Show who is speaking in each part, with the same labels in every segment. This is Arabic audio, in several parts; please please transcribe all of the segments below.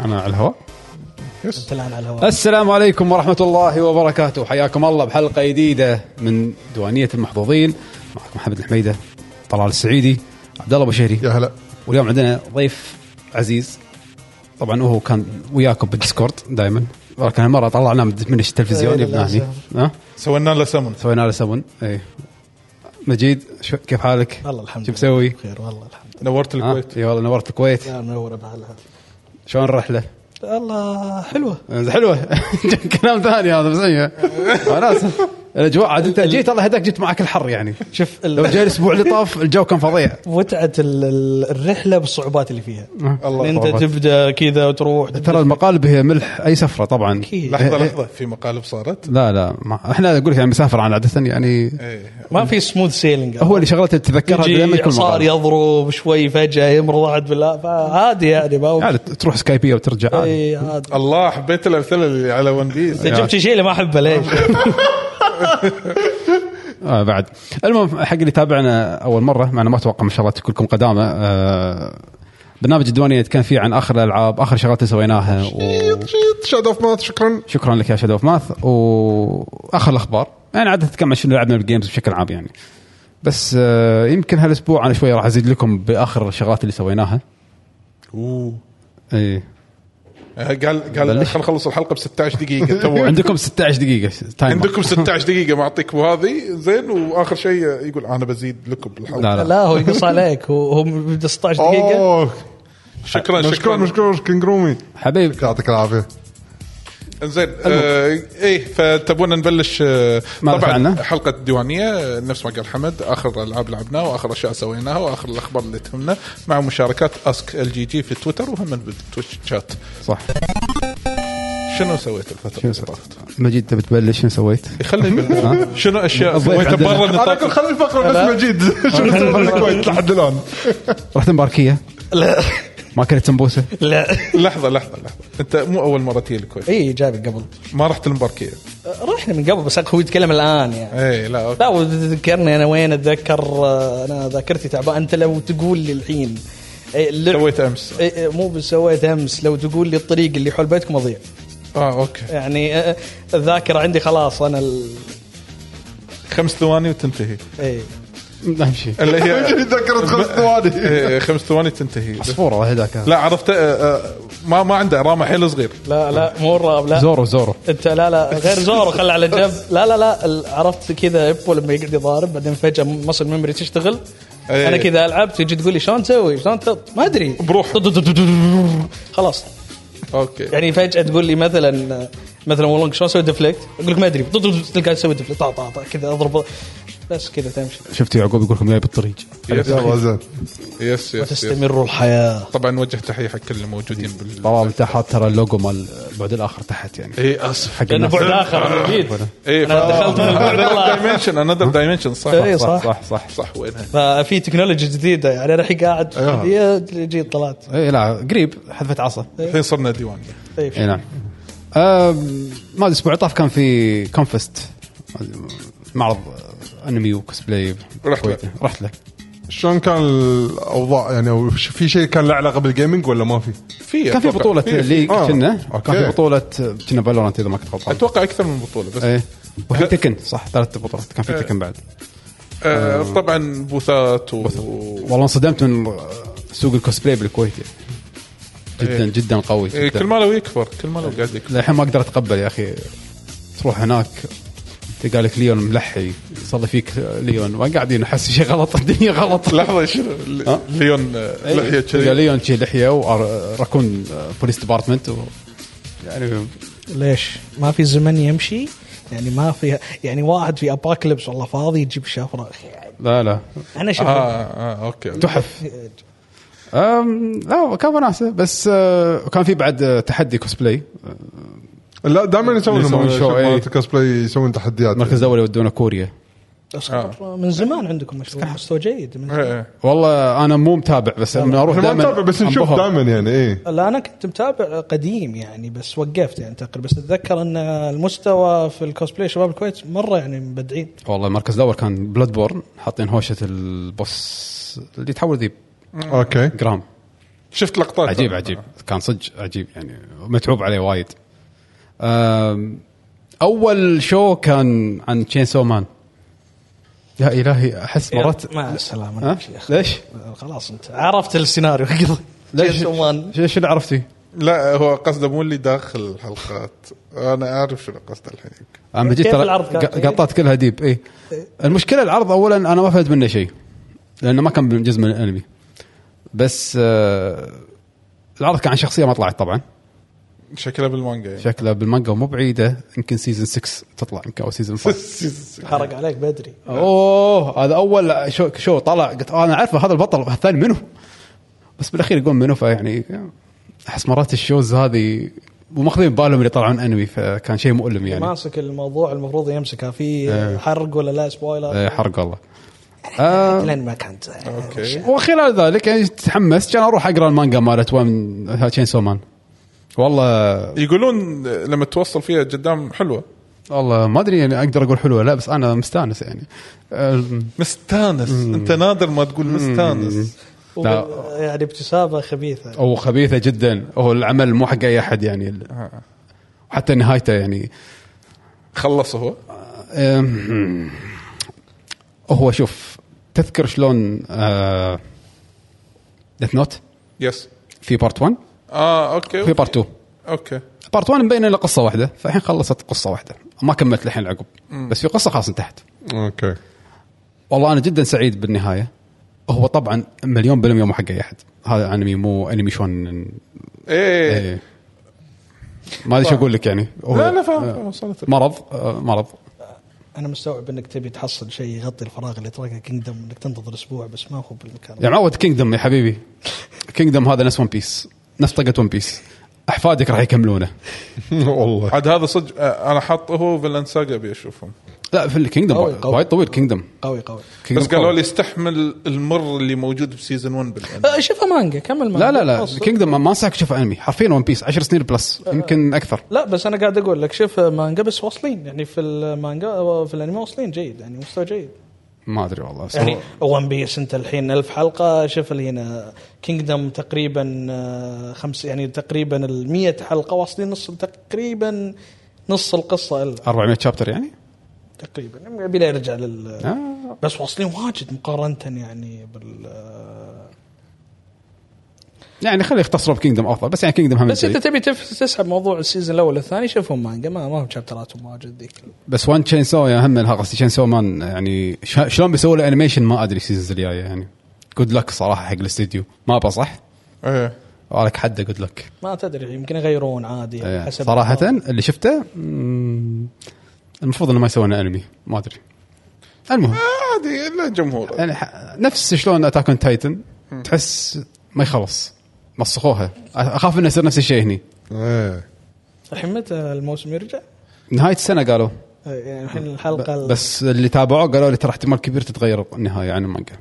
Speaker 1: على الهواء يس
Speaker 2: انت الان على الهواء
Speaker 1: السلام عليكم ورحمة الله وبركاته حياكم الله بحلقة جديدة من دوانية المحظوظين معكم محمد الحميدة طلال السعيدي عبد الله بشيري
Speaker 3: يا هلا
Speaker 1: واليوم عندنا ضيف عزيز طبعا هو كان وياكم بالديسكورد دائما ولكن هالمرة طلعناه من من التلفزيون
Speaker 4: إيه،
Speaker 1: جبناه هني
Speaker 4: للأسف.
Speaker 1: ها
Speaker 3: سوينا له سمن
Speaker 1: سوينا له سمون اي مجيد شو كيف حالك؟
Speaker 2: والله الحمد
Speaker 1: شو
Speaker 2: لله
Speaker 1: مسوي؟
Speaker 2: بخير والله الحمد
Speaker 3: نورت
Speaker 1: ها؟
Speaker 3: الكويت
Speaker 1: اي والله نورت الكويت
Speaker 2: لله منوره بهالها
Speaker 1: شلون الرحله؟
Speaker 2: الله حلوه
Speaker 1: حلوه كلام ثاني هذا بس ايوه انا آسف. الاجواء عاد انت جيت الله هداك جيت معك الحر يعني
Speaker 2: شوف
Speaker 1: لو
Speaker 2: ال-
Speaker 1: جاي الاسبوع اللي طاف الجو كان فظيع
Speaker 2: متعه ال- ال- الرحله بالصعوبات اللي فيها
Speaker 1: أه،
Speaker 3: الله
Speaker 2: انت
Speaker 1: أكبر.
Speaker 2: تبدا كذا وتروح
Speaker 1: ترى المقالب هي ملح اي سفره طبعا
Speaker 2: أكيد.
Speaker 3: لحظه لحظه في مقالب صارت
Speaker 1: إيه. لا لا ما احنا اقول لك يعني مسافر عن عاده يعني
Speaker 3: ايه
Speaker 2: ما في سموث سيلينج
Speaker 1: هو اللي شغلته تتذكرها دائما
Speaker 2: إيه. يجي
Speaker 1: يكون
Speaker 2: صار
Speaker 1: مقالب.
Speaker 2: يضرب شوي فجاه يمر ضاعت بالله فعادي يعني ما هو
Speaker 1: يعني تروح سكايبيه وترجع عادي.
Speaker 2: إي، عادي
Speaker 3: الله حبيت الامثله اللي على ون بيس
Speaker 1: إيه.
Speaker 2: انت جبت شيء اللي ما احبه ليش؟
Speaker 1: آه بعد المهم حق اللي تابعنا اول مره مع أنا ما اتوقع ان شاء الله كلكم قدامى آه برنامج الديوانيه كان فيه عن اخر الالعاب اخر شغلات سويناها و...
Speaker 3: شاد اوف ماث شكرا
Speaker 1: شكرا لك يا شادو اوف ماث واخر الاخبار يعني عاده كم شنو لعبنا بالجيمز بشكل عام يعني بس آه، يمكن هالاسبوع انا شوي راح ازيد لكم باخر الشغلات اللي سويناها إيه.
Speaker 3: اوه
Speaker 1: اي
Speaker 3: آه، قال قال خل نخلص الحلقه ب 16 دقيقه تو
Speaker 1: وعندكم 16 دقيقه تايمر.
Speaker 3: عندكم 16 دقيقه معطيك وهذه زين واخر شيء يقول انا بزيد لكم بالحلقه
Speaker 1: لا لا
Speaker 2: لا هو يقص عليك هو هو بدا 16 دقيقه
Speaker 3: شكرا
Speaker 4: مشكور
Speaker 3: شكرا
Speaker 4: مشكور كينج رومي
Speaker 1: حبيب
Speaker 4: يعطيك العافيه
Speaker 3: زين آه ايه فتبون نبلش آه
Speaker 1: ماذا فعلنا؟
Speaker 3: طبعا حلقه ديوانيه آه، نفس ما قال حمد اخر العاب لعبناها واخر اشياء سويناها واخر الاخبار اللي تهمنا مع مشاركات اسك ال جي جي في تويتر وهم بالتويتش شات
Speaker 1: صح
Speaker 3: شنو سويت الفتره
Speaker 1: شنو
Speaker 3: اللي
Speaker 1: سويت؟
Speaker 3: طافت؟
Speaker 1: مجيد تبي تبلش شنو سويت؟
Speaker 3: خليه يقول شنو اشياء
Speaker 1: الضيف
Speaker 3: سويتها
Speaker 1: عندنا.
Speaker 3: برا
Speaker 4: انا اقول
Speaker 3: نطاق
Speaker 4: خلي الفقره بس مجيد شنو سوى الكويت لحد الان
Speaker 1: رحت مباركيه
Speaker 2: لا
Speaker 1: ما كلت سمبوسه
Speaker 2: لا
Speaker 3: لحظه لحظه لحظه انت مو اول مره تجي الكويت
Speaker 2: اي جايب قبل
Speaker 3: ما رحت المباركيه
Speaker 2: رحنا من قبل بس هو يتكلم الان يعني
Speaker 3: اي إيه، لا أوكي.
Speaker 2: لا وذكرني انا وين اتذكر آه، انا ذاكرتي تعبان انت لو تقول لي الحين إيه، اللعب-
Speaker 3: سويت أمس.
Speaker 2: إيه، إيه، مو بس سويت امس لو تقول لي الطريق اللي حول بيتكم اضيع
Speaker 3: اه اوكي
Speaker 2: يعني آه، الذاكره عندي خلاص انا ال...
Speaker 3: خمس ثواني وتنتهي
Speaker 2: إيه.
Speaker 1: اهم شيء
Speaker 3: اللي هي
Speaker 4: مجيد ذكرت خمس ثواني
Speaker 3: إيه، خمس ثواني تنتهي
Speaker 1: عصفوره والله هذاك
Speaker 3: لا عرفت آه، آه، ما ما عنده رامه حيل صغير
Speaker 2: لا لا مو الراب لا
Speaker 1: زورو زورو
Speaker 2: انت لا لا غير زورو خله على جنب لا لا لا ال- عرفت كذا ابو لما يقعد يضارب بعدين فجاه مصل ميموري تشتغل
Speaker 3: ايه.
Speaker 2: انا كذا العب تجي تقول لي شلون تسوي شلون ت- ما ادري
Speaker 3: بروح.
Speaker 2: خلاص
Speaker 3: اوكي
Speaker 2: يعني فجاه تقول لي مثلا مثلا والله شلون اسوي ديفليكت اقول لك ما ادري تلقى تسوي ديفليكت طا طا طا كذا اضرب بس كذا تمشي
Speaker 1: شفت يعقوب يقول لكم جاي بالطريق
Speaker 3: يس
Speaker 4: يلا زين
Speaker 3: يس يس, يس.
Speaker 2: وتستمر الحياه
Speaker 3: طبعا وجه تحيه حق كل الموجودين بال
Speaker 1: طلال تحت ترى اللوجو مال البعد الاخر تحت يعني
Speaker 3: اي اسف
Speaker 1: حق
Speaker 2: لانه
Speaker 1: الناس.
Speaker 2: بعد
Speaker 3: آه.
Speaker 2: اخر اكيد
Speaker 3: اي
Speaker 2: إيه، أنا دخلت من البعد الآخر.
Speaker 3: دايمنشن انذر دايمنشن صح
Speaker 2: إيه،
Speaker 3: صح
Speaker 1: صح صح, صح.
Speaker 3: صح وينها
Speaker 2: ففي تكنولوجيا جديده يعني انا الحين قاعد
Speaker 3: أيوه.
Speaker 4: ايوه.
Speaker 2: يا جيت طلعت
Speaker 1: اي إيه، لا قريب حذفت عصا
Speaker 3: الحين صرنا ديوانيه
Speaker 2: طيب.
Speaker 1: اي نعم آم، ما ادري الاسبوع اللي طاف كان في كونفست معرض انمي وكوسبلاي
Speaker 3: رحت له.
Speaker 1: بالكويت. رحت له
Speaker 4: شلون كان الاوضاع يعني أو ش- في شيء كان له علاقه بالجيمنج ولا ما في؟
Speaker 3: في
Speaker 1: كان في
Speaker 3: أتوقع.
Speaker 1: بطوله ليج
Speaker 4: آه،
Speaker 1: كنا
Speaker 4: أوكي.
Speaker 1: كان في بطوله كنا فالورانت اذا ما كنت غلطان
Speaker 3: اتوقع اكثر من بطوله بس
Speaker 2: إيه.
Speaker 1: ايه وفي
Speaker 3: لا.
Speaker 1: تكن صح ثلاث بطولات كان في تكن بعد
Speaker 3: آه طبعا بوثات و...
Speaker 1: والله انصدمت من سوق الكوسبلاي بالكويت يعني. جدا
Speaker 3: إيه.
Speaker 1: جدا قوي
Speaker 3: إيه، كل
Speaker 1: جدا
Speaker 3: ما لو يكبر كل ما لو قاعد يكبر
Speaker 1: للحين ما اقدر اتقبل يا اخي تروح هناك تلقى لك ليون ملحي يصلي فيك ليون وقاعدين احس شيء غلط الدنيا غلط
Speaker 3: لحظه شنو
Speaker 1: ها؟
Speaker 3: ليون
Speaker 2: إيه.
Speaker 3: آه، لحيه
Speaker 1: تلقى
Speaker 3: كذي
Speaker 1: ليون شي لحيه وراكون بوليس ديبارتمنت آه، و يعني
Speaker 2: ليش؟ ما في زمن يمشي يعني ما في يعني واحد في اباكليبس والله فاضي يجيب شفره يعني
Speaker 1: لا لا
Speaker 2: انا
Speaker 3: آه,
Speaker 2: شفت
Speaker 3: اه اوكي
Speaker 1: تحف أم لا كان وناسه بس آه، كان في بعد آه، تحدي كوسبلاي
Speaker 4: لا دائما يسوون
Speaker 1: يسوون
Speaker 4: لما-
Speaker 1: شو،
Speaker 4: مالت
Speaker 1: إيه.
Speaker 4: الكوسبلاي يسوون تحديات
Speaker 1: المركز الاول يودونه كوريا
Speaker 2: من زمان عندكم مشروع مستوى جيد من زمان.
Speaker 3: آه. إيه.
Speaker 1: والله انا مو متابع بس لما اروح
Speaker 4: احنا ما
Speaker 1: دائما
Speaker 4: نتابع بس نشوف دائما يعني ايه
Speaker 2: لا انا كنت متابع قديم يعني بس وقفت يعني تقريبا بس اتذكر ان المستوى في الكوسبلاي شباب الكويت مره يعني مبدعين
Speaker 1: والله المركز الاول كان بلاد بورن حاطين هوشه البوس اللي تحول ذيب
Speaker 4: اوكي
Speaker 1: جرام
Speaker 5: شفت لقطات
Speaker 1: عجيب عجيب كان صدق عجيب يعني متعوب عليه وايد أم، اول شو كان عن تشين سو مان يا الهي احس مرات
Speaker 2: مع السلامه
Speaker 1: ها؟
Speaker 2: يا شيخ
Speaker 1: ليش؟
Speaker 2: خلاص انت عرفت السيناريو كذا
Speaker 1: ليش؟
Speaker 2: جيسون
Speaker 1: شو- شو اللي عرفتي؟
Speaker 5: لا هو قصده مو اللي داخل الحلقات انا اعرف شنو قصده الحين يمكن.
Speaker 1: انا جيت
Speaker 2: كيف
Speaker 1: ترى
Speaker 2: العرض كان؟
Speaker 1: ق- قطعت كلها ديب اي المشكله العرض اولا انا ما فهمت منه شيء لانه ما كان من جزء من الانمي بس آه العرض كان عن شخصيه ما طلعت طبعا
Speaker 5: شكله بالمانجا يعني
Speaker 1: شكلها بالمانجا مو بعيده يمكن سيزون 6 تطلع يمكن او سيزون 5
Speaker 2: حرق عليك بدري
Speaker 1: اوه هذا اول شو, شو طلع قلت آه، انا عارفه هذا البطل الثاني منو بس بالاخير يقول منو فيعني احس مرات الشوز هذه وماخذين بالهم اللي يطلعون انمي فكان شيء مؤلم يعني
Speaker 2: ماسك الموضوع المفروض يمسكها في
Speaker 1: إيه.
Speaker 2: حرق ولا لا
Speaker 1: آه،
Speaker 2: سبويلر
Speaker 1: حرق الله آه،
Speaker 2: لين ما كانت
Speaker 5: اوكي
Speaker 1: وخلال ذلك يعني تحمست كان اروح اقرا المانجا مالت وان تشين سومان والله
Speaker 5: يقولون لما توصل فيها قدام حلوه
Speaker 1: والله ما ادري يعني اقدر اقول حلوه لا بس انا مستانس يعني أم،
Speaker 5: مستانس انت نادر ما تقول مستانس
Speaker 1: لا.
Speaker 2: وبال- يعني ابتسامه خبيثه
Speaker 1: او خبيثه جدا هو العمل مو حق اي احد يعني حتى نهايته يعني
Speaker 5: خلص هو
Speaker 1: أم، هو شوف تذكر شلون ديث نوت
Speaker 5: يس
Speaker 1: في بارت 1
Speaker 5: اه اوكي
Speaker 1: في بارت 2
Speaker 5: اوكي
Speaker 1: بارت 1 مبين له قصه واحده فالحين خلصت قصه واحده ما كملت الحين العقب بس في قصه خلاص انتهت
Speaker 4: اوكي
Speaker 1: والله انا جدا سعيد بالنهايه هو طبعا مليون بالمية مو حق اي احد هذا انمي مو انمي شون
Speaker 5: ايه
Speaker 1: إيه. ما ادري شو اقول لك يعني هو
Speaker 5: لا لا فاهم فاهم، وصلت
Speaker 1: مرض آه، مرض
Speaker 2: انا مستوعب انك تبي تحصل شيء يغطي الفراغ اللي تركه كينجدم انك تنتظر اسبوع بس ما هو بالمكان
Speaker 1: يا معود كينجدم يا حبيبي كينجدم هذا نفس ون بيس نفس طقه ون بيس احفادك راح يكملونه
Speaker 4: والله
Speaker 5: عاد هذا صدق آه، انا حاطه هو فيلن ساجا ابي اشوفهم
Speaker 1: لا في الكينجدم
Speaker 2: قوي، قوي.
Speaker 1: وايد طويل كينجدم
Speaker 2: قوي قوي
Speaker 5: بس قالوا لي استحمل المر اللي موجود بسيزون 1 بالانمي
Speaker 2: آه، شوفها مانجا كمل مانجا
Speaker 1: لا لا لا
Speaker 2: أصلاً.
Speaker 1: كينجدم ما انصحك تشوف انمي حرفيا ون بيس 10 سنين بلس يمكن اكثر
Speaker 2: لا بس انا قاعد اقول لك شوف مانجا بس واصلين يعني في المانجا في الانمي واصلين جيد يعني مستوى جيد
Speaker 1: ما ادري والله بس
Speaker 2: يعني
Speaker 1: هو-
Speaker 2: ون بيس انت الحين ألف حلقه شوف اللي هنا كينجدم تقريبا آه، خمس يعني تقريبا ال 100 حلقه واصلين نص تقريبا نص القصه الا
Speaker 1: 400 شابتر يعني
Speaker 2: تقريبا بلا يعني يرجع لل
Speaker 1: آه،
Speaker 2: بس واصلين واجد مقارنه يعني بال آه،
Speaker 1: يعني خليه يختصروا بكينجدم افضل بس يعني كينجدم هم
Speaker 2: بس
Speaker 1: جيد.
Speaker 2: انت تبي تف- تسحب موضوع السيزون الاول والثاني شوفهم مانجا ما ما هم شابتراتهم واجد ذيك
Speaker 1: بس وان تشين سو يا هم لها قصدي تشين سو مان يعني شا- شلون بيسووا له انيميشن ما ادري السيزونز الجايه يعني جود لك صراحه حق الاستديو ما بصح إيه.
Speaker 5: ايه
Speaker 1: لك حده جود لك
Speaker 2: ما تدري يمكن يغيرون عادي
Speaker 1: إيه،
Speaker 2: يعني حسب
Speaker 1: صراحه طيب. اللي شفته مم، المفروض انه ما يسوون انمي ما ادري المهم
Speaker 5: آه، عادي لا جمهور
Speaker 1: يعني ح- نفس شلون اتاك اون تايتن تحس ما يخلص مسخوها اخاف انه يصير نفس الشيء هني
Speaker 4: ايه
Speaker 1: إيه.
Speaker 2: الحين متى الموسم يرجع؟
Speaker 1: نهايه السنه قالوا
Speaker 2: يعني الحين الحلقه ال-
Speaker 1: بس اللي تابعوه قالوا لي ترى احتمال كبير تتغير النهايه عن المانجا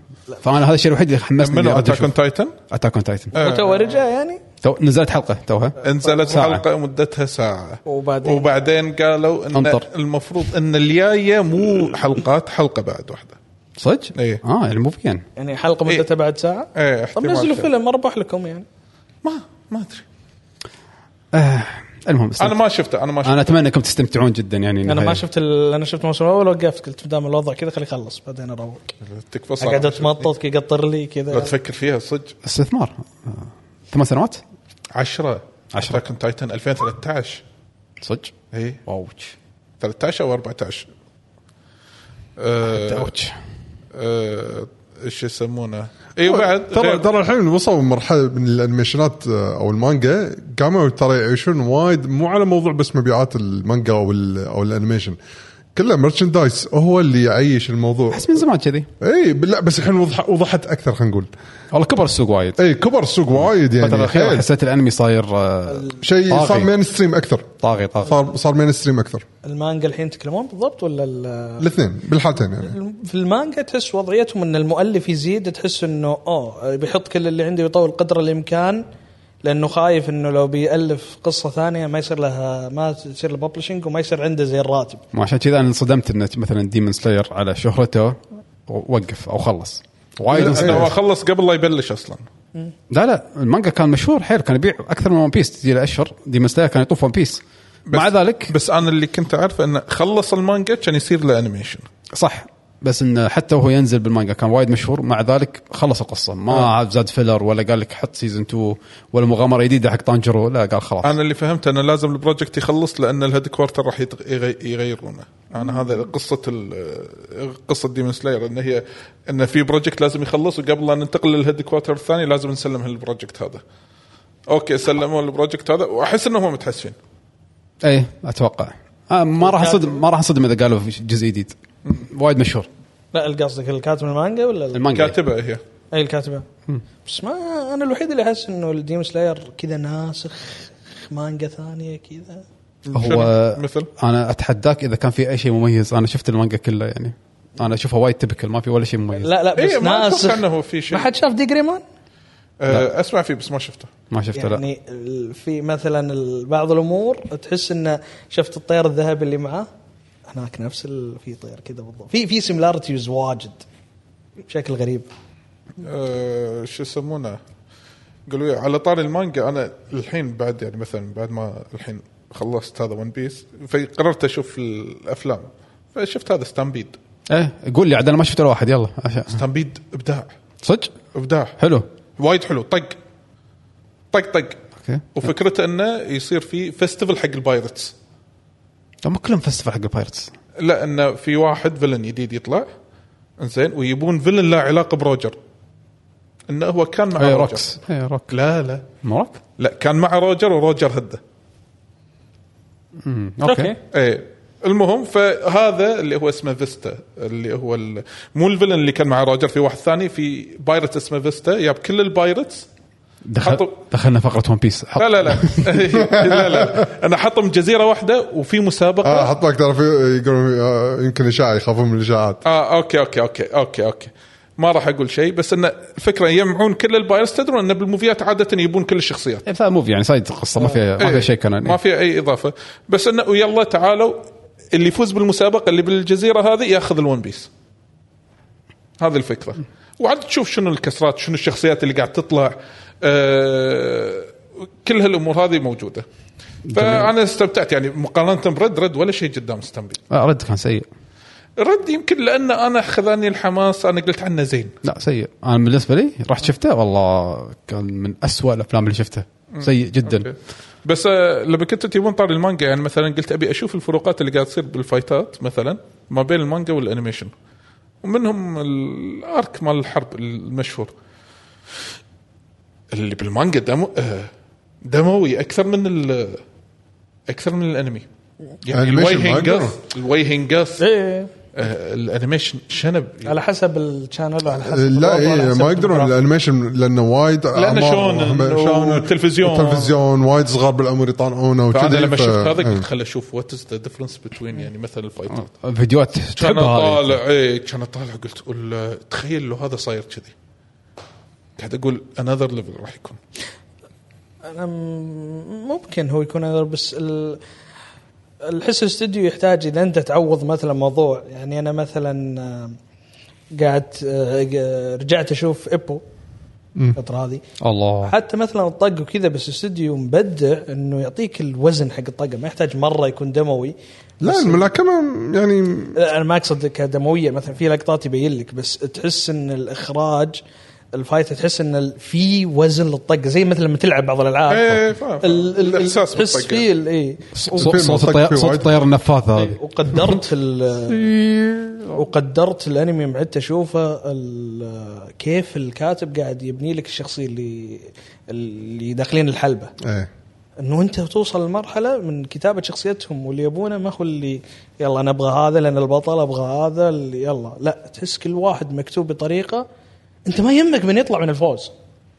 Speaker 1: فانا هذا الشيء الوحيد اللي حمسني
Speaker 5: منو
Speaker 1: إني أرد
Speaker 5: اتاك
Speaker 1: أشوف.
Speaker 5: اون تايتن
Speaker 1: اتاك اون تايتن
Speaker 2: متى هو رجع يعني؟
Speaker 1: تو نزلت حلقه توها
Speaker 5: انزلت
Speaker 1: ساعة.
Speaker 5: حلقه مدتها ساعه
Speaker 2: وبعدين
Speaker 5: وبعدين قالوا ان
Speaker 1: انطر.
Speaker 5: المفروض ان الجايه مو حلقات حلقه بعد واحده
Speaker 1: صدق؟
Speaker 5: إيه.
Speaker 1: اه يعني مو فيان
Speaker 2: يعني حلقه مدتها بعد ساعه؟
Speaker 5: ايه
Speaker 2: طب
Speaker 5: احتمال
Speaker 2: نزلوا
Speaker 5: كذا.
Speaker 2: فيلم اربح لكم يعني
Speaker 5: ما ما ادري
Speaker 1: آه. المهم استمتع.
Speaker 5: انا ما شفته انا ما شفته
Speaker 1: انا اتمنى انكم تستمتعون جدا يعني
Speaker 2: انا ما
Speaker 1: النهاية.
Speaker 2: شفت ال... انا شفت الموسم الاول وقفت قلت دام الوضع كذا خلي يخلص بعدين اروق
Speaker 5: تكفى صعب.
Speaker 2: قاعد اتمطط كي يقطر لي
Speaker 5: لا
Speaker 2: كذا
Speaker 5: تفكر فيها صدق
Speaker 1: استثمار آه. ثمان سنوات
Speaker 5: 10
Speaker 1: عشرة.
Speaker 5: اتاك اون تايتن 2013
Speaker 1: صدق؟
Speaker 5: اي
Speaker 1: اوتش
Speaker 5: 13 او 14 أه،
Speaker 1: اوتش
Speaker 5: أه، ايش يسمونه اي وبعد
Speaker 4: ترى
Speaker 5: غير-
Speaker 4: ترى الحين وصلوا مرحله من الانيميشنات آه، او المانجا قاموا ترى يعيشون وايد مو على موضوع بس مبيعات المانجا او ال- او الانيميشن كله مرشندايز هو اللي يعيش الموضوع
Speaker 1: احس من زمان كذي
Speaker 4: اي لا بس الحين وضح وضحت اكثر خلينا نقول
Speaker 1: والله كبر السوق وايد
Speaker 4: اي كبر السوق وايد
Speaker 1: الفتره
Speaker 4: إيه، يعني
Speaker 1: الاخيره
Speaker 4: حيل.
Speaker 1: حسيت الانمي صاير آه،
Speaker 4: شيء آه. صار
Speaker 1: طاغي.
Speaker 4: مين ستريم اكثر
Speaker 1: طاغي طاغي
Speaker 4: صار صار مين ستريم اكثر
Speaker 2: المانجا الحين يتكلمون بالضبط ولا ال...
Speaker 4: الاثنين بالحالتين يعني
Speaker 2: في المانجا تحس وضعيتهم ان المؤلف يزيد تحس انه اوه بيحط كل اللي عنده ويطول قدر الامكان لانه خايف انه لو بيالف قصه ثانيه ما يصير لها ما تصير الببلشنج وما يصير عنده زي الراتب
Speaker 1: ما عشان كذا انا انصدمت انه مثلا ديمون سلاير على شهرته وقف او خلص وايد
Speaker 4: لا، إيه،
Speaker 5: إنه
Speaker 1: انصدمت
Speaker 5: هو خلص قبل لا يبلش اصلا
Speaker 1: لا لا المانجا كان مشهور حيل كان يبيع اكثر من ون بيس تجي له اشهر ديمون سلاير كان يطوف ون بيس مع ذلك
Speaker 3: بس انا اللي كنت اعرفه انه خلص المانجا كان يصير له انيميشن
Speaker 1: صح بس انه حتى وهو ينزل بالمانجا كان وايد مشهور مع ذلك خلص القصه ما
Speaker 4: آه.
Speaker 1: عاد زاد فيلر ولا قال لك حط سيزون 2 ولا مغامره جديده حق طانجرو لا قال خلاص
Speaker 3: انا اللي فهمت انه لازم البروجكت يخلص لان الهيد كوارتر راح يتغ- يغي- يغيرونه انا هذا قصه ال- قصه ديمون سلاير ان هي ان في بروجكت لازم يخلص وقبل لا ننتقل للهيد كوارتر الثاني لازم نسلم هالبروجكت هذا اوكي سلموا البروجكت هذا واحس انهم هم متحسفين
Speaker 1: اي اتوقع إيه، آه ما راح اصدم ما راح اصدم اذا قالوا في جزء جديد وايد مشهور
Speaker 2: لا قصدك الكاتب المانجا ولا ال-
Speaker 1: المانجا
Speaker 3: كاتبه هي
Speaker 2: اي الكاتبه بس ما انا الوحيد اللي احس انه الديم سلاير كذا ناسخ مانجا ثانيه كذا
Speaker 1: هو
Speaker 3: شنو؟ مثل
Speaker 1: انا اتحداك اذا كان في اي شيء مميز انا شفت المانجا كله يعني انا اشوفها وايد تبكل ما في ولا شيء مميز
Speaker 2: لا لا بس
Speaker 3: اي إيه، ما اتوقع
Speaker 2: ناسخ
Speaker 3: انه في شيء
Speaker 2: إيه، ما حد شاف ديجريمان
Speaker 3: آه، اسمع فيه بس ما شفته
Speaker 1: ما شفته لا
Speaker 2: يعني ال- في مثلا ال- بعض الامور تحس انه شفت الطير الذهبي اللي معاه هناك نفس ال... في طير كذا بالضبط في في سيميلارتيز واجد بشكل غريب
Speaker 3: آه، شو يسمونه قالوا إيه، على طاري المانجا انا الحين بعد يعني مثلا بعد ما الحين خلصت هذا ون بيس فقررت اشوف الافلام فشفت هذا ستامبيد
Speaker 1: ايه قول لي عاد انا ما شفت ولا واحد يلا عشان-
Speaker 3: ستامبيد ابداع
Speaker 1: صدق
Speaker 3: ابداع
Speaker 1: حلو
Speaker 3: وايد حلو طق طق طق
Speaker 1: اوكي
Speaker 3: وفكرته انه يصير في فيستيفال حق البايرتس
Speaker 1: هم كلهم فستيفال حق البايرتس
Speaker 3: لا انه في واحد فيلن جديد يطلع انزين ويبون فيلن له علاقه بروجر انه هو كان مع
Speaker 1: اي
Speaker 3: روجر
Speaker 1: روكس اي روك
Speaker 3: آه، لا لا
Speaker 1: مو روك
Speaker 3: لا كان مع روجر وروجر هده
Speaker 1: مم، اوكي
Speaker 3: ايه المهم فهذا اللي هو اسمه فيستا اللي هو ال... مو الفيلن اللي كان مع روجر في واحد ثاني في بايرت اسمه فيستا جاب كل البايرتس
Speaker 1: دخل
Speaker 3: حطوا-
Speaker 1: دخلنا فقره ون بيس
Speaker 3: لا لا لا لا لا انا حطهم جزيره واحده وفي مسابقه
Speaker 4: آه
Speaker 3: آه.
Speaker 4: حط لك ترى في- يقولون آه، يمكن اشاعه يخافون من الاشاعات
Speaker 3: اه اوكي اوكي اوكي اوكي اوكي ما راح اقول شيء بس ان الفكره يجمعون كل البايرتس تدرون ان بالموفيات عاده يبون كل الشخصيات
Speaker 1: لا موفي يعني سايد قصه ما فيها ما
Speaker 3: إيه.
Speaker 1: فيها شيء كان يعني.
Speaker 3: ما في اي اضافه بس انه يلا تعالوا اللي يفوز بالمسابقه اللي بالجزيره هذه ياخذ الون بيس هذه الفكره وعاد تشوف شنو الكسرات شنو الشخصيات اللي قاعد تطلع آه كل هالامور هذه موجوده فانا استمتعت يعني مقارنه برد رد ولا شيء قدام استنبي
Speaker 1: آه، رد كان سيء
Speaker 3: رد يمكن لان انا خذاني الحماس انا قلت عنه زين
Speaker 1: لا سيء انا بالنسبه لي رحت شفته والله كان من أسوأ الافلام اللي شفتها سيء جدا
Speaker 3: بس آه، لما كنت تبون طاري المانجا يعني مثلا قلت ابي اشوف الفروقات اللي قاعد تصير بالفايتات مثلا ما بين المانجا والانيميشن ومنهم الارك مال الحرب المشهور اللي بالمانجا دمو آه، دموي اكثر من ال- اكثر من الانمي يعني
Speaker 4: Animation
Speaker 3: الوجه
Speaker 4: ما
Speaker 3: ينقص
Speaker 4: يقدروا.
Speaker 3: الوجه ينقص
Speaker 2: ايه
Speaker 3: آه، الانيميشن شنب
Speaker 2: على حسب الشانل على حسب
Speaker 4: لا
Speaker 2: الوضع، على
Speaker 4: اي
Speaker 2: حسب
Speaker 4: ما يقدرون
Speaker 2: الجغرافيا.
Speaker 4: الانيميشن لانه وايد أعمار
Speaker 3: شونن
Speaker 4: وهم-
Speaker 3: والتلفزيون.
Speaker 4: التلفزيون وايد صغار بالعمر يطالعونه وكذي
Speaker 3: فانا لما
Speaker 4: ف-
Speaker 3: شفت هذا
Speaker 4: إيه.
Speaker 3: قلت خل اشوف وات از ذا ديفرنس بتوين يعني مثلا الفايتات
Speaker 1: فيديوهات
Speaker 3: كان
Speaker 1: تحبها هذه.
Speaker 3: طالع اي كان طالع قلت ولا- تخيل لو هذا صاير كذي قاعد اقول انذر ليفل راح يكون
Speaker 2: أنا م- ممكن هو يكون هذا بس ال... الحس الاستوديو يحتاج اذا انت تعوض مثلا موضوع يعني انا مثلا آه، قاعد آه، آه، رجعت اشوف ابو الفتره هذه
Speaker 1: الله
Speaker 2: حتى مثلا الطق وكذا بس الاستوديو مبدع انه يعطيك الوزن حق الطقه ما يحتاج مره يكون دموي
Speaker 4: لا الملاكمه يعني
Speaker 2: لا انا ما اقصد كدمويه مثلا في لقطات يبين لك بس تحس ان الاخراج الفايت تحس ان ال- في وزن للطقه زي مثلا لما تلعب بعض الالعاب
Speaker 3: إيه، فاهم.
Speaker 2: ال- ال-
Speaker 3: الإحساس
Speaker 2: تحس
Speaker 3: بالطقة.
Speaker 2: فيه ال- إيه. اي
Speaker 1: صوت
Speaker 4: الفيلم
Speaker 1: صوت
Speaker 4: طق
Speaker 1: الطيار
Speaker 4: فيه
Speaker 1: صوت
Speaker 4: وايد.
Speaker 1: الطيار النفاثه هذه
Speaker 3: إيه.
Speaker 2: وقدرت ال- وقدرت الانمي معدت اشوفه ال- كيف الكاتب قاعد يبني لك الشخصيه اللي اللي داخلين الحلبه
Speaker 4: ايه
Speaker 2: انه انت توصل لمرحله من كتابه شخصيتهم واللي يبونه ما هو اللي يلا انا ابغى هذا لان البطل ابغى هذا اللي يلا لا تحس كل واحد مكتوب بطريقه انت ما يهمك من يطلع من الفوز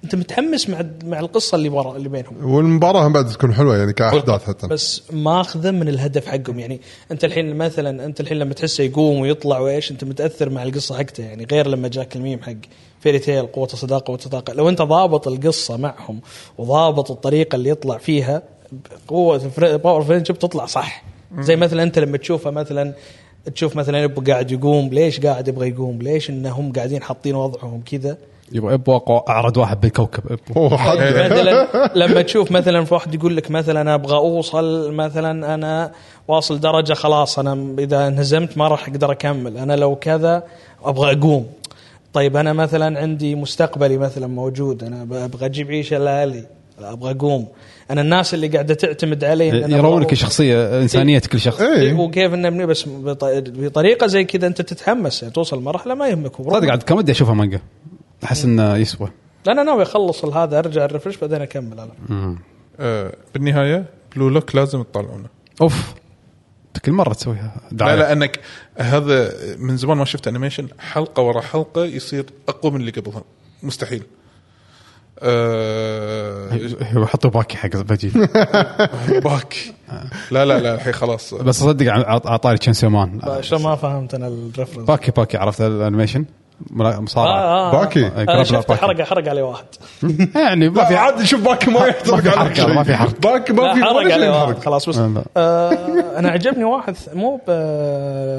Speaker 2: انت متحمس مع مع القصه اللي ورا اللي بينهم
Speaker 4: والمباراه هم بعد تكون حلوه يعني كاحداث حتى
Speaker 2: بس ماخذه من الهدف حقهم يعني انت الحين مثلا انت الحين لما تحسه يقوم ويطلع وايش انت متاثر مع القصه حقته يعني غير لما جاك الميم حق فيري تيل قوه الصداقه والتطاقه لو انت ضابط القصه معهم وضابط الطريقه اللي يطلع فيها قوه الفر- باور فريندشيب تطلع صح زي مثلا انت لما تشوفه مثلا تشوف مثلا ابو قاعد يقوم ليش قاعد يبغى يقوم ليش انهم قاعدين حاطين وضعهم كذا
Speaker 1: يبغى ابو أقوى- اعرض واحد بالكوكب ابو
Speaker 4: هو
Speaker 2: إيه،
Speaker 4: حد
Speaker 2: مثلا لما تشوف مثلا في واحد يقول لك مثلا ابغى اوصل مثلا انا واصل درجه خلاص انا اذا انهزمت ما راح اقدر اكمل انا لو كذا ابغى اقوم طيب انا مثلا عندي مستقبلي مثلا موجود انا ب- ابغى اجيب عيشه لاهلي ابغى اقوم انا الناس اللي قاعده تعتمد علي
Speaker 1: إيه،
Speaker 3: إيه،
Speaker 2: إن أنا
Speaker 1: يرونك
Speaker 2: أبغى-
Speaker 1: شخصيه انسانيه كل شخص
Speaker 4: إيه.
Speaker 2: وكيف انه بني- بس بط- بطريقه زي كذا انت تتحمس يعني توصل مرحله ما يهمك
Speaker 1: صدق عاد كم ودي اشوفها مانجا احس انه يسوى
Speaker 2: انا ناوي اخلص هذا ارجع الرفرش بعدين اكمل انا
Speaker 3: آه بالنهايه بلو لوك لازم تطلعونه
Speaker 1: اوف أنت كل مره تسويها
Speaker 3: لا
Speaker 4: طيب.
Speaker 1: دعاية.
Speaker 3: لا انك هذا من زمان ما شفت انيميشن حلقه ورا حلقه يصير اقوى من اللي قبلها مستحيل آه
Speaker 1: حطوا باكي حق بجي
Speaker 3: باك
Speaker 4: آه.
Speaker 3: لا لا لا الحين خلاص
Speaker 1: بس اصدق اعطاني تشين سيمان
Speaker 2: عشان ما فهمت انا الرفرنس
Speaker 1: باكي باكي عرفت الانيميشن ملا- مصارعه
Speaker 2: آه آه
Speaker 4: باكي.
Speaker 1: آه،
Speaker 2: انا
Speaker 1: كراب
Speaker 2: شفت
Speaker 1: باكي.
Speaker 2: حرق حرق عليه واحد
Speaker 1: يعني ما في
Speaker 4: لا
Speaker 1: عاد
Speaker 4: عاد شوف باكي ما يحترق
Speaker 1: حركة،
Speaker 4: عليك شيء.
Speaker 1: ما في حركة.
Speaker 4: باكي ما في
Speaker 2: لا،
Speaker 4: ولا
Speaker 2: حرق
Speaker 4: شيء
Speaker 2: عليه واحد
Speaker 4: ينحرق
Speaker 2: خلاص بس
Speaker 1: لا، لا.
Speaker 2: آه انا عجبني واحد ث- مو ب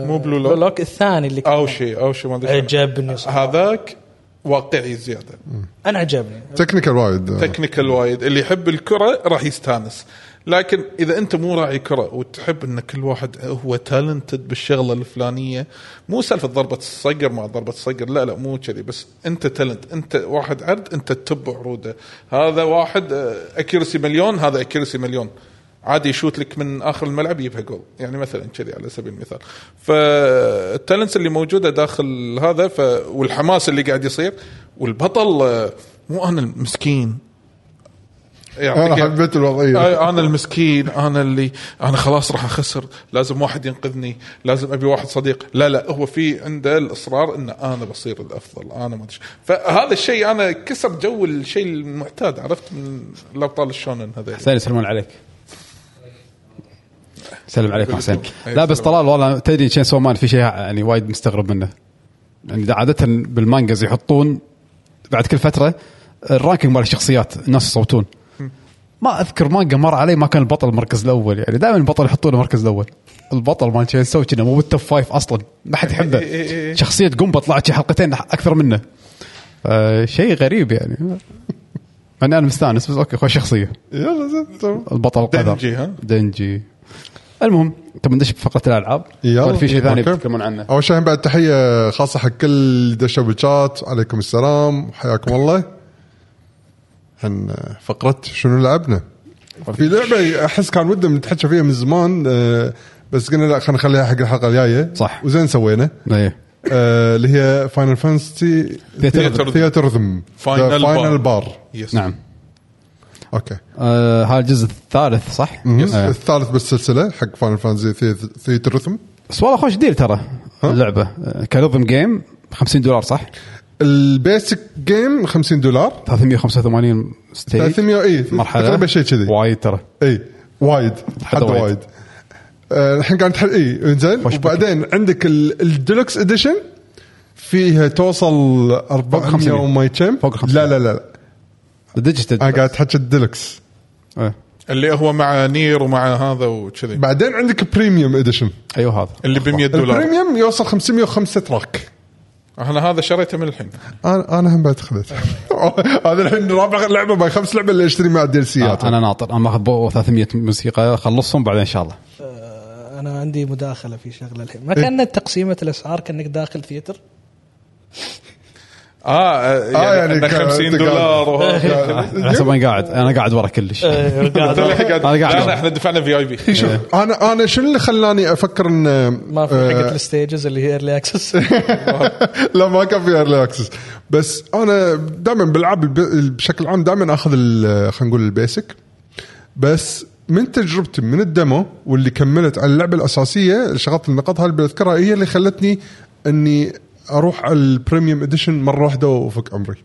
Speaker 3: مو بلو لوك.
Speaker 2: لوك الثاني اللي كان
Speaker 3: او شيء او شيء ما
Speaker 2: إيه،
Speaker 3: ادري شنو.
Speaker 2: عجبني صراحة.
Speaker 3: هذاك واقعي زياده
Speaker 2: انا عجبني
Speaker 4: تكنيكال وايد
Speaker 3: تكنيكال وايد اللي يحب الكره راح يستانس لكن اذا انت مو راعي كره وتحب ان كل واحد هو تالنتد بالشغله الفلانيه مو سالفه ضربه الصقر مع ضربه الصقر لا لا مو كذي بس انت تالنت انت واحد عرض انت تتبع عروضه هذا واحد اكيرسي مليون هذا اكيرسي مليون عادي يشوت لك من اخر الملعب يجيبها جول يعني مثلا كذي على سبيل المثال فالتالنتس اللي موجوده داخل هذا ف والحماس اللي قاعد يصير والبطل آه، مو انا المسكين
Speaker 4: انا
Speaker 3: يعطيك
Speaker 4: حبيت الوضعيه
Speaker 3: آه، انا المسكين انا اللي انا خلاص راح اخسر لازم واحد ينقذني لازم ابي واحد صديق لا لا هو في عنده الاصرار ان انا بصير الافضل انا ما ادري شو. فهذا الشيء انا كسر جو الشيء المعتاد عرفت من الابطال الشونن هذول
Speaker 1: حسين يسلمون عليك سلم عليك حسين
Speaker 3: أي
Speaker 1: لا بس
Speaker 3: سلام.
Speaker 1: طلال والله تدري تشين سومان في شيء يعني وايد مستغرب منه يعني ده عاده بالمانجز يحطون بعد كل فتره الرانكينج مال الشخصيات الناس يصوتون ما اذكر مانجا مر علي ما كان البطل المركز الاول يعني دائما البطل يحطونه المركز الاول البطل مال تشين سو كنا مو بالتوب فايف اصلا ما حد يحبه
Speaker 3: إي إي إي.
Speaker 1: شخصيه قنبه طلعت شي حلقتين اكثر منه آه شيء غريب يعني مع إني انا مستانس بس اوكي خوش شخصيه
Speaker 4: يلا زين تمام.
Speaker 1: البطل القذر
Speaker 3: دنجي، ها؟
Speaker 1: دنجي المهم تبي ندش بفقره الالعاب
Speaker 4: يلا.
Speaker 1: ولا في طيب، شيء ثاني
Speaker 4: أوكي.
Speaker 1: بتتكلمون عنه
Speaker 4: اول شيء بعد تحيه خاصه حق كل اللي دشوا بالشات عليكم السلام حياكم الله عن فقره شنو لعبنا في لعبه احس كان ودنا نتحكى فيها من زمان آه، بس قلنا لا خلينا نخليها حق الحلقه الجايه
Speaker 1: صح.
Speaker 4: وزين سوينا
Speaker 1: ايه
Speaker 4: آه، اللي هي فاينل فانتسي
Speaker 1: Theater-
Speaker 4: ثياتر ذم
Speaker 3: Final
Speaker 4: فاينل
Speaker 3: Bar.
Speaker 4: بار
Speaker 3: يس
Speaker 1: نعم
Speaker 4: اوكي
Speaker 1: آه هذا الجزء الثالث صح؟
Speaker 4: آه.
Speaker 1: آه.
Speaker 4: الثالث بالسلسله حق فاينل فانتسي ثياتر ذم
Speaker 1: بس والله خوش ديل ترى اللعبه آه، كرذم جيم 50 دولار صح؟
Speaker 4: البيسك جيم 50 دولار
Speaker 1: 385 ستيج
Speaker 4: 300 اي
Speaker 1: مرحله
Speaker 4: تقريبا إيه، شيء كذي
Speaker 1: إيه؟ وايد ترى
Speaker 4: اي وايد حد
Speaker 1: وايد.
Speaker 4: وايد آه، الحين قاعد تحل اي انزين
Speaker 1: وش
Speaker 4: وبعدين عندك ال- الديلوكس اديشن فيها توصل 400
Speaker 1: 500.
Speaker 4: وما كم
Speaker 1: فوق 500.
Speaker 4: لا لا لا
Speaker 1: ديجيتال
Speaker 4: انا قاعد اتحكى الديلوكس
Speaker 1: آه.
Speaker 3: اللي هو مع نير ومع هذا وكذي
Speaker 4: بعدين عندك بريميوم اديشن
Speaker 1: ايوه هذا
Speaker 3: اللي ب 100 دولار
Speaker 4: البريميوم يوصل 505 تراك
Speaker 3: انا هذا شريته من الحين
Speaker 4: انا انا هم بعد خذيت هذا الحين رابع لعبه باي خمس لعبه اللي اشتري مع الديل سيات
Speaker 1: آه انا ناطر انا ماخذ بو 300 موسيقى خلصهم بعدين ان شاء الله
Speaker 2: آه، انا عندي مداخله في شغله الحين ما كانت تقسيمه الاسعار كانك داخل ثيتر
Speaker 3: اه
Speaker 4: آه،
Speaker 3: يعني,
Speaker 4: يعني
Speaker 3: يعني
Speaker 4: كان-
Speaker 3: 50
Speaker 4: تقعد-
Speaker 3: دولار وهذا
Speaker 1: حسب ما قاعد انا قاعد ورا كلش
Speaker 3: انا
Speaker 1: قاعد-
Speaker 3: قاعد احنا دفعنا في اي
Speaker 1: آه.
Speaker 3: بي
Speaker 1: إيه.
Speaker 4: شوف انا انا شنو اللي خلاني افكر ان
Speaker 2: ما في حقت الستيجز اللي هي ايرلي اكسس
Speaker 4: لا ما كان في ايرلي اكسس بس انا دائما بالعاب الب- بشكل عام دائما اخذ ال- خلينا نقول البيسك بس من تجربتي من الدمو واللي كملت على اللعبه الاساسيه الشغلات النقاط هاي اللي بذكرها هي اللي خلتني اني اروح على البريميوم اديشن مره واحده وافك امري.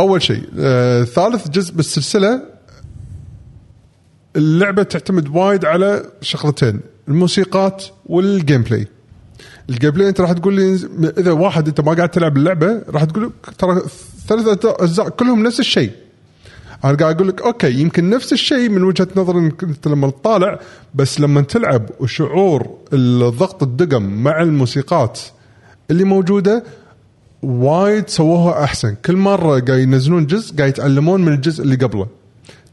Speaker 4: اول شيء آه، ثالث جزء بالسلسله اللعبه تعتمد وايد على شغلتين الموسيقات والجيم بلاي. الجيم بلاي انت راح تقول لي اذا واحد انت ما قاعد تلعب اللعبه راح تقول لك ترى ثلاث اجزاء كلهم نفس الشيء. انا قاعد اقول لك اوكي يمكن نفس الشيء من وجهه نظر انك انت لما تطالع بس لما تلعب وشعور الضغط الدقم مع الموسيقات اللي موجوده وايد سووها احسن كل مره قاعد ينزلون جزء قاعد يتعلمون من الجزء اللي قبله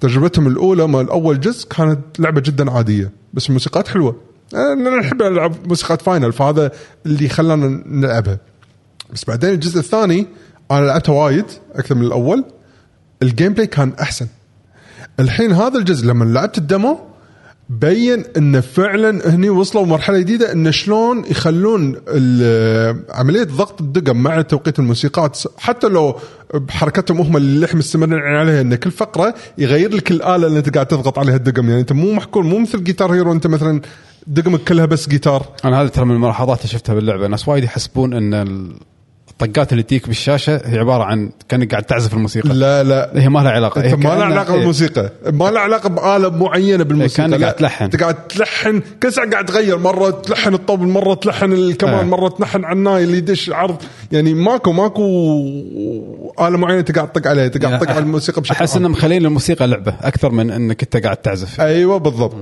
Speaker 4: تجربتهم الاولى مال اول جزء كانت لعبه جدا عاديه بس الموسيقات حلوه انا نحب نلعب موسيقات فاينل فهذا اللي خلانا نلعبها بس بعدين الجزء الثاني انا لعبته وايد اكثر من الاول الجيم بلاي كان احسن الحين هذا الجزء لما لعبت الدمو بين انه فعلا هني وصلوا مرحله جديده انه شلون يخلون ال- عمليه ضغط الدقم مع توقيت الموسيقات حتى لو بحركتهم هم اللي احنا مستمرين عليها ان كل فقره يغير لك الاله اللي انت قاعد تضغط عليها الدقم يعني انت مو محكور مو مثل جيتار هيرو انت مثلا دقمك كلها بس جيتار
Speaker 1: انا هذا ترى من الملاحظات اللي شفتها باللعبه ناس وايد يحسبون ان ال- الطقات اللي تجيك بالشاشه هي عباره عن كانك قاعد تعزف الموسيقى
Speaker 4: لا لا
Speaker 1: هي ما لها علاقه هي
Speaker 4: انت ما له
Speaker 1: كأنها-
Speaker 4: علاقه
Speaker 1: إيه.
Speaker 4: بالموسيقى ما له علاقه باله معينه بالموسيقى
Speaker 1: كأنك
Speaker 4: لا.
Speaker 1: قاعد تلحن.
Speaker 4: انت قاعد تلحن كل ساعه قاعد تغير مره تلحن الطبل مره تلحن الكمان
Speaker 1: آه.
Speaker 4: مره تلحن على الناي اللي يدش عرض يعني ماكو ماكو اله معينه انت قاعد تطق عليها انت قاعد تطق على
Speaker 1: إيه.
Speaker 4: الموسيقى بشكل
Speaker 1: احس
Speaker 4: عام.
Speaker 1: انهم مخلين الموسيقى لعبه اكثر من انك انت قاعد تعزف
Speaker 4: ايوه بالضبط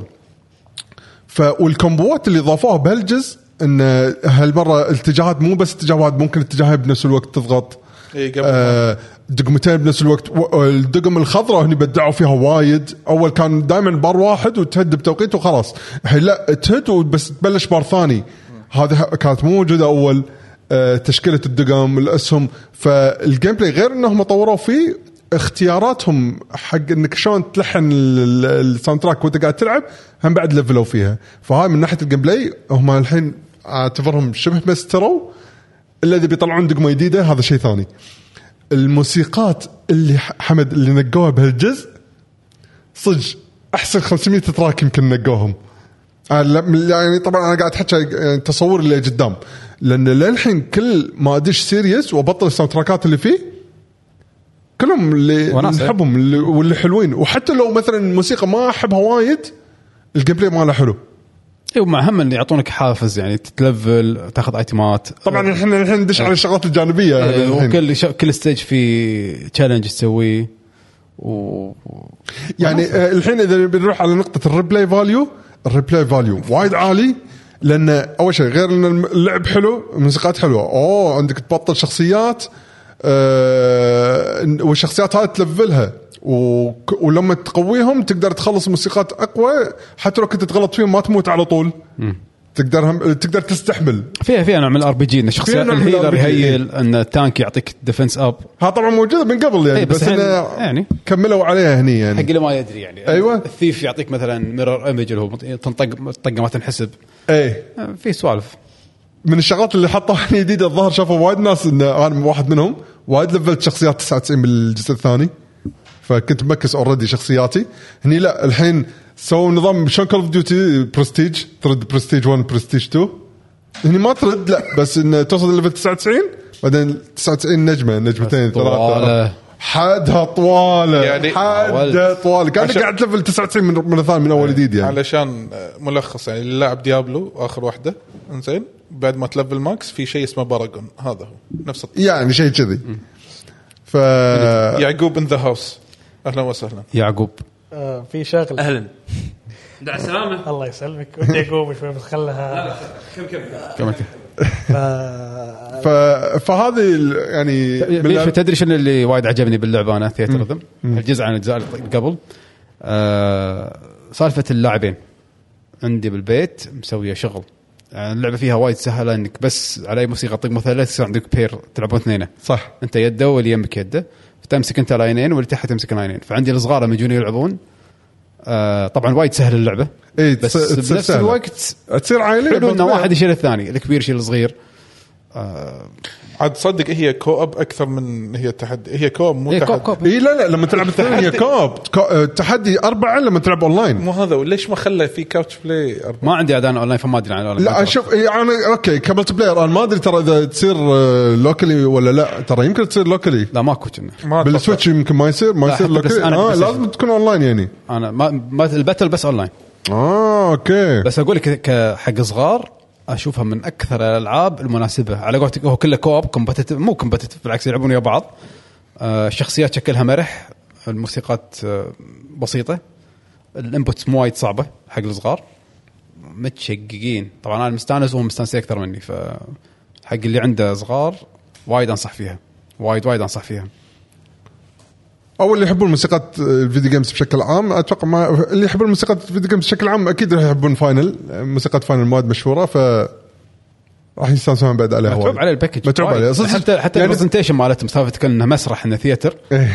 Speaker 4: ف والكومبوات اللي ضافوها بهالجزء ان هالمره الاتجاهات مو بس اتجاه واحد ممكن اتجاهين بنفس الوقت تضغط
Speaker 5: إي،
Speaker 3: إيه،
Speaker 5: قبل
Speaker 4: آه دقمتين بنفس الوقت و- الدقم الخضراء هني بدعوا فيها وايد اول كان دائما بار واحد وتهد بتوقيت وخلاص الحين لا تهد وبس تبلش بار ثاني هذه كانت مو موجوده اول آه تشكيله الدقم الاسهم فالجيم بلاي غير انهم طوروا فيه اختياراتهم حق انك شلون تلحن ال- ال- الساوند تراك وانت قاعد تلعب هم بعد لفلوا فيها فهاي من ناحيه الجيم بلاي هم الحين اعتبرهم شبه مستروا الا اذا بيطلعون دقمه جديده هذا شيء ثاني الموسيقات اللي ح- حمد اللي نقوها بهالجزء صدق احسن 500 تراك يمكن نقوهم أنا لا- من- يعني طبعا انا قاعد احكي يعني تصور اللي قدام لان للحين كل ما ادش سيريس وابطل الساوند تراكات اللي فيه كلهم اللي
Speaker 1: وناسة.
Speaker 4: نحبهم اللي- واللي حلوين وحتى لو مثلا الموسيقى ما احبها وايد الجيم بلاي ماله حلو
Speaker 1: اي إيه، ومع هم اللي يعطونك حافز يعني تتلفل تاخذ ايتمات
Speaker 4: طبعا احنا الحين ندش على الشغلات الجانبيه يعني
Speaker 1: آه،
Speaker 4: الحين.
Speaker 1: وكل شا- كل ستيج في تشالنج تسويه و
Speaker 4: يعني آه، الحين اذا بنروح على نقطه الريبلاي فاليو الريبلاي فاليو وايد عالي لان اول شيء غير ان الم- اللعب حلو الموسيقات حلوه اوه عندك تبطل شخصيات آه والشخصيات هاي تلفلها وك- ولما تقويهم تقدر تخلص موسيقات اقوى حتى لو كنت تغلط فيهم ما تموت على طول تقدر هم تقدر تستحمل
Speaker 1: فيها فيها نوع من الار بي جي ان الشخصيات
Speaker 4: فيها نوع من
Speaker 1: الهيلر
Speaker 4: ال RPG.
Speaker 1: يهيل ان التانك يعطيك ديفنس اب
Speaker 4: ها طبعا موجوده من قبل يعني
Speaker 1: إيه،
Speaker 4: بس,
Speaker 1: بس
Speaker 4: بس
Speaker 1: الحين- يعني.
Speaker 4: يعني كملوا عليها هني يعني
Speaker 1: حق اللي ما يدري يعني
Speaker 4: أيوة.
Speaker 1: الثيف يعطيك مثلا ميرور ايمج اللي هو مط- تنطق طقه ما تنحسب
Speaker 4: ايه
Speaker 1: آه، في سوالف
Speaker 4: من الشغلات اللي حطوها جديده الظاهر شافوا وايد ناس ان انا واحد منهم وايد لفلت شخصيات 99 بالجزء الثاني فكنت مركز اوريدي شخصياتي هني لا الحين سووا نظام شلون كول اوف ديوتي برستيج ترد برستيج 1 برستيج 2 هني ما ترد لا بس ان توصل ليفل 99 بعدين 99 نجمه نجمتين
Speaker 1: بس طوالة.
Speaker 4: ثلاثه حدها طواله يعني
Speaker 5: يعني-
Speaker 4: حدها طواله كانك
Speaker 5: عشان- إيه.
Speaker 4: قاعد تلفل 99 من من الثاني من اول جديد يعني
Speaker 5: علشان آه، ملخص يعني اللي لاعب ديابلو اخر واحده انزين بعد ما تلفل ماكس في شيء اسمه باراجون هذا هو نفس الط-
Speaker 4: يعني شيء كذي ف
Speaker 1: يعني
Speaker 5: يعقوب ان ذا هاوس اهلا وسهلا
Speaker 1: يعقوب
Speaker 2: آه في شغله
Speaker 6: اهلا دع السلامه
Speaker 2: الله يسلمك ودي اقوم شوي بس خلها
Speaker 6: كم كم
Speaker 1: كما ت-
Speaker 2: آه،
Speaker 4: ف... فهذه ال- يعني
Speaker 1: بيشو،
Speaker 4: من-
Speaker 1: تدري شنو اللي وايد عجبني باللعبه انا ثياتر الجزء عن الاجزاء اللي قبل آه، سالفه اللاعبين عندي بالبيت مسويه شغل يعني اللعبه فيها وايد سهله انك بس على اي موسيقى طق مثلا يصير عندك بير تلعبون اثنين
Speaker 4: صح
Speaker 1: انت يده واللي يمك يده فتمسك انت لاينين واللي تحت تمسك لاينين فعندي الصغار لما يجون يلعبون آه، طبعا وايد سهل اللعبه
Speaker 4: اي
Speaker 1: بس بنفس الوقت
Speaker 4: تصير عائليه
Speaker 1: حلو ان
Speaker 4: بالطبع.
Speaker 1: واحد يشيل الثاني الكبير يشيل الصغير آه،
Speaker 5: عاد صدق هي كو اب اكثر من هي تحدي هي كو اب مو
Speaker 1: إيه، كوب
Speaker 5: تحدي
Speaker 1: كوب
Speaker 4: اي لا لا لما تلعب الثانيه
Speaker 5: تحدي.
Speaker 4: كوب كو- آه، تحدي اربعه لما تلعب اونلاين
Speaker 5: مو هذا وليش ما خلى في كاوتش بلاي أربعة؟
Speaker 1: ما عندي اعدان اونلاين فما ادري عن الاونلاين ما
Speaker 4: لا
Speaker 1: جربت.
Speaker 4: شوف إيه انا اوكي كملت بلاير انا ما ادري ترى اذا تصير آه، لوكلي ولا لا ترى يمكن تصير لوكلي
Speaker 1: لا ماكو كنا
Speaker 5: ما أتوقع.
Speaker 4: بالسويتش يمكن ما يصير ما
Speaker 1: لا،
Speaker 4: يصير
Speaker 1: حتى بس-
Speaker 4: لوكلي
Speaker 1: أنا
Speaker 4: اه
Speaker 1: بلاي ستيشن.
Speaker 4: لازم تكون اونلاين يعني
Speaker 1: انا ما, ما الباتل بس اونلاين
Speaker 4: اه اوكي
Speaker 1: بس اقول لك ك- حق صغار اشوفها من اكثر الالعاب المناسبه على قولتك هو كله كوب كومبتتف مو كومبتتف بالعكس يلعبون ويا بعض آه، الشخصيات شكلها مرح الموسيقات آه، بسيطه الانبوتس مو وايد صعبه حق الصغار متشققين طبعا انا مستانس وهم مستانسين اكثر مني ف حق اللي عنده صغار وايد انصح فيها وايد وايد انصح فيها
Speaker 4: او اللي يحبون موسيقى الفيديو جيمز بشكل عام اتوقع ما اللي يحبون موسيقى الفيديو جيمز بشكل عام اكيد راح يحبون فاينل موسيقى فاينل مواد مشهوره ف راح يستانسون بعد عليها
Speaker 1: متعوب
Speaker 4: وايد.
Speaker 1: على الباكج
Speaker 4: متعوب
Speaker 1: وايد.
Speaker 4: عليه صدق
Speaker 1: حتى حتى
Speaker 4: يعني
Speaker 1: البرزنتيشن مالتهم سالفه تكلم انه مسرح انه ثياتر
Speaker 4: إيه.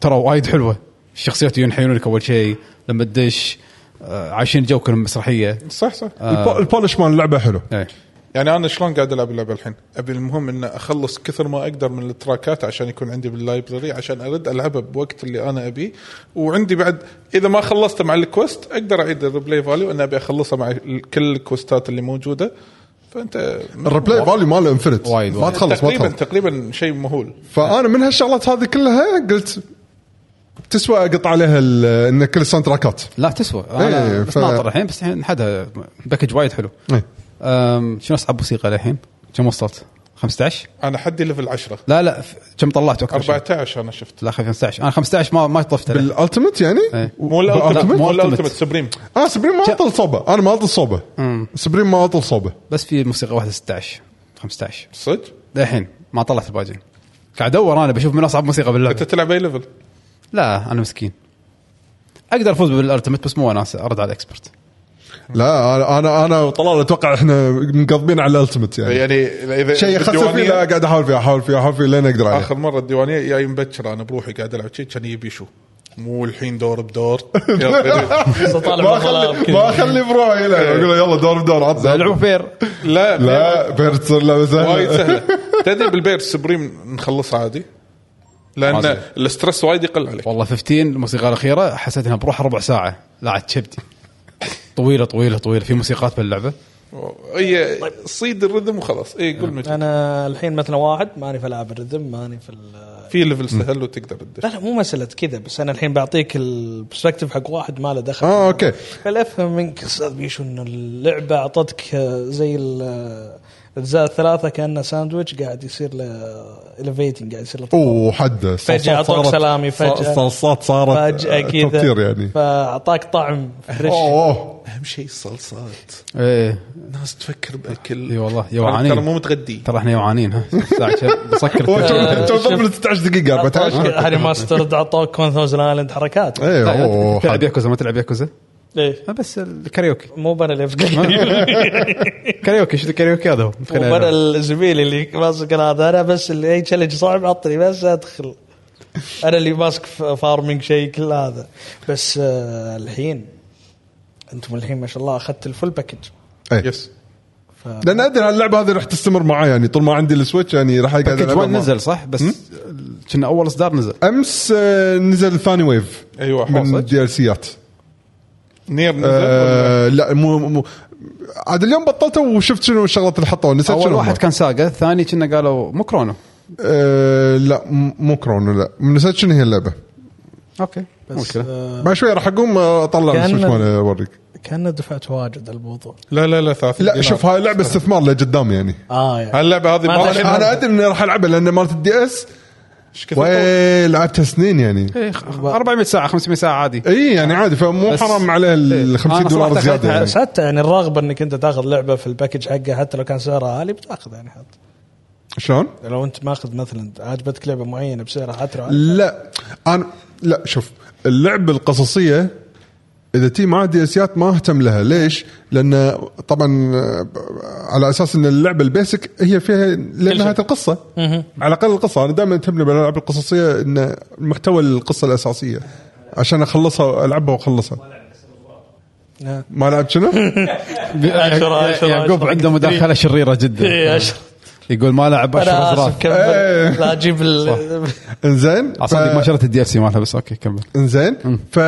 Speaker 1: ترى وايد حلوه الشخصيات ينحيون لك اول شيء لما تدش آه، عايشين جو كلهم مسرحيه
Speaker 5: صح صح
Speaker 4: الب- البولش مال اللعبه حلو
Speaker 1: إيه.
Speaker 5: يعني انا شلون قاعد العب اللعبه الحين؟ ابي المهم ان اخلص كثر ما اقدر من التراكات عشان يكون عندي باللايبرري عشان ارد العبها بوقت اللي انا ابيه وعندي بعد اذا ما خلصت مع الكوست اقدر اعيد الريبلاي فاليو ان ابي اخلصها مع ال- كل الكوستات اللي موجوده فانت
Speaker 4: الريبلاي فاليو ماله انفنت
Speaker 1: وايد،
Speaker 4: ما
Speaker 1: وايد.
Speaker 4: تخلص ما
Speaker 5: تقريبا
Speaker 4: تخلص
Speaker 5: تقريبا شيء مهول
Speaker 4: فانا من هالشغلات هذه كلها قلت تسوى اقط عليها ال- ان كل الساوند تراكات
Speaker 1: لا تسوى انا
Speaker 4: إيه،
Speaker 1: بس
Speaker 4: ف-
Speaker 1: ناطر الحين بس الحين حدها باكج وايد حلو
Speaker 4: إيه.
Speaker 1: أم، شنو اصعب موسيقى الحين؟ كم وصلت؟ 15
Speaker 5: انا حدي ليفل 10
Speaker 1: لا لا ف- كم طلعت اكثر شيء؟
Speaker 5: 14 انا شفت
Speaker 1: لا 15 انا 15 ما ما طفت عليه.
Speaker 4: بالالتمت يعني؟
Speaker 1: إيه.
Speaker 5: مو الالتيميت
Speaker 1: لا، مو
Speaker 5: مو
Speaker 1: الألتيميت.
Speaker 5: الالتيميت سبريم
Speaker 4: اه سبريم ما اطل صوبه انا ما اطل صوبه سبريم ما اطل صوبه
Speaker 1: بس في موسيقى واحده 16 15
Speaker 5: صدق
Speaker 1: للحين ما طلعت الباجين قاعد ادور انا بشوف من اصعب موسيقى
Speaker 5: انت
Speaker 1: باللعبه
Speaker 5: تلعب اي ليفل؟
Speaker 1: لا انا مسكين اقدر افوز بالالتمت بس مو وناسه ارد على الاكسبرت
Speaker 4: لا أنا- انا انا وطلال اتوقع احنا مقضبين على الالتمت يعني
Speaker 5: يعني اذا
Speaker 4: شيء يخسر فيه لا قاعد احاول فيه احاول فيه احاول فيه لين اقدر عليه
Speaker 5: اخر مره الديوانيه جاي مبكر انا بروحي قاعد العب شيء كان يبي شو مو الحين دور بدور يا قريب.
Speaker 2: طالع
Speaker 4: ما اخلي ما اخلي بروحي لا اقول له يلا دور بدور عطنا
Speaker 1: العبوا فير
Speaker 5: لا لا
Speaker 4: لا بيرد تصير لعبه
Speaker 5: وايد
Speaker 4: سهله
Speaker 5: سهله تدري بالبير سبريم نخلصها عادي لان
Speaker 1: عادي.
Speaker 5: الاسترس وايد يقل عليك
Speaker 1: والله 15 الموسيقى الاخيره حسيت انها بروح ربع ساعه لا عاد كبدي طويله طويله طويله في موسيقات باللعبه
Speaker 5: هي صيد الرذم وخلاص اي قول متى
Speaker 2: انا الحين مثلا واحد ماني في العاب الرذم ماني في ال-
Speaker 5: في ليفل سهل وتقدر
Speaker 2: لا
Speaker 5: تدش
Speaker 2: لا مو مساله كذا بس انا الحين بعطيك البرسبكتيف حق واحد ما له دخل
Speaker 4: اه اوكي
Speaker 2: فالافهم منك استاذ بيشو انه اللعبه اعطتك آه، زي ال- آه، الاجزاء الثلاثه كانه ساندويتش قاعد يصير له الفيتنج قاعد يصير له طبقات.
Speaker 4: اوه حده
Speaker 2: فجأة
Speaker 4: صلصات
Speaker 2: أعطوك
Speaker 4: صارت-
Speaker 2: سلامي، فجأة.
Speaker 4: صلصات صارت
Speaker 2: فجاه
Speaker 4: توب
Speaker 2: كذا
Speaker 4: تير يعني
Speaker 2: فاعطاك طعم فريش
Speaker 4: اوه أوه.
Speaker 5: اهم شيء الصلصات
Speaker 1: ايه
Speaker 5: الناس تفكر باكل
Speaker 1: اي والله
Speaker 5: أنا
Speaker 1: يوعانين
Speaker 5: ترى مو متغدي
Speaker 1: ترى احنا يوعانين ها الساعة كم؟ بسكر
Speaker 4: هو
Speaker 1: التلفزيون.
Speaker 4: تو- تو ضمن 16 دقيقه 14
Speaker 2: هاري ماسترد اعطوك كون ثوزن ايلاند حركات
Speaker 4: ايه اوه
Speaker 1: تلعب
Speaker 4: حد.
Speaker 1: ياكوزا ما تلعب ياكوزا
Speaker 2: إيه.
Speaker 1: آه، بس الكاريوكي
Speaker 2: مو بنا اللي أفكر.
Speaker 1: كاريوكي شو الكاريوكي هذا هو خلينا
Speaker 2: وانا
Speaker 1: نلعب.
Speaker 2: الزميل اللي ماسك هذا انا بس اللي اي تشالنج صعب عطني بس ادخل انا اللي ماسك ف- فارمنج شيء كل هذا بس آه الحين انتم الحين ما شاء الله اخذت الفول باكج
Speaker 4: إيه.
Speaker 5: يس
Speaker 2: ف...
Speaker 4: لان ادري هاللعبه هذه راح تستمر معاي يعني طول ما عندي السويتش يعني راح اقعد
Speaker 1: باكج
Speaker 4: ألعبها
Speaker 1: 1
Speaker 4: معه.
Speaker 1: نزل صح بس كنا اول اصدار نزل
Speaker 4: امس آه، نزل ثاني ويف
Speaker 5: ايوه
Speaker 4: من
Speaker 5: حاصل
Speaker 4: الدي ال سيات
Speaker 5: نير نزل ولا-
Speaker 4: آه، لا مو مو عاد اليوم بطلته وشفت شنو الشغلات اللي حطوها نسيت
Speaker 1: اول
Speaker 4: شنو
Speaker 1: واحد
Speaker 4: هم.
Speaker 1: كان ساقا الثاني كنا قالوا مو كرونو
Speaker 4: آه، لا م- مو كرونو لا نسيت شنو هي اللعبه
Speaker 1: اوكي مو مشكله
Speaker 2: آه
Speaker 4: بعد شوي راح اقوم آه، اطلع
Speaker 2: كأن-
Speaker 4: السويتش مالي اوريك
Speaker 2: كان دفعت واجد الموضوع
Speaker 5: لا لا لا ثلاث
Speaker 4: لا شوف هاي
Speaker 1: آه.
Speaker 4: لعبه استثمار لقدام يعني
Speaker 2: اه يعني
Speaker 5: هاللعبه هذه
Speaker 2: ما
Speaker 5: ما راح
Speaker 2: أدري.
Speaker 5: ينام.
Speaker 4: انا ادري اني راح العبها لان مالت الدي اس
Speaker 5: إيش كثر طول.
Speaker 4: وي لعبتها سنين يعني
Speaker 1: إيه، خ- 400 ساعه 500 ساعه عادي
Speaker 4: اي يعني عادي فمو
Speaker 1: بس-
Speaker 4: حرام عليه
Speaker 1: إيه.
Speaker 4: ال
Speaker 1: أنا
Speaker 4: 50 دولار
Speaker 1: صراحة
Speaker 4: زياده
Speaker 1: أخذتها
Speaker 4: يعني
Speaker 2: بس حتى يعني الرغبه انك انت تاخذ لعبه في الباكج حقها حتى لو كان سعرها عالي بتاخذ يعني حتى
Speaker 4: شلون؟
Speaker 2: لو انت ماخذ مثلا عجبتك لعبه معينه بسعرها حتى لو عالي.
Speaker 4: لا انا لا شوف اللعبه القصصيه اذا تي مع دي اسيات ما اهتم لها ليش؟ لان طبعا آه، على اساس ان اللعبه البيسك هي فيها لنهايه القصه على الاقل القصه انا دائما تهمني بالالعاب القصصيه ان محتوى القصه الاساسيه عشان اخلصها العبها واخلصها
Speaker 2: آه.
Speaker 4: ما لعبت شنو؟
Speaker 2: عشرة- عشرة-
Speaker 1: يعقوب
Speaker 2: عشرة.
Speaker 1: عنده مداخله شريره جدا
Speaker 2: إيه، عشرة.
Speaker 1: يقول ما لعب اشهر
Speaker 2: انا
Speaker 1: ازراف
Speaker 2: اسف كمل
Speaker 4: إيه.
Speaker 2: لا اجيب ال
Speaker 4: انزين
Speaker 1: اصلا
Speaker 4: ف-
Speaker 1: ما شريت الدي اف سي مالها بس اوكي كمل
Speaker 4: انزين ف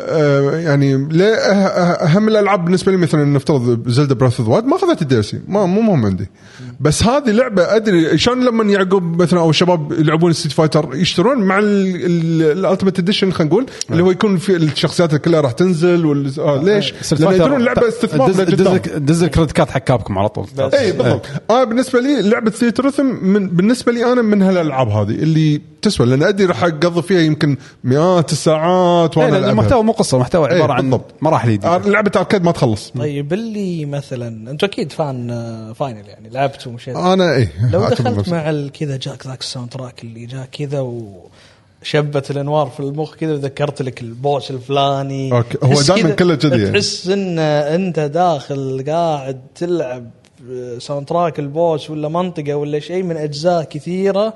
Speaker 4: آه، يعني ليه أه- أه- اهم الالعاب بالنسبه لي مثلا نفترض زلدا براث اوف ما اخذت الديرسي ما مو مهم عندي بس هذه لعبه ادري شلون لما يعقوب مثلا او الشباب يلعبون ستيت فايتر يشترون مع الالتيميت اديشن خلينا نقول اللي هو يكون في الشخصيات كلها راح تنزل وال... آه ليش؟ لان يدرون لعبه استثمار إيه. لقدام.
Speaker 1: دز الكريدت كارد حق كابكم على طول إيه،
Speaker 4: اي بالضبط انا بالنسبه لي لعبه ثيتر رثم من بالنسبه لي انا من هالالعاب هذه اللي شو اسمه لان ادري راح اقضي فيها يمكن مئات الساعات
Speaker 1: لا،
Speaker 4: وانا
Speaker 1: لا،
Speaker 4: ألعبها.
Speaker 1: المحتوى مو قصه المحتوى
Speaker 4: إيه،
Speaker 1: عباره عن
Speaker 4: بالضبط.
Speaker 1: مراحل جديده
Speaker 4: آه، لعبه اركيد ما تخلص
Speaker 2: طيب اللي مثلا انت اكيد فان آه، فاينل يعني لعبت ومشيت
Speaker 4: انا اي
Speaker 2: لو
Speaker 4: إيه، أعتبر
Speaker 2: دخلت
Speaker 4: نفسي.
Speaker 2: مع ال- كذا جاك ذاك الساوند تراك اللي جاء كذا وشبت الانوار في المخ كذا وذكرت لك البوس الفلاني
Speaker 4: أوكي، هو
Speaker 2: تحس
Speaker 4: دايماً
Speaker 2: كذا-
Speaker 4: كله كذي يعني.
Speaker 2: تحس ان انت داخل قاعد تلعب آه، ساوند تراك البوس ولا منطقه ولا شيء من اجزاء كثيره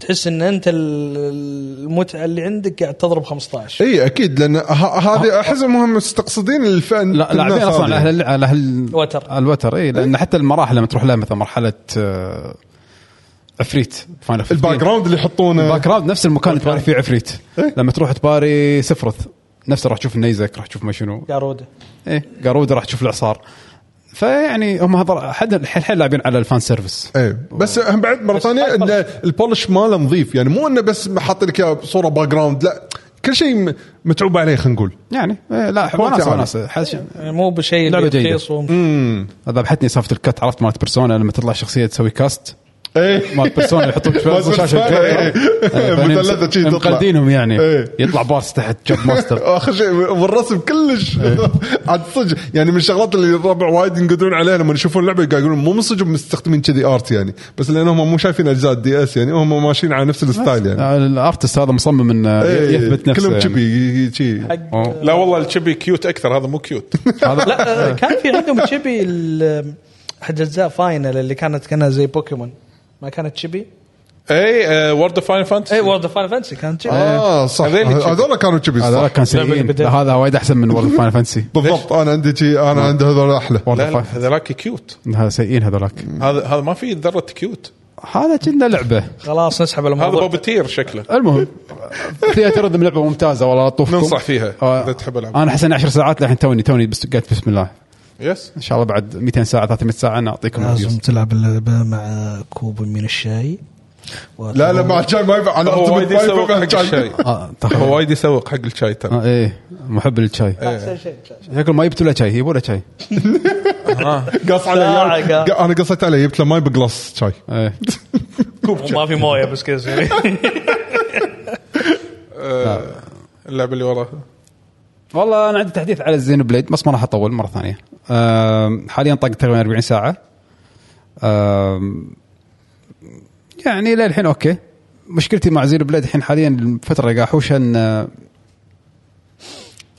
Speaker 2: تحس ان انت ال- المتعه اللي عندك قاعد تضرب 15
Speaker 4: اي اكيد لان إيه، ه- هذه احس المهم مستقصدين الفئه
Speaker 1: لا لاعبين
Speaker 4: الناس
Speaker 1: اصلا
Speaker 4: هذه.
Speaker 1: على اهل على اهل
Speaker 2: الوتر.
Speaker 1: على الوتر اي
Speaker 4: إيه.
Speaker 1: لان حتى المراحل لما تروح لها مثلا مرحله آه، عفريت فاينل
Speaker 4: الباك جراوند اللي يحطونه
Speaker 1: الباك جراوند نفس المكان اللي تباري فيه عفريت
Speaker 4: إيه؟
Speaker 1: لما تروح تباري سفرث نفسه راح تشوف النيزك راح تشوف ما شنو
Speaker 2: قاروده
Speaker 4: إيه.
Speaker 1: ايه قاروده راح تشوف الاعصار فيعني هم هذا حد الحين حيل لاعبين على الفان سيرفيس
Speaker 4: ايه بس هم بعد مره ثانيه ان البولش ماله نظيف يعني مو انه بس حاطين لك إياه بصوره باك جراوند لا كل شيء م- متعوب عليه خلينا نقول
Speaker 1: يعني إيه لا
Speaker 4: كواليتي
Speaker 1: وناسه
Speaker 4: عالي.
Speaker 1: وناسه حس-
Speaker 2: يعني مو بشيء
Speaker 1: لعبة
Speaker 2: اللي
Speaker 1: جيدة.
Speaker 2: رخيص ومش-
Speaker 1: ذبحتني سالفه الكت عرفت مالت بيرسونا لما تطلع شخصيه تسوي كاست
Speaker 4: ايه
Speaker 1: مال بيرسونا يحطون
Speaker 4: مال
Speaker 1: شاشه
Speaker 4: بيرسونا، إيه. مثلثة شي تطلع.
Speaker 1: آه، مقلدينهم يعني
Speaker 4: إيه.
Speaker 1: يطلع باص تحت جب ماستر
Speaker 4: اخر شيء والرسم كلش عاد صدق يعني من الشغلات اللي الربع وايد ينقدرون عليها لما يشوفون اللعبه قاعد يقولون مو من صدق مستخدمين كذي ارت يعني بس لانهم مو شايفين اجزاء الدي اس يعني هم ماشيين على نفس الستايل يعني
Speaker 1: آه، الارتست هذا مصمم انه
Speaker 4: إيه،
Speaker 1: يثبت نفسه
Speaker 4: كلهم
Speaker 1: يعني.
Speaker 4: كذي كذي
Speaker 2: حق
Speaker 1: أوه.
Speaker 5: لا والله الشبي كيوت اكثر هذا مو كيوت
Speaker 1: هذا
Speaker 2: لا آه، كان في عندهم تشيبي ال- احد اجزاء فاينل اللي كانت كانها زي بوكيمون ما كانت تشيبي
Speaker 5: اي وورد اوف فاين
Speaker 2: اي
Speaker 5: فانتسي
Speaker 2: وورد اوف فاينل فانسي كانت تشيبي
Speaker 4: اه صح
Speaker 5: هذيل تشبي.
Speaker 4: هذول كانوا كذي
Speaker 1: هذا
Speaker 4: صح
Speaker 1: كان سيئين
Speaker 2: بدأت.
Speaker 1: لا، هذا وايد احسن من وورد فاينل فانسي
Speaker 4: بالضبط انا عندي شي انا عندي هذول احلى
Speaker 5: لا لا هذاك كيوت
Speaker 1: هذا سيئين هذولاك
Speaker 5: هذا هذا ما فيه ذره كيوت
Speaker 1: هذا كنا لعبه
Speaker 2: خلاص نسحب
Speaker 5: هذا
Speaker 2: الموضوع
Speaker 5: بوبتير شكله
Speaker 1: المهم ثياتر رذم لعبه ممتازه والله طوفكم
Speaker 5: ننصح فيها
Speaker 1: آه،
Speaker 5: اذا تحب العب
Speaker 1: انا حسن 10 ساعات للحين توني توني بس قلت بسم الله
Speaker 5: يس
Speaker 1: ان شاء الله بعد 200 ساعه 300 ساعه انا اعطيكم
Speaker 2: لازم
Speaker 1: ريفيوز
Speaker 2: تلعب اللعبة مع كوب من الشاي
Speaker 4: لا لا مع الشاي ما ينفع انا
Speaker 5: هو
Speaker 4: أعتمد
Speaker 5: وايد
Speaker 4: ما ينفع
Speaker 5: يسوق
Speaker 4: مع
Speaker 5: حق
Speaker 4: الشاي.
Speaker 5: الشاي
Speaker 1: اه تخيل.
Speaker 5: هو وايد يسوق حق الشاي ترى
Speaker 1: آه، ايه محب للشاي
Speaker 5: آه.
Speaker 2: احسن شيء
Speaker 1: شكله ما جبتوا له شاي يبوا له شاي
Speaker 5: Ah.
Speaker 4: قص علي
Speaker 2: ساعة
Speaker 4: يعني-
Speaker 2: قاعد.
Speaker 4: ق- انا قصيت عليه جبت له ماي بقلاص شاي
Speaker 1: إيه.
Speaker 2: وما في مويه بس كذا
Speaker 5: اللعبه اللي وراها
Speaker 1: والله انا عندي تحديث على الزين بليد بس ما راح اطول مره ثانيه آم، حاليا طاق تقريبا 40 ساعه آم، يعني للحين اوكي مشكلتي مع زين بليد الحين حاليا الفتره اللي قاعد احوشها ان آه،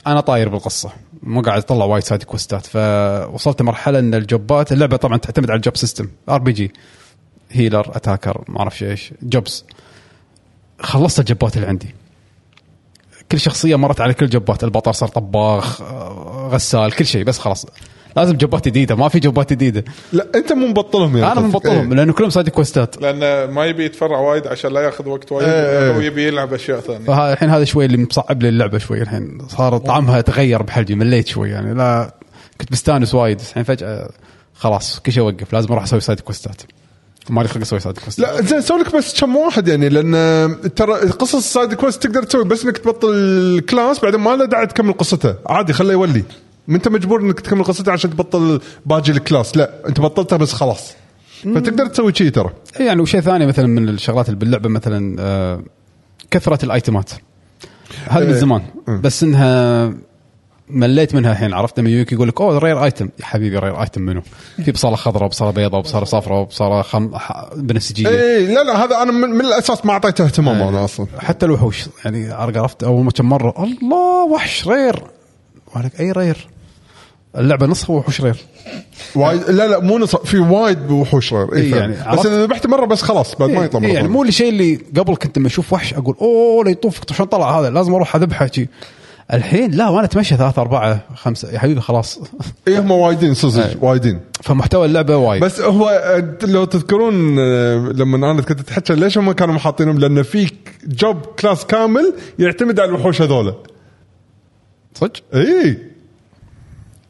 Speaker 1: انا طاير بالقصه مو قاعد اطلع وايد سايد كوستات فوصلت مرحله ان الجوبات اللعبه طبعا تعتمد على الجوب سيستم ار بي جي هيلر اتاكر ما اعرف شو ايش جوبز خلصت الجبات اللي عندي كل شخصيه مرت على كل جبات البطل صار طباخ آه، غسال كل شيء بس خلاص لازم جبات جديده ما في جبات جديده
Speaker 4: لا انت مو مبطلهم يعني
Speaker 1: انا
Speaker 4: قصدك.
Speaker 1: مبطلهم
Speaker 4: إيه.
Speaker 1: لانه كلهم سايد كوستات
Speaker 5: لان uh, ما يبي يتفرع وايد عشان لا ياخذ وقت وايد
Speaker 4: إيه، إيه.
Speaker 5: هو يبي يلعب اشياء ثانيه
Speaker 1: فهذا الحين هذا شوي اللي مصعب لي اللعبه شوي الحين صار طعمها تغير بحلجي مليت شوي يعني لا كنت مستانس وايد بس الحين فجاه خلاص كل شيء وقف لازم اروح اسوي سايد كوستات ما لي خلق اسوي سايد كوستات
Speaker 4: لا زين سوي لك بس كم واحد يعني لان ترى قصص السايد كويست تقدر تسوي بس انك تبطل الكلاس بعدين ما له داعي تكمل قصته عادي خله يولي ما انت مجبور انك تكمل قصته عشان تبطل باجي الكلاس لا انت بطلتها بس خلاص فتقدر تسوي شيء ترى
Speaker 1: يعني وشيء ثاني مثلا من الشغلات اللي باللعبه مثلا آه، كثره الايتمات هذا من
Speaker 4: إيه.
Speaker 1: زمان بس انها مليت منها الحين عرفت لما يجيك يقول لك اوه رير ايتم يا حبيبي رير ايتم منو؟ في بصله خضراء وبصله بيضاء وبصله صفراء وبصله خم... ح- بنفسجيه
Speaker 4: اي إيه، لا لا هذا انا من, من الاساس ما اعطيته اهتمام
Speaker 1: إيه.
Speaker 4: انا اصلا
Speaker 1: حتى الوحوش يعني عرفت اول ما كم مره الله وحش رير ولك اي رير اللعبه نصها وحوش رير
Speaker 4: وايد لا لا مو نص في وايد وحوش غير
Speaker 1: إيه
Speaker 4: اي
Speaker 1: يعني
Speaker 4: يعني
Speaker 1: عرفت؟
Speaker 4: بس اذا ذبحت مره بس خلاص بعد ما يطلع مرة
Speaker 1: إيه يعني
Speaker 4: ثانية.
Speaker 1: مو الشيء اللي قبل كنت لما اشوف وحش اقول اوه لا يطوفك شلون طلع هذا لازم اروح اذبحه شي الحين لا وانا اتمشى ثلاثة أربعة خمسة يا حبيبي خلاص
Speaker 4: ايه هم وايدين
Speaker 1: إيه.
Speaker 4: صدق وايدين
Speaker 1: فمحتوى اللعبة وايد
Speaker 4: بس هو آه، لو تذكرون آه، لما انا كنت اتحكى ليش هم كانوا محاطينهم لان في جوب كلاس كامل يعتمد على الوحوش هذولا
Speaker 1: صدق
Speaker 4: اي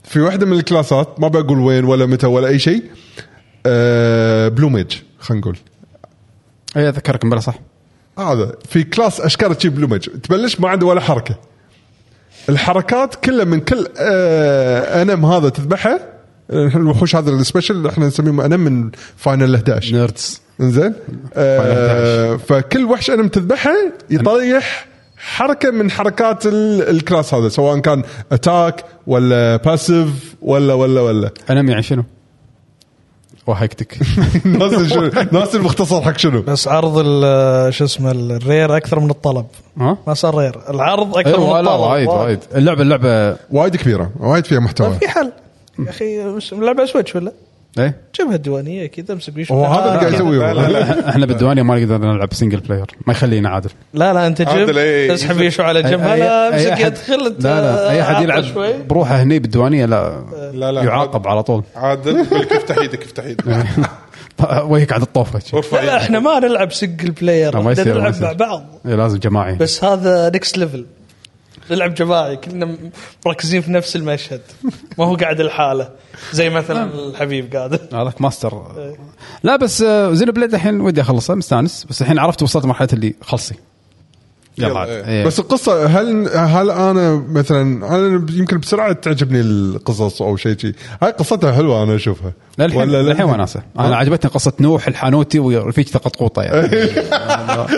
Speaker 4: في واحده من الكلاسات ما بقول وين ولا متى ولا اي شيء آه بلو ميج خلينا نقول
Speaker 1: اي اذكركم بلا إيه، صح
Speaker 4: هذا في كلاس اشكال تجيب بلومج تبلش ما عنده ولا حركه الحركات كلها من كل آه انم هذا تذبحه الحين الوحوش هذا السبيشل احنا نسميه انم من فاينل 11
Speaker 1: نيردز
Speaker 4: انزين آه فكل وحش انا متذبحه يطيح حركه من حركات ال- الكلاس هذا سواء كان اتاك ولا باسيف ولا ولا ولا
Speaker 1: انمي يعني شنو؟ وحقتك
Speaker 4: ناس شنو- ناس المختصر حق شنو
Speaker 2: بس عرض ال- شو اسمه الرير اكثر من الطلب
Speaker 1: ها؟
Speaker 2: ما صار رير العرض اكثر من
Speaker 1: ايوه
Speaker 2: الطلب
Speaker 1: لا وايد وايد اللعبه اللعبه
Speaker 4: وايد كبيره وايد فيها محتوى
Speaker 2: ما في حل يا اخي مش- لعبه سويتش ولا
Speaker 1: ايه
Speaker 2: جيبها الديوانيه كذا امسك بيش
Speaker 4: هو هذا اللي قاعد يسويه
Speaker 3: لا، لا،
Speaker 4: هو.
Speaker 1: احنا بالديوانيه ما نقدر نلعب سنجل بلاير ما يخلينا عادل
Speaker 2: لا لا انت
Speaker 3: عادل،
Speaker 2: جيب
Speaker 3: إيه.
Speaker 2: تسحب يشو على جنب
Speaker 1: أي-
Speaker 2: هلا
Speaker 1: أي
Speaker 2: امسك
Speaker 1: أحد-
Speaker 2: يد خلت
Speaker 1: لا
Speaker 2: آه،
Speaker 1: لا اي احد يلعب
Speaker 2: شوي
Speaker 1: بروحه هني بالديوانيه لا
Speaker 3: لا لا
Speaker 1: يعاقب إيه. على طول
Speaker 3: عادل بالك افتح ايدك افتح ايدك
Speaker 1: وجهك عاد الطوفه
Speaker 3: وارفع
Speaker 2: لا
Speaker 3: ايدك
Speaker 2: احنا ما نلعب سنجل بلاير
Speaker 1: لا، ما
Speaker 2: احنا
Speaker 1: يصير، ما
Speaker 2: نلعب
Speaker 1: يصير.
Speaker 2: مع بعض
Speaker 1: إيه، لازم جماعي
Speaker 2: بس هذا نكست ليفل نلعب جماعي كلنا مركزين في نفس المشهد ما هو قاعد لحاله زي مثلا الحبيب قاعد
Speaker 1: هذاك ماستر لا بس زين بليد الحين ودي اخلصها مستانس بس الحين عرفت وصلت مرحله اللي خلصي يلا
Speaker 3: يلا،
Speaker 1: عاد.
Speaker 3: إيه.
Speaker 1: إيه.
Speaker 4: بس القصه هل هل انا مثلا انا يمكن بسرعه تعجبني القصص او شيء شيء هاي قصتها حلوه انا اشوفها
Speaker 1: للحين
Speaker 4: لا؟
Speaker 1: للحين وناسه انا عجبتني قصه نوح الحانوتي ورفيج تقطقوطه يعني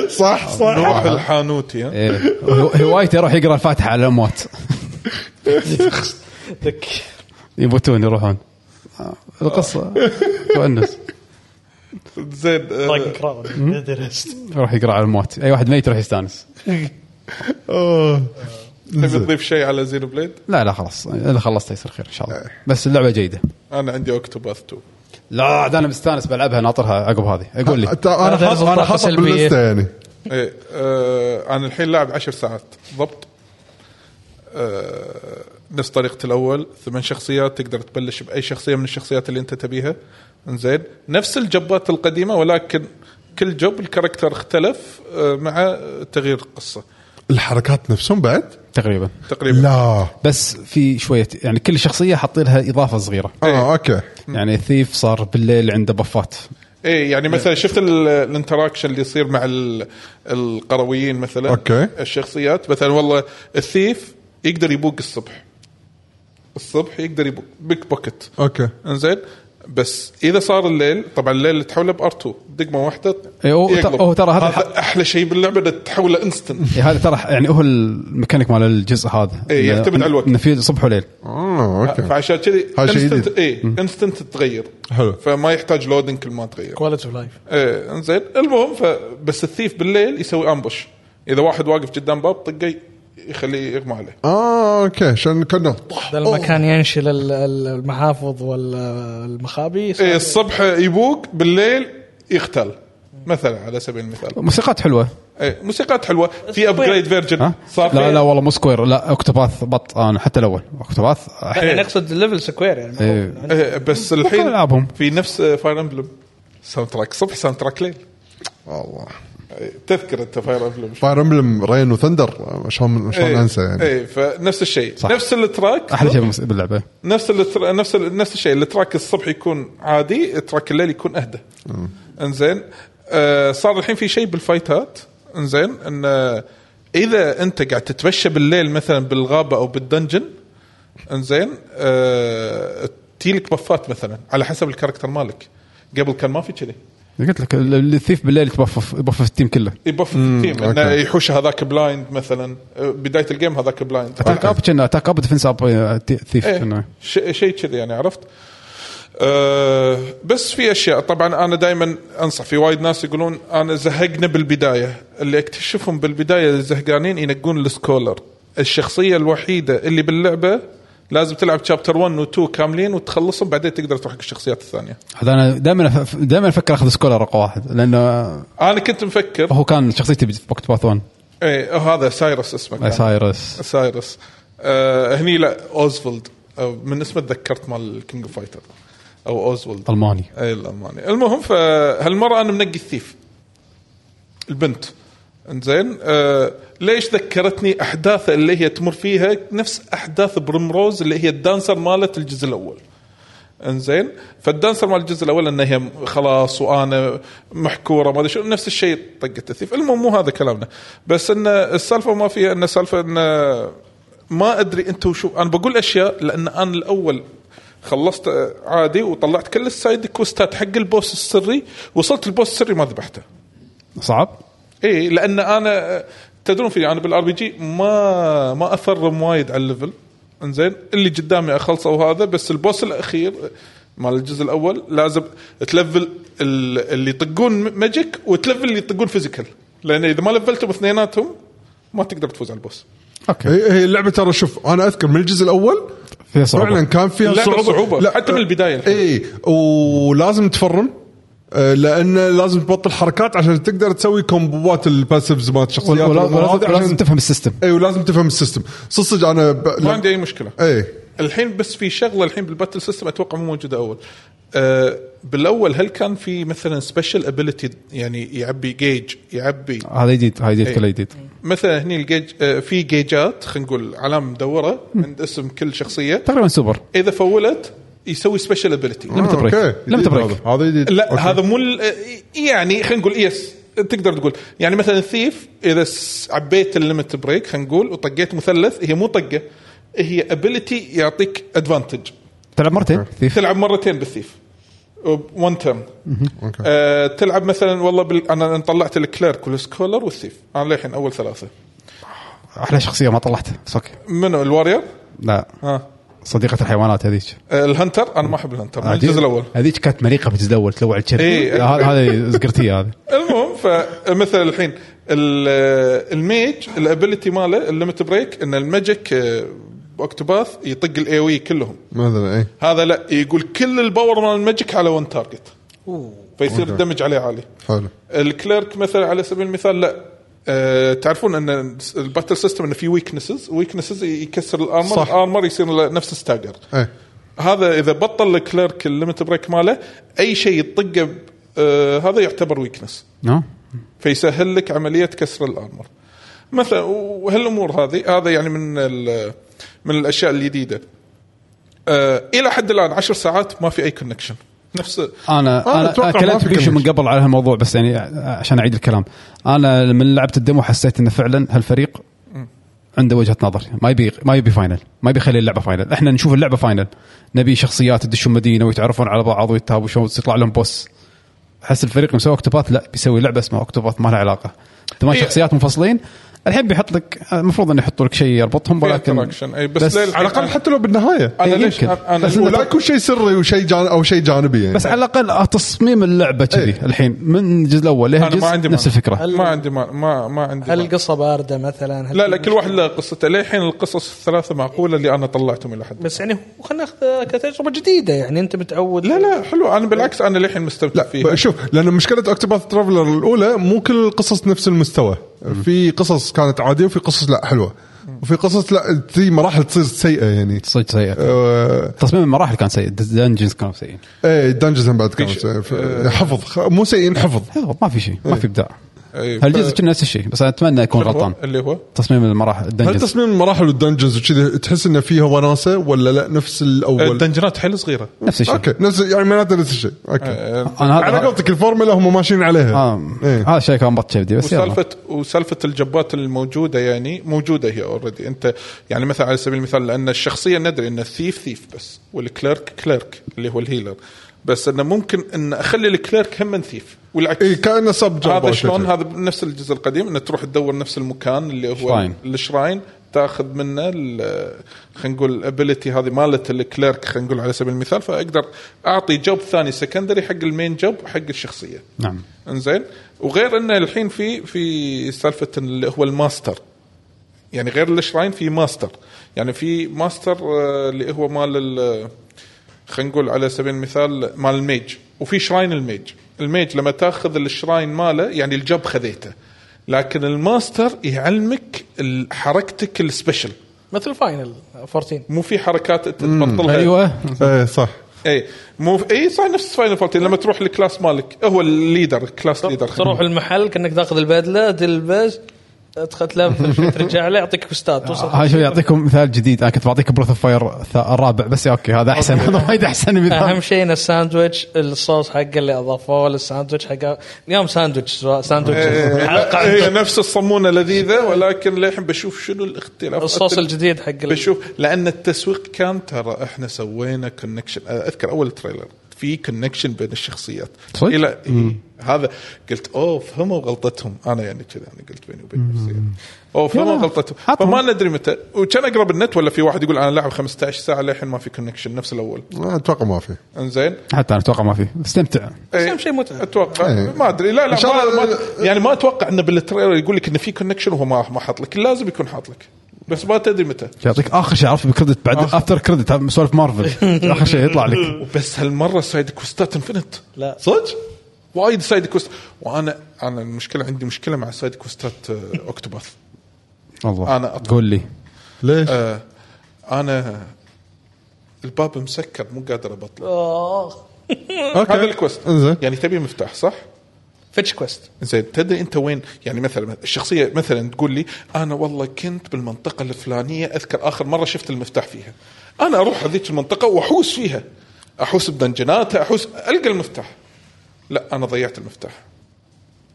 Speaker 4: صح صح
Speaker 3: نروح الحانوتي ها؟
Speaker 1: إيه. هو- هوايته يروح يقرا الفاتحه على الاموات
Speaker 2: ذك
Speaker 1: يموتون يروحون آه، القصه تونس
Speaker 3: زين آه،
Speaker 2: طق كراون درست
Speaker 1: يروح يقرا على الاموات اي واحد ميت يروح يستانس
Speaker 4: آه.
Speaker 3: تبي تضيف شيء على زينو بليد؟
Speaker 1: لا لا خلاص اذا خلصت يصير خير ان شاء الله بس اللعبه جيده
Speaker 3: انا عندي اوكتوباث 2
Speaker 1: لا عاد انا مستانس بلعبها ناطرها عقب هذه اقول لي
Speaker 4: أنت- انا
Speaker 2: هذا
Speaker 4: حاط
Speaker 2: رزق
Speaker 4: انا
Speaker 2: طاقة
Speaker 4: حاطه
Speaker 2: سلبية.
Speaker 4: باللسته يعني
Speaker 3: ايه آه انا الحين لاعب عشر ساعات ضبط آه نفس طريقة الأول ثمان شخصيات تقدر تبلش بأي شخصية من الشخصيات اللي أنت تبيها زين نفس الجبات القديمة ولكن كل جب الكاركتر اختلف آه مع تغيير القصة
Speaker 4: الحركات نفسهم بعد
Speaker 1: تقريبا
Speaker 3: تقريبا
Speaker 4: لا
Speaker 1: بس في شويه يعني كل شخصيه حاطين لها اضافه صغيره
Speaker 3: إيه.
Speaker 4: اه اوكي
Speaker 1: يعني الثيف صار بالليل عنده بفات
Speaker 3: ايه يعني مثلا شفت ال- الانتراكشن اللي يصير مع ال- القرويين مثلا
Speaker 4: أوكي.
Speaker 3: الشخصيات مثلا والله الثيف يقدر يبوق الصبح الصبح يقدر يبوق بيك بوكت
Speaker 4: اوكي
Speaker 3: انزين بس اذا صار الليل طبعا الليل تحوله بار 2 دقمه واحده
Speaker 1: إيه، هو-
Speaker 3: يقلب.
Speaker 1: هو ترى هذا الحق.
Speaker 3: هذا احلى شيء باللعبه انه تحوله انستنت
Speaker 1: إيه، هذا ترى يعني هو الميكانيك مال الجزء هذا
Speaker 3: إيه،
Speaker 1: إنه-
Speaker 3: يعتمد على الوقت.
Speaker 1: انه في صبح وليل
Speaker 4: اه
Speaker 3: آه،
Speaker 4: اوكي
Speaker 3: فعشان كذي
Speaker 4: هذا شيء
Speaker 3: انستنت
Speaker 4: جديد.
Speaker 3: اي انستنت تتغير
Speaker 4: حلو.
Speaker 3: فما يحتاج لودنج كل ما تغير
Speaker 2: كواليتي اوف لايف
Speaker 3: ايه انزين المهم فبس الثيف بالليل يسوي امبوش اذا واحد واقف قدام باب طقه يخليه يغمى عليه
Speaker 4: اه اوكي عشان كنا
Speaker 2: ده المكان ينشل ال- ال- المحافظ والمخابي
Speaker 3: ايه الصبح يبوق بالليل يختل مثلا على سبيل المثال
Speaker 1: موسيقات حلوه
Speaker 3: ايه موسيقات حلوه في ابجريد فيرجن
Speaker 1: ها؟
Speaker 3: صار
Speaker 1: لا
Speaker 3: فيها-
Speaker 1: لا والله مو سكوير لا اوكتوباث بط انا حتى الاول اوكتوباث أح-
Speaker 2: يعني نقصد ليفل سكوير يعني ما هو-
Speaker 1: إيه.
Speaker 3: إيه، بس
Speaker 1: ممكن
Speaker 3: الحين
Speaker 1: ألعبهم.
Speaker 3: في نفس آه، فاير امبلم ساوند تراك صبح ساوند تراك ليل
Speaker 4: الله
Speaker 3: إيه، تذكر انت فاير امبلم
Speaker 4: فاير امبلم رين وثندر شلون
Speaker 3: إيه.
Speaker 4: شلون انسى يعني
Speaker 3: اي فنفس الشيء
Speaker 1: صح.
Speaker 3: نفس التراك
Speaker 1: احلى شيء بالمس- باللعبه
Speaker 3: نفس التر... نفس ال... نفس الشيء التراك الصبح يكون عادي التراك الليل يكون اهدى انزين آه صار الحين في شيء بالفايتات انزين ان آه، اذا انت قاعد تتمشى بالليل مثلا بالغابه او بالدنجن انزين آه تيلك بفات مثلا على حسب الكاركتر مالك قبل كان ما في كذي
Speaker 1: قلت لك ال- ال- الثيف بالليل يتبفف يبفف التيم كله
Speaker 3: يبف إيه، التيم انه
Speaker 4: أوكي.
Speaker 3: يحوش هذاك بلايند مثلا آه، بدايه الجيم هذاك بلايند
Speaker 1: اتاك اب كنا اتاك اب ديفنس اب آه، تي- ثيف
Speaker 3: ايه
Speaker 1: كنا
Speaker 3: ش- شيء كذي يعني عرفت أه بس في اشياء طبعا انا دائما انصح في وايد ناس يقولون انا زهقنا بالبدايه اللي اكتشفهم بالبدايه الزهقانين ينقون السكولر الشخصيه الوحيده اللي باللعبه لازم تلعب شابتر 1 و 2 كاملين وتخلصهم بعدين تقدر تروح حق الشخصيات الثانيه
Speaker 1: هذا انا دائما أف- دائما افكر اخذ سكولر رقم واحد لانه
Speaker 3: انا كنت مفكر
Speaker 1: هو كان شخصيتي في بوكت باث 1
Speaker 3: ايه هذا سايرس اسمه كان.
Speaker 1: سايرس
Speaker 3: سايرس أه هني لا اوزفولد أو من اسمه تذكرت مال كينج فايتر او اوزفولد
Speaker 1: الماني
Speaker 3: اي الالماني المهم فهالمره انا منقي الثيف البنت انزين آه ليش ذكرتني احداث اللي هي تمر فيها نفس احداث بريمروز اللي هي الدانسر مالت الجزء الاول انزين فالدانسر مال الجزء الاول ان هي خلاص وانا محكوره ما ادري شو نفس الشيء طقت الثيف المهم مو هذا كلامنا بس ان السالفه ما فيها ان السالفه ان ما ادري انت وشو انا بقول اشياء لان انا الاول خلصت آه، عادي وطلعت كل السايد كوستات حق البوس السري وصلت البوس السري ما ذبحته
Speaker 1: صعب
Speaker 3: اي لان انا تدرون في انا بالار بي جي ما ما اثرم وايد على الليفل انزين اللي قدامي اخلصه وهذا بس البوس الاخير مال الجزء الاول لازم تلفل ال- اللي يطقون م- ماجيك وتلفل اللي يطقون فيزيكال لان اذا ما لفلتهم اثنيناتهم ما تقدر تفوز على البوس إيه.
Speaker 1: اوكي
Speaker 4: هي هي اللعبه ترى شوف انا اذكر من الجزء الاول
Speaker 1: فيها صعوبة.
Speaker 4: فعلا كان فيها
Speaker 3: اللعبة
Speaker 4: صعوبه
Speaker 3: صعوبة، حتى من البداية الحين.
Speaker 4: اي ولازم تفرم آه، لان لازم تبطل حركات عشان تقدر تسوي كومبوات الباسيفز مالت الشخصيات
Speaker 1: ولا- ولا-
Speaker 4: والأمور هذه
Speaker 1: ولازم
Speaker 4: عشان-
Speaker 1: ولازم تفهم السيستم
Speaker 4: اي ولازم تفهم السيستم صدق انا ب... إيه.
Speaker 3: ما عندي اي مشكله
Speaker 4: اي
Speaker 3: الحين بس في شغله الحين بالباتل سيستم اتوقع مو موجوده اول أه بالاول هل كان في مثلا سبيشل ابيلتي يعني يعبي جيج يعبي
Speaker 1: هذا جديد هذا جديد
Speaker 3: إيه.
Speaker 1: كله جديد
Speaker 3: مثلا هني الجيج آه، في جيجات خلينا نقول علامه مدوره عند اسم كل شخصيه
Speaker 1: تقريبا سوبر
Speaker 3: اذا فولت يسوي سبيشل ابيلتي
Speaker 1: لما تبريك
Speaker 4: اوكي
Speaker 1: لما
Speaker 4: آه، جديد
Speaker 1: تبريك
Speaker 4: هذا هذا جديد
Speaker 3: لا
Speaker 4: نعم. أوكي.
Speaker 3: هذا مو ال- يعني خلينا نقول يس تقدر تقول يعني مثلا ثيف اذا س- عبيت الليمت بريك خلينا نقول وطقيت مثلث هي مو طقه هي ابيلتي يعطيك ادفانتج
Speaker 1: تلعب مرتين ثيف
Speaker 3: تلعب مرتين بالثيف وان تيرن
Speaker 4: أوكي.
Speaker 3: آه تلعب مثلا والله بال... انا أنا طلعت الكليرك والسكولر والثيف انا للحين اول ثلاثه
Speaker 1: احلى شخصيه ما طلعتها بس اوكي
Speaker 3: منو الوارير
Speaker 1: لا
Speaker 3: ها
Speaker 1: صديقه الحيوانات هذيك
Speaker 3: آه الهنتر انا ما احب الهنتر من
Speaker 1: هذيك-
Speaker 3: الجزء الاول
Speaker 1: هذيك كانت مليقه بالجزء الاول تلوع الكرش
Speaker 3: إيه.
Speaker 1: لا، هذا- هذه زقرتيه هذه
Speaker 3: المهم فمثلا الحين ال- الميج الابيلتي ماله الليمت بريك ان الماجيك آه، اوكتوباث يطق الاي وي E كلهم
Speaker 4: مثلا اي
Speaker 3: هذا لا يقول كل الباور مال الماجيك على ون تارجت فيصير الدمج عليه عالي
Speaker 4: حلو
Speaker 3: الكليرك مثلا على سبيل المثال لا أه تعرفون ان الباتل سيستم انه في ويكنسز ويكنسز يكسر الارمر
Speaker 4: صح.
Speaker 3: الارمر يصير له نفس ستاجر
Speaker 4: اي
Speaker 3: هذا اذا بطل الكليرك الليمت بريك ماله اي شيء يطقه ب- أه هذا يعتبر ويكنس
Speaker 1: نعم
Speaker 3: فيسهل لك عمليه كسر الارمر مثلا وهالامور هذه هذا يعني من ال- من الاشياء الجديده أه الى حد الان عشر ساعات ما في اي كونكشن نفس آه،
Speaker 1: انا انا
Speaker 4: أتوقع ما في
Speaker 1: كلمت بيشو
Speaker 4: كمية.
Speaker 1: من قبل على هالموضوع بس يعني عشان اعيد الكلام انا لما لعبت الديمو حسيت انه فعلا هالفريق عنده وجهه نظر ما يبي ما يبي فاينل ما يبي يخلي اللعبه فاينل احنا نشوف اللعبه فاينل نبي شخصيات تدشون مدينه ويتعرفون على بعض ويتهاوشون ويطلع لهم بوس احس الفريق اللي مسوي اكتوباث لا بيسوي لعبه اسمها اكتوباث ما لها علاقه ثمان
Speaker 3: إيه.
Speaker 1: شخصيات منفصلين الحين بيحط لك المفروض انه يحطوا لك شيء يربطهم ولكن
Speaker 3: interaction. إيه، بس للحين-
Speaker 4: على الاقل حتى لو بالنهايه
Speaker 3: انا
Speaker 1: إيه،
Speaker 3: ليش
Speaker 1: يمكن.
Speaker 3: انا
Speaker 1: بس
Speaker 3: الأولى-
Speaker 4: ولا يكون شيء سري وشيء جان او شيء جانبي يعني
Speaker 1: بس على الاقل تصميم اللعبه كذي
Speaker 4: إيه.
Speaker 1: الحين من الجزء الاول
Speaker 3: أنا
Speaker 1: لهالجزء
Speaker 3: ما عندي
Speaker 1: نفس
Speaker 3: مانع.
Speaker 1: الفكره
Speaker 3: ما عندي ما ما, ما عندي
Speaker 2: هل
Speaker 3: مانع.
Speaker 2: القصه بارده مثلا هل
Speaker 3: لا
Speaker 2: في
Speaker 3: لا كل
Speaker 2: مشكلة؟
Speaker 3: واحد له قصته للحين القصص الثلاثه معقوله اللي انا طلعتهم الى حد
Speaker 2: بس يعني هو- خلينا ناخذ كتجربه جديده يعني انت متعود
Speaker 3: لا لا حلو انا بالعكس انا للحين مستمتع
Speaker 4: لا
Speaker 3: فيه
Speaker 4: ب- شوف لان مشكله اكتوباث ترافلر الاولى مو كل القصص نفس المستوى في قصص كانت عاديه وفي قصص لا حلوه وفي قصص لا في مراحل تصير سيئه يعني
Speaker 1: صدق سيء
Speaker 4: آه،
Speaker 1: تصميم المراحل كان سيء الدنجنز كانوا سيئين
Speaker 4: ايه دنجنز بعد كانت
Speaker 3: ش-
Speaker 4: سيئة. ف- حفظ خ- مو سيئين حفظ
Speaker 1: يلا، ما في شيء ما في ابداع
Speaker 3: إيه،
Speaker 1: هالجزء
Speaker 3: ف-
Speaker 1: كان نفس الشيء بس انا اتمنى اكون
Speaker 3: اللي هو-
Speaker 1: غلطان
Speaker 3: اللي هو
Speaker 1: تصميم المراحل
Speaker 4: هل
Speaker 1: الدنجنز
Speaker 4: تصميم المراحل والدنجنز وكذي تحس انه فيها وناسه ولا لا نفس الاول؟
Speaker 3: الدنجنات حيل صغيره
Speaker 1: نفس الشيء
Speaker 4: اوكي نفس يعني معناته نفس الشيء اوكي
Speaker 3: آه،
Speaker 1: انا
Speaker 4: على
Speaker 1: هذا
Speaker 4: قولتك الفورمولا هم ماشيين عليها
Speaker 1: آه،
Speaker 4: إيه.
Speaker 1: هذا الشيء كان بط كبدي بس يلا
Speaker 3: وسالفه وسالفه الجبات الموجوده يعني موجوده هي اوريدي انت يعني مثلا على سبيل المثال لان الشخصيه ندري ان الثيف ثيف بس والكليرك كليرك اللي هو الهيلر بس انه ممكن ان اخلي الكليرك هم من ثيف والعكس
Speaker 1: إيه،
Speaker 4: اي كانه إيه، سب جوب
Speaker 3: هذا
Speaker 4: أو
Speaker 3: شلون
Speaker 4: شيء.
Speaker 3: هذا نفس الجزء القديم انه تروح تدور نفس المكان اللي هو
Speaker 1: شراين.
Speaker 3: الشراين تاخذ منه ال- خلينا نقول الابيلتي هذه مالت الكليرك خلينا نقول على سبيل المثال فاقدر اعطي جوب ثاني سكندري حق المين جوب وحق الشخصيه
Speaker 1: نعم
Speaker 3: انزين وغير انه الحين في في سالفه اللي هو الماستر يعني غير الشراين في ماستر يعني في ماستر آه، اللي هو مال ال- خلينا نقول على سبيل المثال مال الميج وفي شراين الميج الميج لما تاخذ الشراين ماله يعني الجب خذيته لكن الماستر يعلمك ال- حركتك السبيشل
Speaker 2: مثل فاينل 14
Speaker 3: مو في حركات تبطلها
Speaker 1: ايوه
Speaker 4: ايه صح
Speaker 3: اي مو اي صح نفس فاينل فولتين لما تروح للكلاس مالك هو الليدر كلاس ليدر
Speaker 2: تروح المحل كانك تاخذ البدله تلبس تلفل شوي ترجع له يعطيك بوستات توصل
Speaker 3: آه.
Speaker 1: هاي شوف يعطيكم مثال جديد انا كنت بعطيكم بروث اوف فاير الرابع بس اوكي هذا احسن هذا وايد احسن من
Speaker 2: اهم
Speaker 1: ذا.
Speaker 2: شيء ان الساندويتش الصوص حقه اللي اضافوه للساندويتش حقه اليوم ساندويتش سواء ساندويتش
Speaker 3: إيه،
Speaker 2: حلقه
Speaker 3: هي
Speaker 2: عندك.
Speaker 3: نفس الصمونه لذيذه ولكن للحين بشوف شنو الاختلاف
Speaker 2: الصوص الجديد حق ال-
Speaker 3: بشوف لان التسويق كان ترى احنا سوينا كونكشن اذكر اول تريلر في كونكشن بين الشخصيات
Speaker 1: صدق؟
Speaker 3: الى إيه، هذا قلت اوه فهموا غلطتهم انا يعني كذا انا قلت بيني وبين نفسي اوه فهموا
Speaker 1: يلا،
Speaker 3: غلطتهم
Speaker 1: عطهم.
Speaker 3: فما ندري متى وكان اقرب النت ولا في واحد يقول انا لاعب 15 ساعه للحين ما في كونكشن نفس الاول
Speaker 4: اتوقع ما في
Speaker 3: انزين
Speaker 1: حتى انا اتوقع ما في استمتع
Speaker 2: بس
Speaker 3: إيه.
Speaker 2: اهم شيء متعه
Speaker 3: اتوقع
Speaker 4: إيه.
Speaker 3: ما ادري لا
Speaker 4: إن
Speaker 3: لا
Speaker 4: شاء
Speaker 3: ما
Speaker 4: الله-
Speaker 3: ما- يعني ما اتوقع انه بالتريلر يقول لك انه في كونكشن وهو ما ما حاط لك لازم يكون حاط لك بس ما تدري متى
Speaker 1: يعطيك اخر شيء عرفت بالكريدت بعد افتر كريدت هذا سوالف مارفل اخر شيء يطلع لك
Speaker 3: وبس هالمره سايد كوستات انفنت
Speaker 2: لا.
Speaker 3: صدق وايد سايد كوست وانا انا المشكله عندي مشكله مع سايد كوستات آه، اوكتوباث
Speaker 1: والله
Speaker 3: أنا أطلع.
Speaker 1: قول لي
Speaker 4: ليش؟
Speaker 3: آه، انا الباب مسكر مو قادر ابطله
Speaker 2: آه.
Speaker 4: اوكي
Speaker 3: هذا الكوست
Speaker 4: انزين
Speaker 3: يعني تبي مفتاح صح؟
Speaker 2: فيتش كويست
Speaker 3: زين تدري انت وين يعني مثلا الشخصيه مثلا تقول لي انا والله كنت بالمنطقه الفلانيه اذكر اخر مره شفت المفتاح فيها انا اروح هذيك المنطقه واحوس فيها احوس بدنجناتها احوس القى المفتاح لا انا ضيعت المفتاح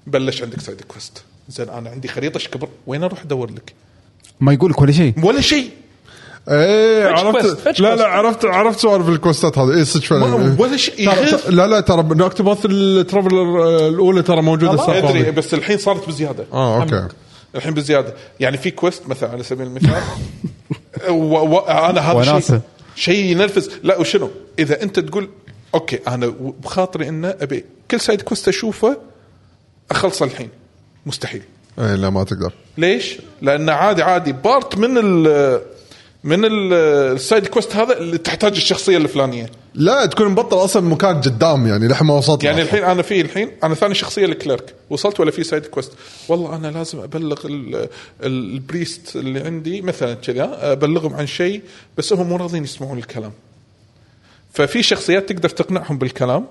Speaker 3: بلش عندك سايد كويست زين انا عندي خريطه ايش كبر وين اروح ادور لك
Speaker 1: ما يقول لك ولا شيء
Speaker 3: ولا شيء
Speaker 4: ايه
Speaker 2: Fetch quest,
Speaker 4: عرفت
Speaker 2: fetch
Speaker 4: لا لا
Speaker 2: quest.
Speaker 4: عرفت عرفت سوالف الكوستات هذا اي صدق فعلا
Speaker 3: ما- ولا شيء
Speaker 4: ترى-
Speaker 3: يغير
Speaker 4: ترى- إيه. لا لا ترى نكتبوث الترافلر آه، الاولى ترى موجوده السالفة
Speaker 3: ادري
Speaker 4: هذه.
Speaker 3: بس الحين صارت بزياده
Speaker 4: اه اوكي
Speaker 3: الحين بزياده يعني في كويست مثلا على سبيل المثال و... و... انا هذا شيء
Speaker 1: وناسة.
Speaker 3: شيء ينرفز لا وشنو اذا انت تقول اوكي انا و- بخاطري انه ابي كل سايد كويست اشوفه اخلصه الحين مستحيل
Speaker 4: اي إيه، لا ما تقدر
Speaker 3: ليش؟ لان عادي عادي بارت من ال من ال- السايد كويست هذا اللي تحتاج الشخصيه الفلانيه
Speaker 4: لا تكون مبطل اصلا مكان قدام يعني لحين ما وصلت
Speaker 3: يعني
Speaker 4: له.
Speaker 3: الحين انا في الحين انا ثاني شخصيه الكليرك وصلت ولا في سايد كويست والله انا لازم ابلغ ال- ال- البريست اللي عندي مثلا كذا ابلغهم عن شيء بس هم مو راضيين يسمعون الكلام ففي شخصيات تقدر تقنعهم بالكلام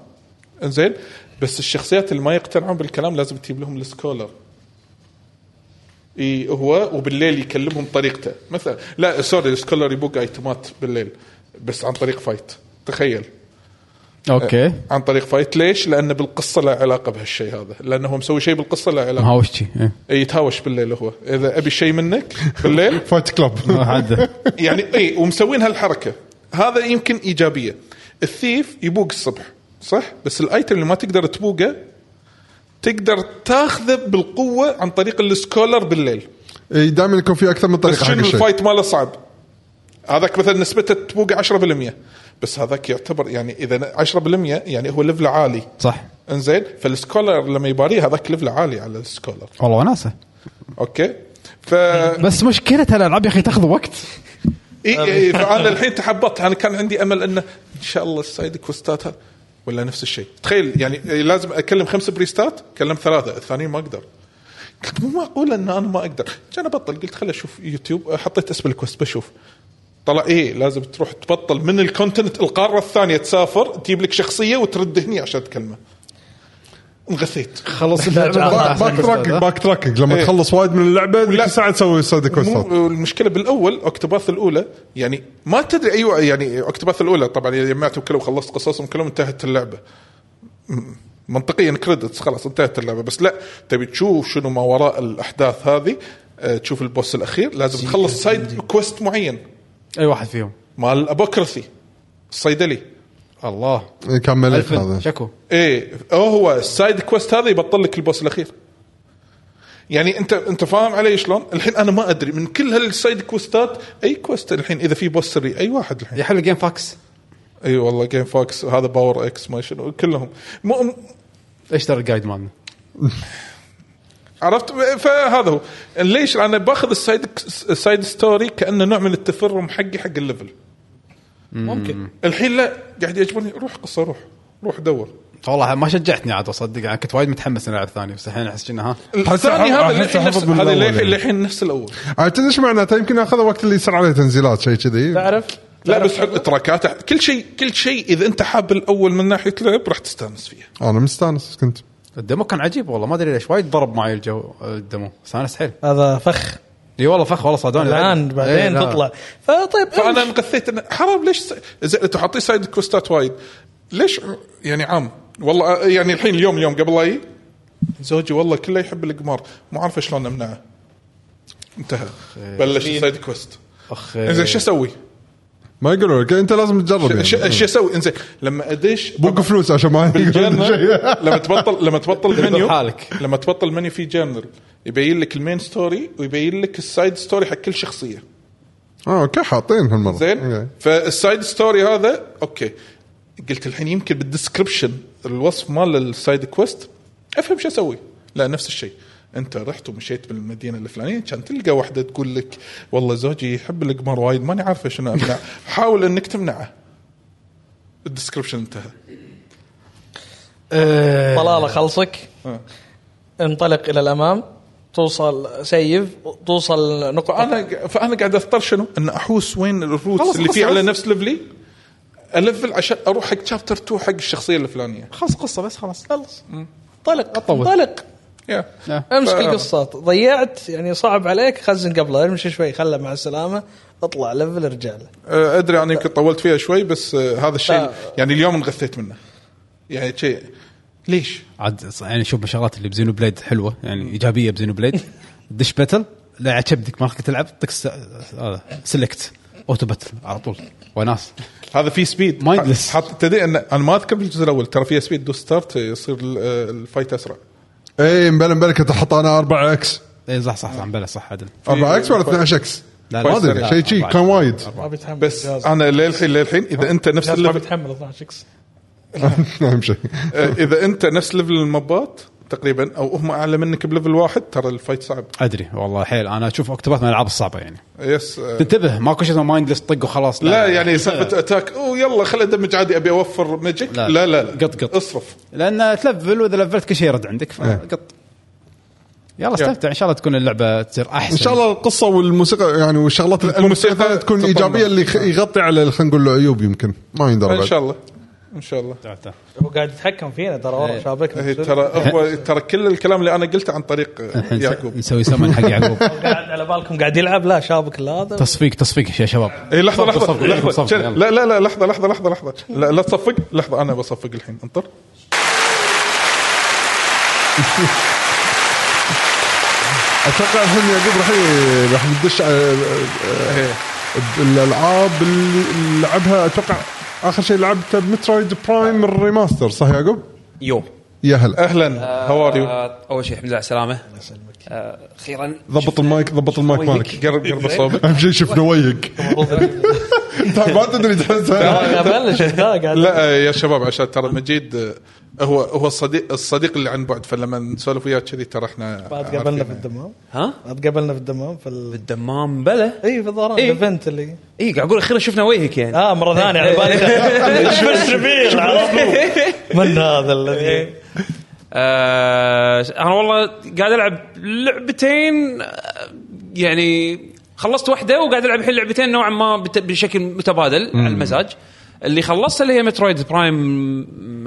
Speaker 3: زين بس الشخصيات اللي ما يقتنعون بالكلام لازم تجيب لهم السكولر اي هو وبالليل يكلمهم طريقته مثلا لا سوري السكولر يبوق ايتمات بالليل بس عن طريق فايت تخيل
Speaker 4: إيه.
Speaker 1: اوكي
Speaker 3: عن طريق فايت ليش؟ لان بالقصه لا علاقه بهالشيء هذا، لانه هو مسوي شيء بالقصه لا علاقه
Speaker 1: هاوش شي إيه.
Speaker 3: إيه، يتهاوش بالليل هو، اذا ابي شيء منك بالليل
Speaker 4: فايت كلاب
Speaker 1: عدى
Speaker 3: يعني اي ومسوين هالحركه، هذا يمكن ايجابيه. الثيف يبوق الصبح صح؟ بس الايتم اللي ما تقدر تبوقه تقدر تاخذه بالقوه عن طريق السكولر بالليل.
Speaker 4: دائما إيه، يكون في اكثر من
Speaker 3: بس
Speaker 4: طريقه حق
Speaker 3: شنو
Speaker 4: الشيء
Speaker 3: الفايت ماله صعب هذاك مثلا نسبته تبوق 10% بس هذاك يعتبر يعني اذا 10% يعني هو ليفله عالي
Speaker 1: صح
Speaker 3: انزين فالسكولر لما يباريه هذاك ليفله عالي على السكولر
Speaker 1: والله وناسه
Speaker 3: اوكي ف
Speaker 1: بس مشكله الالعاب يا اخي تاخذ وقت
Speaker 3: إي إي فانا الحين تحبطت انا كان عندي امل انه ان شاء الله السايد كوستات هذا ولا نفس الشيء تخيل يعني لازم اكلم خمس بريستات كلم ثلاثه الثانيين ما اقدر قلت مو معقول ان انا ما اقدر كان ابطل قلت خل اشوف يوتيوب حطيت اسم الكوست بشوف طلع ايه لازم تروح تبطل من الكونتنت القاره الثانيه تسافر تجيب لك شخصيه وترد هني عشان تكلمه انغثيت
Speaker 1: خلص
Speaker 4: باك تراكنج باك تراكنج لما
Speaker 3: إيه.
Speaker 4: تخلص وايد من اللعبه ذيك
Speaker 3: لا.
Speaker 4: الساعه تسوي سايد كوستات
Speaker 3: مو المشكله بالاول اكتوباث الاولى يعني ما تدري ايوه يعني اكتوباث الاولى طبعا إذا جمعتهم كلهم خلصت قصصهم كلهم انتهت اللعبه م- منطقيا كريدتس خلاص انتهت اللعبه بس لا تبي تشوف شنو ما وراء الاحداث هذه آه، تشوف البوس الاخير لازم تخلص سايد كويست معين
Speaker 1: اي واحد فيهم
Speaker 3: مال الابوكرثي الصيدلي
Speaker 1: الله
Speaker 4: إيه، كان ملك
Speaker 1: الفن
Speaker 4: هذا
Speaker 1: شكو
Speaker 3: ايه أو هو السايد كويست هذا يبطل لك البوس الاخير يعني انت انت فاهم علي شلون؟ الحين انا ما ادري من كل هالسايد كوستات اي كوست الحين اذا في بوس سري اي واحد الحين
Speaker 1: يا حلو جيم فاكس
Speaker 3: اي والله جيم فوكس هذا باور اكس ما شنو كلهم مو
Speaker 1: اشتري الجايد مالنا
Speaker 3: عرفت فهذا هو ليش انا باخذ السايد السايد ستوري كانه نوع من التفرم حقي حق الليفل
Speaker 2: ممكن
Speaker 3: الحين لا قاعد يجبرني روح قصه روح روح دور
Speaker 1: والله ما شجعتني عاد اصدق انا كنت وايد متحمس اني العب ثاني بس الحين احس انه ها
Speaker 3: الثاني هذا
Speaker 4: أحس
Speaker 3: للحين نفس
Speaker 4: حفظ من
Speaker 3: هذا
Speaker 4: الأول
Speaker 3: للحين-
Speaker 4: يعني.
Speaker 3: للحين نفس الاول
Speaker 4: عاد آه، تدري ايش معناته يمكن اخذ وقت اللي يصير عليه تنزيلات شيء كذي
Speaker 2: تعرف
Speaker 3: لا بس حط تراكات كل شيء كل شيء اذا انت حاب الاول من ناحيه لعب راح تستانس فيه
Speaker 4: انا مستانس كنت
Speaker 1: الدمو كان عجيب والله ما ادري ليش وايد ضرب معي الجو الدمو استانست حيل
Speaker 2: هذا فخ
Speaker 1: اي والله فخ والله صادوني
Speaker 2: الان بعدين
Speaker 1: إيه، لا.
Speaker 2: تطلع فطيب
Speaker 3: فانا انقثيت انه حرام ليش س- زين انتم حاطين سايد كوستات وايد ليش يعني عام والله آه، يعني الحين اليوم اليوم قبل لا أجي، زوجي والله كله يحب القمار مو عارفه شلون امنعه انتهى بلش سايد كوست
Speaker 1: اخ
Speaker 3: انزين شو اسوي؟
Speaker 4: ما يقولون لك انت لازم تجرب
Speaker 3: ش-
Speaker 4: يعني
Speaker 3: ايش اسوي؟ انزين لما ادش
Speaker 4: بوق فلوس عشان ما يقولون
Speaker 3: بالجنرال
Speaker 4: شيء
Speaker 3: لما تبطل لما تبطل المنيو
Speaker 1: حالك.
Speaker 3: لما تبطل المنيو في جنرال يبين لك المين ستوري ويبين لك السايد ستوري حق كل شخصيه
Speaker 4: اه اوكي حاطين إيه. هالمره
Speaker 3: زين
Speaker 4: أوكي.
Speaker 3: فالسايد ستوري هذا اوكي قلت الحين يمكن بالدسكربشن الوصف مال السايد كويست افهم شو اسوي لا نفس الشيء انت رحت ومشيت بالمدينه الفلانيه كان تلقى واحده تقول لك والله زوجي يحب القمار وايد ماني عارفه شنو امنع حاول انك تمنعه الدسكربشن انتهى
Speaker 2: طلاله خلصك
Speaker 3: آه.
Speaker 2: انطلق الى الامام توصل سيف توصل نقطه
Speaker 3: فانا فانا قاعد اضطر شنو؟ ان احوس وين الروتس
Speaker 1: خلص،
Speaker 3: اللي
Speaker 1: خلص،
Speaker 3: فيه على
Speaker 1: خلص.
Speaker 3: نفس ليفلي الفل عشان اروح حق شابتر 2 حق الشخصيه الفلانيه
Speaker 1: خلص قصه بس خلاص
Speaker 2: خلص انطلق
Speaker 1: أطول.
Speaker 2: انطلق
Speaker 3: يا
Speaker 2: امسك
Speaker 3: ف-
Speaker 2: القصات ضيعت يعني صعب عليك خزن قبله امشي شوي خله مع السلامه اطلع لفل ارجع له
Speaker 3: آه، ادري انا يمكن طولت فيها شوي بس آه، هذا الشيء
Speaker 2: لا.
Speaker 3: يعني اليوم انغثيت منه يعني شيء ليش؟
Speaker 1: عاد يعني شوف من الشغلات اللي بزينو بليد حلوه يعني ايجابيه بزينو بليد دش باتل لا على كبدك ما راح تلعب تعطيك س- هذا سلكت اوتو باتل على طول وناس
Speaker 3: هذا فيه سبيد
Speaker 1: Mindless.
Speaker 3: حط تدري ان انا ما اذكر بالجزء الاول ترى فيه سبيد دوس ستارت يصير ال- آه، الفايت اسرع
Speaker 4: اي مبلا مبلا إيه، كنت احط انا 4 اكس
Speaker 1: اي إيه، صح صح صح بلا صح عدل
Speaker 4: 4 اكس ولا 12 اكس
Speaker 1: لا،
Speaker 4: ما
Speaker 1: لا،
Speaker 4: ادري
Speaker 1: لا،
Speaker 4: شيء شي
Speaker 1: أربعة.
Speaker 4: كان وايد
Speaker 2: ما بيتحمل
Speaker 3: بس
Speaker 2: جهاز.
Speaker 3: انا للحين للحين اذا انت نفس
Speaker 2: جهاز ما
Speaker 3: الليفل
Speaker 2: بيتحمل 12 اكس
Speaker 4: اهم شيء
Speaker 3: آه، اذا انت نفس ليفل المبات تقريبا او هم اعلى منك بليفل واحد ترى الفايت صعب
Speaker 1: ادري والله حيل انا اشوف اكتوباث من الالعاب الصعبه يعني
Speaker 3: يس آه،
Speaker 1: تنتبه ماكو شيء اسمه مايندلس طق وخلاص
Speaker 3: لا يعني سالفه اتاك او يلا خل ادمج عادي ابي اوفر ماجيك لا
Speaker 1: لا.
Speaker 3: لا لا
Speaker 1: قط- قط.
Speaker 3: اصرف
Speaker 1: لان تلفل واذا لفلت كل شيء يرد عندك فقط يلا استمتع ان شاء الله تكون اللعبه تصير احسن
Speaker 4: ان شاء الله القصه والموسيقى يعني والشغلات اللي تكون
Speaker 3: الموسيقى
Speaker 4: فيها تكون
Speaker 3: تطمن.
Speaker 4: ايجابيه اللي يخ- يغطي على خلينا نقول له عيوب يمكن ما يندرى
Speaker 3: ان
Speaker 4: بعد.
Speaker 3: شاء الله ان شاء الله
Speaker 1: تعال، تعال.
Speaker 2: هو قاعد يتحكم فينا ترى ورا
Speaker 1: إيه.
Speaker 3: هي
Speaker 2: شابكنا
Speaker 3: ترى هو ترى كل الكلام اللي انا قلته عن طريق
Speaker 1: الحين
Speaker 3: يعقوب
Speaker 1: نسوي سمن حق يعقوب
Speaker 2: قاعد على بالكم قاعد يلعب لا شابك لا هذا
Speaker 1: تصفيق تصفيق يا شباب
Speaker 3: اي
Speaker 1: صفق،
Speaker 3: لحظه لحظه
Speaker 1: صفق،
Speaker 3: لحظه
Speaker 1: صفق،
Speaker 3: شل-
Speaker 1: يلا.
Speaker 3: لا لا لا لحظه لحظه لحظه لحظه لا لا تصفق لحظه انا بصفق الحين انطر
Speaker 4: اتوقع الحين يعقوب راح ي- راح آه، ندش على-
Speaker 3: إيه.
Speaker 4: الالعاب اللي لعبها اتوقع اخر شيء لعبته مترويد برايم الريماستر صح يا يعقوب؟
Speaker 6: يو
Speaker 4: يا هلا
Speaker 3: اهلا هاو ار يو
Speaker 6: آه، اول شيء الحمد لله على آه، السلامه الله يسلمك اخيرا
Speaker 4: ضبط المايك ضبط المايك مالك
Speaker 3: قرب قرب صوبك
Speaker 4: اهم شيء شفنا وجهك ما تدري تحسها
Speaker 2: بلش قاعد
Speaker 3: لا آه، يا شباب عشان ترى مجيد آه، هو هو الصديق الصديق اللي عن بعد فلما نسولف وياه كذي ترى احنا
Speaker 2: بعد
Speaker 3: عارفينه.
Speaker 2: قابلنا في الدمام
Speaker 6: ها
Speaker 2: بعد قابلنا في الدمام في ال...
Speaker 6: بالدمام بلا
Speaker 2: اي في الظهران
Speaker 6: إيه.
Speaker 2: الايفنت اللي
Speaker 6: اي قاعد اقول اخيرا شفنا وجهك يعني
Speaker 2: اه مره ثانيه على بالي فيرست ريفيل من
Speaker 6: إيه.
Speaker 2: هذا الذي
Speaker 6: آه انا والله قاعد العب لعبتين آه، يعني خلصت واحده وقاعد العب الحين لعبتين نوعا ما بت- بشكل متبادل على المزاج اللي خلصت اللي هي مترويد برايم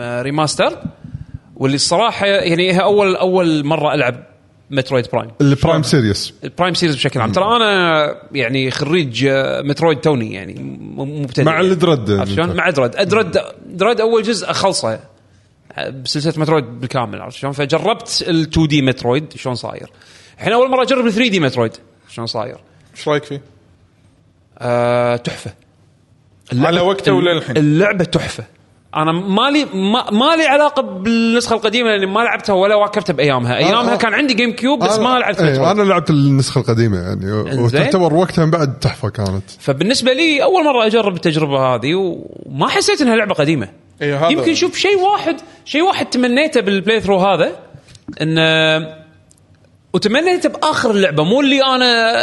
Speaker 6: آه، ريماستر واللي الصراحه يعني هي اول اول مره العب مترويد برايم
Speaker 4: البرايم سيريس
Speaker 6: البرايم سيريز بشكل عام ترى انا يعني خريج آه، مترويد توني يعني م- م- مبتدئ
Speaker 4: مع
Speaker 6: يعني.
Speaker 4: الدرد.
Speaker 6: عرفت شلون؟ مع درد درد درد اول جزء اخلصه آه، بسلسله مترويد بالكامل عرفت شلون؟ فجربت ال 2 دي مترويد شلون صاير الحين اول مره اجرب ال 3 دي مترويد شلون صاير
Speaker 3: ايش رايك فيه؟
Speaker 6: آه، تحفه اللعبة-
Speaker 3: على وقته ولا الحين؟
Speaker 6: اللعبه تحفه انا مالي ما مالي علاقه بالنسخه القديمه لاني ما لعبتها ولا واكبتها بايامها ايامها
Speaker 4: آه.
Speaker 6: كان عندي جيم كيوب بس
Speaker 4: أنا-
Speaker 6: ما لعبت
Speaker 4: إيه،
Speaker 6: مترويد.
Speaker 4: انا لعبت النسخه القديمه يعني
Speaker 6: إنزين.
Speaker 4: وتعتبر وقتها بعد تحفه كانت
Speaker 6: فبالنسبه لي اول مره اجرب التجربه هذه وما حسيت انها لعبه قديمه
Speaker 3: إيه هذا-
Speaker 6: يمكن شوف شيء واحد شيء واحد تمنيته بالبلاي ثرو هذا ان وتمنيته باخر اللعبه مو اللي انا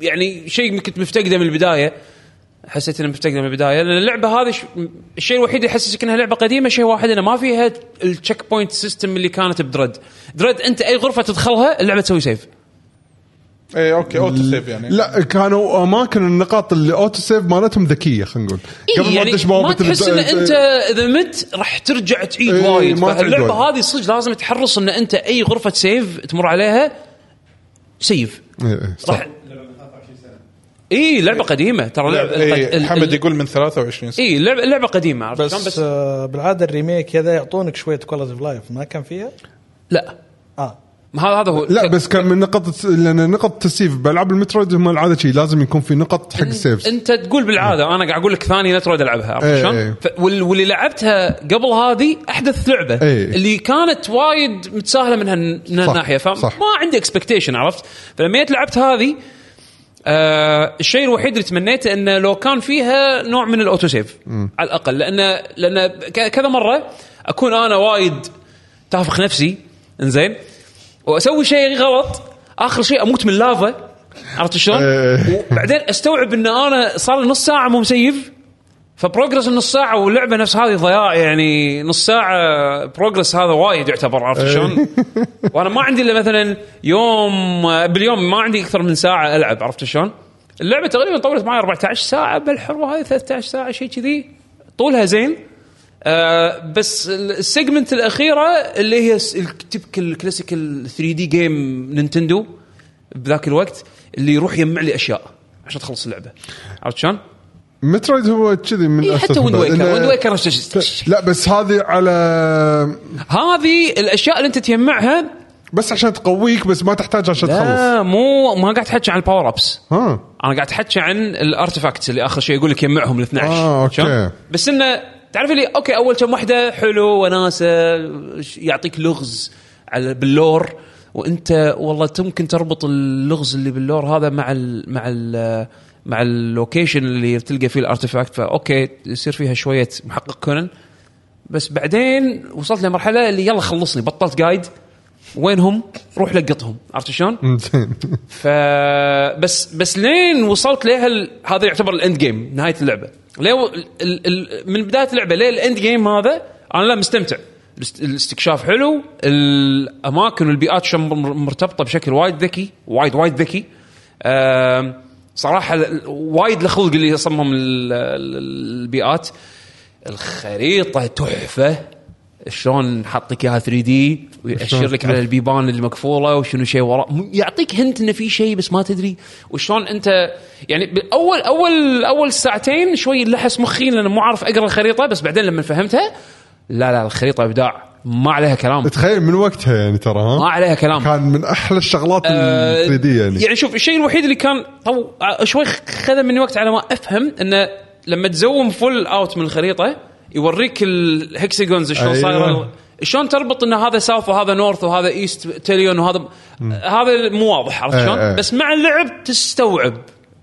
Speaker 6: يعني شيء كنت مفتقده من البدايه حسيت اني مفتقده من البدايه لان اللعبه هذه ش... الشيء الوحيد اللي يحسسك انها لعبه قديمه شيء واحد انه ما فيها التشيك بوينت سيستم اللي كانت بدريد دريد انت اي غرفه تدخلها اللعبه تسوي سيف
Speaker 3: إيه،
Speaker 5: اي اوكي اوتو سيف يعني
Speaker 4: لا كانوا اماكن النقاط اللي اوتو سيف مالتهم ذكيه خلينا نقول
Speaker 6: إيه يعني ما تحس ان انت اذا مت راح ترجع تعيد
Speaker 4: إيه،
Speaker 6: وايد
Speaker 4: ما تعيد
Speaker 6: فاللعبه
Speaker 4: وايد.
Speaker 6: هذه صدق لازم تحرص ان انت اي غرفه سيف تمر عليها سيف
Speaker 4: انت
Speaker 6: راح اي لعبه قديمه ترى لعبه القد-
Speaker 5: إيه
Speaker 6: طيب، ال-
Speaker 5: حمد
Speaker 6: ال- إيه.
Speaker 5: يقول من 23 سنه
Speaker 6: اي لعبه لعبه قديمه عرفت شلون؟
Speaker 2: بس, آه بالعاده الريميك هذا يعطونك شويه كواليتي اوف لايف ما كان فيها؟
Speaker 6: لا
Speaker 2: اه
Speaker 6: ما هذا هذا هو
Speaker 4: لا بس كان من نقط لان نقط السيف بالعاب المترويد هم العاده شي لازم يكون في نقط حق السيفز
Speaker 6: انت تقول بالعاده انا قاعد اقول لك ثاني نترويد العبها عرفت
Speaker 4: إيه،
Speaker 6: شلون؟
Speaker 4: إيه.
Speaker 6: ف- وال- واللي لعبتها قبل هذه احدث لعبه
Speaker 4: إيه.
Speaker 6: اللي كانت وايد متساهله من هال- من
Speaker 4: صح،
Speaker 6: هالناحيه فما
Speaker 4: صح.
Speaker 6: عندي اكسبكتيشن عرفت؟ فلما جيت لعبت هذه آه الشيء الوحيد اللي تمنيته انه لو كان فيها نوع من الاوتو سيف على الاقل لان لان ك- كذا مره اكون انا وايد تافخ نفسي انزين واسوي شيء غلط اخر شيء اموت من لافا عرفت شلون؟
Speaker 4: إيه.
Speaker 6: وبعدين استوعب ان انا صار لي نص ساعه مو مسيف فبروجرس نص ساعه واللعبه نفس هذه ضياع يعني نص ساعه بروجرس هذا وايد يعتبر عرفت شلون؟ وانا ما عندي الا مثلا يوم باليوم ما عندي اكثر من ساعه العب عرفت شلون؟ اللعبه تقريبا طولت معي 14 ساعه بالحروه هذه 13 ساعه شيء كذي طولها زين آه بس ال- السيجمنت الاخيره اللي هي س- التبكل الكلاسيكال 3 دي جيم نينتندو بذاك الوقت اللي يروح يجمع لي اشياء عشان تخلص اللعبه عرفت شلون؟
Speaker 4: مترويد هو كذي من
Speaker 6: إيه
Speaker 4: أساس
Speaker 6: حتى ويند
Speaker 4: الموضوع.
Speaker 6: ويكر
Speaker 4: إنه-
Speaker 6: ويند ويكر نفس الشيء
Speaker 4: لا بس هذه على
Speaker 6: هذه الاشياء اللي انت تجمعها
Speaker 4: بس عشان تقويك بس ما تحتاج عشان تخلص
Speaker 6: لا مو ما قاعد احكي عن الباور ابس
Speaker 4: ها
Speaker 6: انا قاعد احكي عن الارتفاكتس اللي اخر شيء يقول لك يجمعهم ال 12
Speaker 4: آه، أوكي.
Speaker 6: شلون؟ بس انه تعرف اللي اوكي اول كم واحده حلو وناسه ش- يعطيك لغز على باللور وانت والله ممكن تربط اللغز اللي باللور هذا مع ال مع ال مع اللوكيشن اللي تلقى فيه الارتفاكت فاوكي يصير فيها شويه محقق كونن بس بعدين وصلت لمرحله اللي يلا خلصني بطلت قايد وينهم؟ روح لقطهم عرفت شلون؟
Speaker 4: زين
Speaker 6: ف بس بس لين وصلت لها هذا يعتبر الاند جيم نهايه اللعبه ليه ال- ال- ال- من بدايه اللعبه ليه الاند جيم هذا انا لا مستمتع الاست- الاستكشاف حلو الاماكن والبيئات شم مر- مرتبطه بشكل وايد ذكي وايد وايد ذكي آم، صراحه ال- وايد لخلق اللي صمم ال- ال- البيئات الخريطه تحفه شلون حاطك اياها 3 دي ويأشر لك على البيبان اللي مقفوله وشنو شيء وراء م- يعطيك هنت انه في شيء بس ما تدري وشلون انت يعني بالاول اول اول ساعتين شوي لحس مخي لان مو عارف اقرا الخريطه بس بعدين لما فهمتها لا لا الخريطه ابداع ما عليها كلام
Speaker 4: تخيل من وقتها يعني ترى
Speaker 6: ما
Speaker 4: ها
Speaker 6: عليها كلام
Speaker 4: كان من احلى الشغلات ال 3 دي يعني
Speaker 6: يعني شوف الشيء الوحيد اللي كان طو... شوي خذ مني وقت على ما افهم انه لما تزوم فل اوت من الخريطه يوريك الهكسجونز شلون
Speaker 4: أيوة.
Speaker 6: صايره شلون تربط ان هذا ساوث وهذا نورث وهذا ايست تليون وهذا هذا مو واضح عرفت
Speaker 4: أي-
Speaker 6: شلون؟
Speaker 4: أي.
Speaker 6: بس مع اللعب تستوعب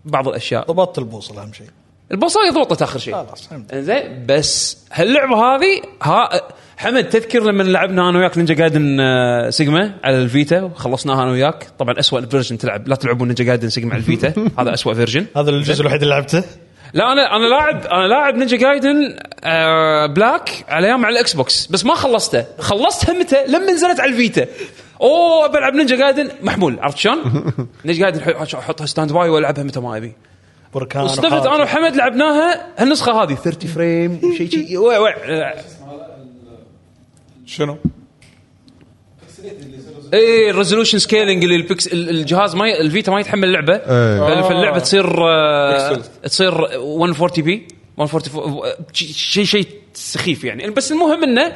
Speaker 6: بعض الاشياء
Speaker 2: ضبطت البوصله اهم شيء
Speaker 6: البصايه ضوطت اخر شيء
Speaker 2: خلاص فهمت
Speaker 6: زين بس هاللعبه هذه ها حمد تذكر لما لعبنا انا وياك نينجا جايدن آه، سيجما على الفيتا وخلصناها انا وياك طبعا اسوء فيرجن تلعب لا تلعبون نينجا جايدن سيجما على الفيتا هذا اسوء فيرجن
Speaker 2: هذا الجزء الوحيد اللي لعبته
Speaker 6: لا انا انا لاعب انا لاعب نينجا جايدن آه بلاك على ايام على الاكس بوكس بس ما خلصته خلصت همته لما نزلت على الفيتا اوه بلعب نينجا جايدن محمول عرفت شلون؟ نينجا جايدن ح- احطها ستاند باي والعبها متى ما ابي
Speaker 2: بركان
Speaker 6: واصطفت انا وحمد لعبناها هالنسخه هذه 30 فريم وشيء شيء وع- وع-
Speaker 5: شنو؟
Speaker 6: اي الريزولوشن سكيلينج إيه، اللي البكس ال- الجهاز ما ي... الفيتا ما يتحمل آه. اللعبه
Speaker 4: إيه.
Speaker 6: ف- فاللعبه تصير آه،
Speaker 5: بيكسل.
Speaker 6: تصير 140 بي 144 شيء شيء سخيف يعني بس المهم انه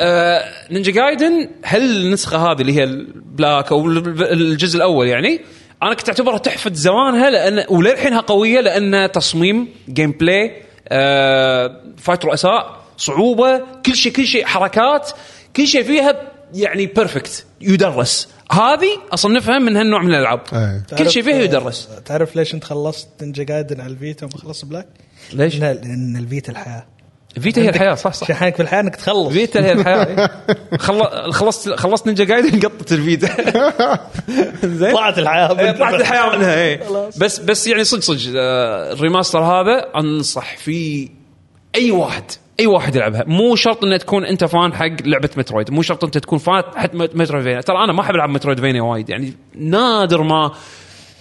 Speaker 6: آه، نينجا جايدن هل النسخه هذه اللي هي البلاك او ال- الجزء الاول يعني انا كنت اعتبرها تحفه زمانها لان وللحينها قويه لان تصميم جيم بلاي آه، فايت رؤساء صعوبه كل شيء كل شيء حركات كل شيء فيها يعني بيرفكت يدرس هذه اصنفها من هالنوع من الالعاب
Speaker 4: إيه.
Speaker 6: كل شيء فيها يدرس
Speaker 2: آه، تعرف ليش انت خلصت نينجا جايدن على الفيتا وما خلصت بلاك؟
Speaker 6: ليش؟
Speaker 2: لا لان الفيتا الحياه
Speaker 6: فيتا هي الحياه صح صح
Speaker 2: شحنك في الحياه انك تخلص
Speaker 6: فيتا هي الحياه خل- خلصت خلصت نينجا جايدن قطت الفيتا زين
Speaker 2: طلعت الحياه
Speaker 6: إيه، طلعت الحياه منها اي بس بس يعني صدق صدق آه، الريماستر هذا انصح فيه اي واحد اي واحد يلعبها مو شرط ان تكون انت فان حق لعبه مترويد مو شرط انت تكون فان حق مترويدفينيا ترى انا ما احب العب مترويدفينيا وايد يعني نادر ما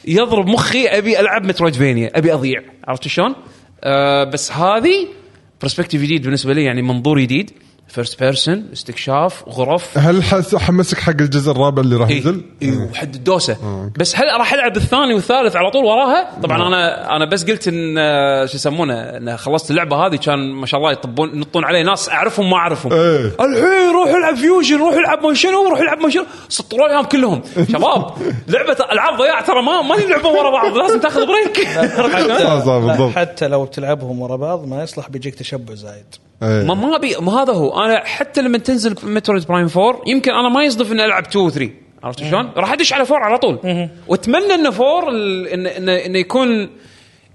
Speaker 6: يضرب مخي ابي العب مترويدفينيا ابي اضيع عرفت شلون؟ آه بس هذه برسبكتيف جديد بالنسبه لي يعني منظور جديد فيرست بيرسون استكشاف غرف
Speaker 4: هل حس- حمسك حق الجزء الرابع اللي
Speaker 6: إيه.
Speaker 4: راح ينزل؟ إيه. آه،
Speaker 6: اي وحد الدوسه بس هل راح العب الثاني والثالث على طول وراها؟ طبعا انا انا بس قلت ان آه، شو يسمونه ان خلصت اللعبه هذه كان ما شاء الله يطبون ينطون علي ناس اعرفهم ما اعرفهم
Speaker 4: إيه.
Speaker 6: الحين روح العب فيوجن روح العب ما شنو روح العب ما شنو سطروا لي إياهم كلهم شباب لعبه العاب ضياع ترى ما ما يلعبون ورا بعض لازم تاخذ بريك
Speaker 4: صح صح
Speaker 2: لا،
Speaker 4: بالضبط
Speaker 2: حتى لو بتلعبهم ورا بعض ما يصلح بيجيك تشبع زايد
Speaker 4: إيه.
Speaker 6: ما ما ابي ما هذا هو انا حتى لما تنزل مترويد برايم 4 يمكن انا ما يصدف اني العب 2 و 3 عرفت شلون؟ راح ادش على 4 على طول واتمنى ان 4 ال- إن- إن- انه يكون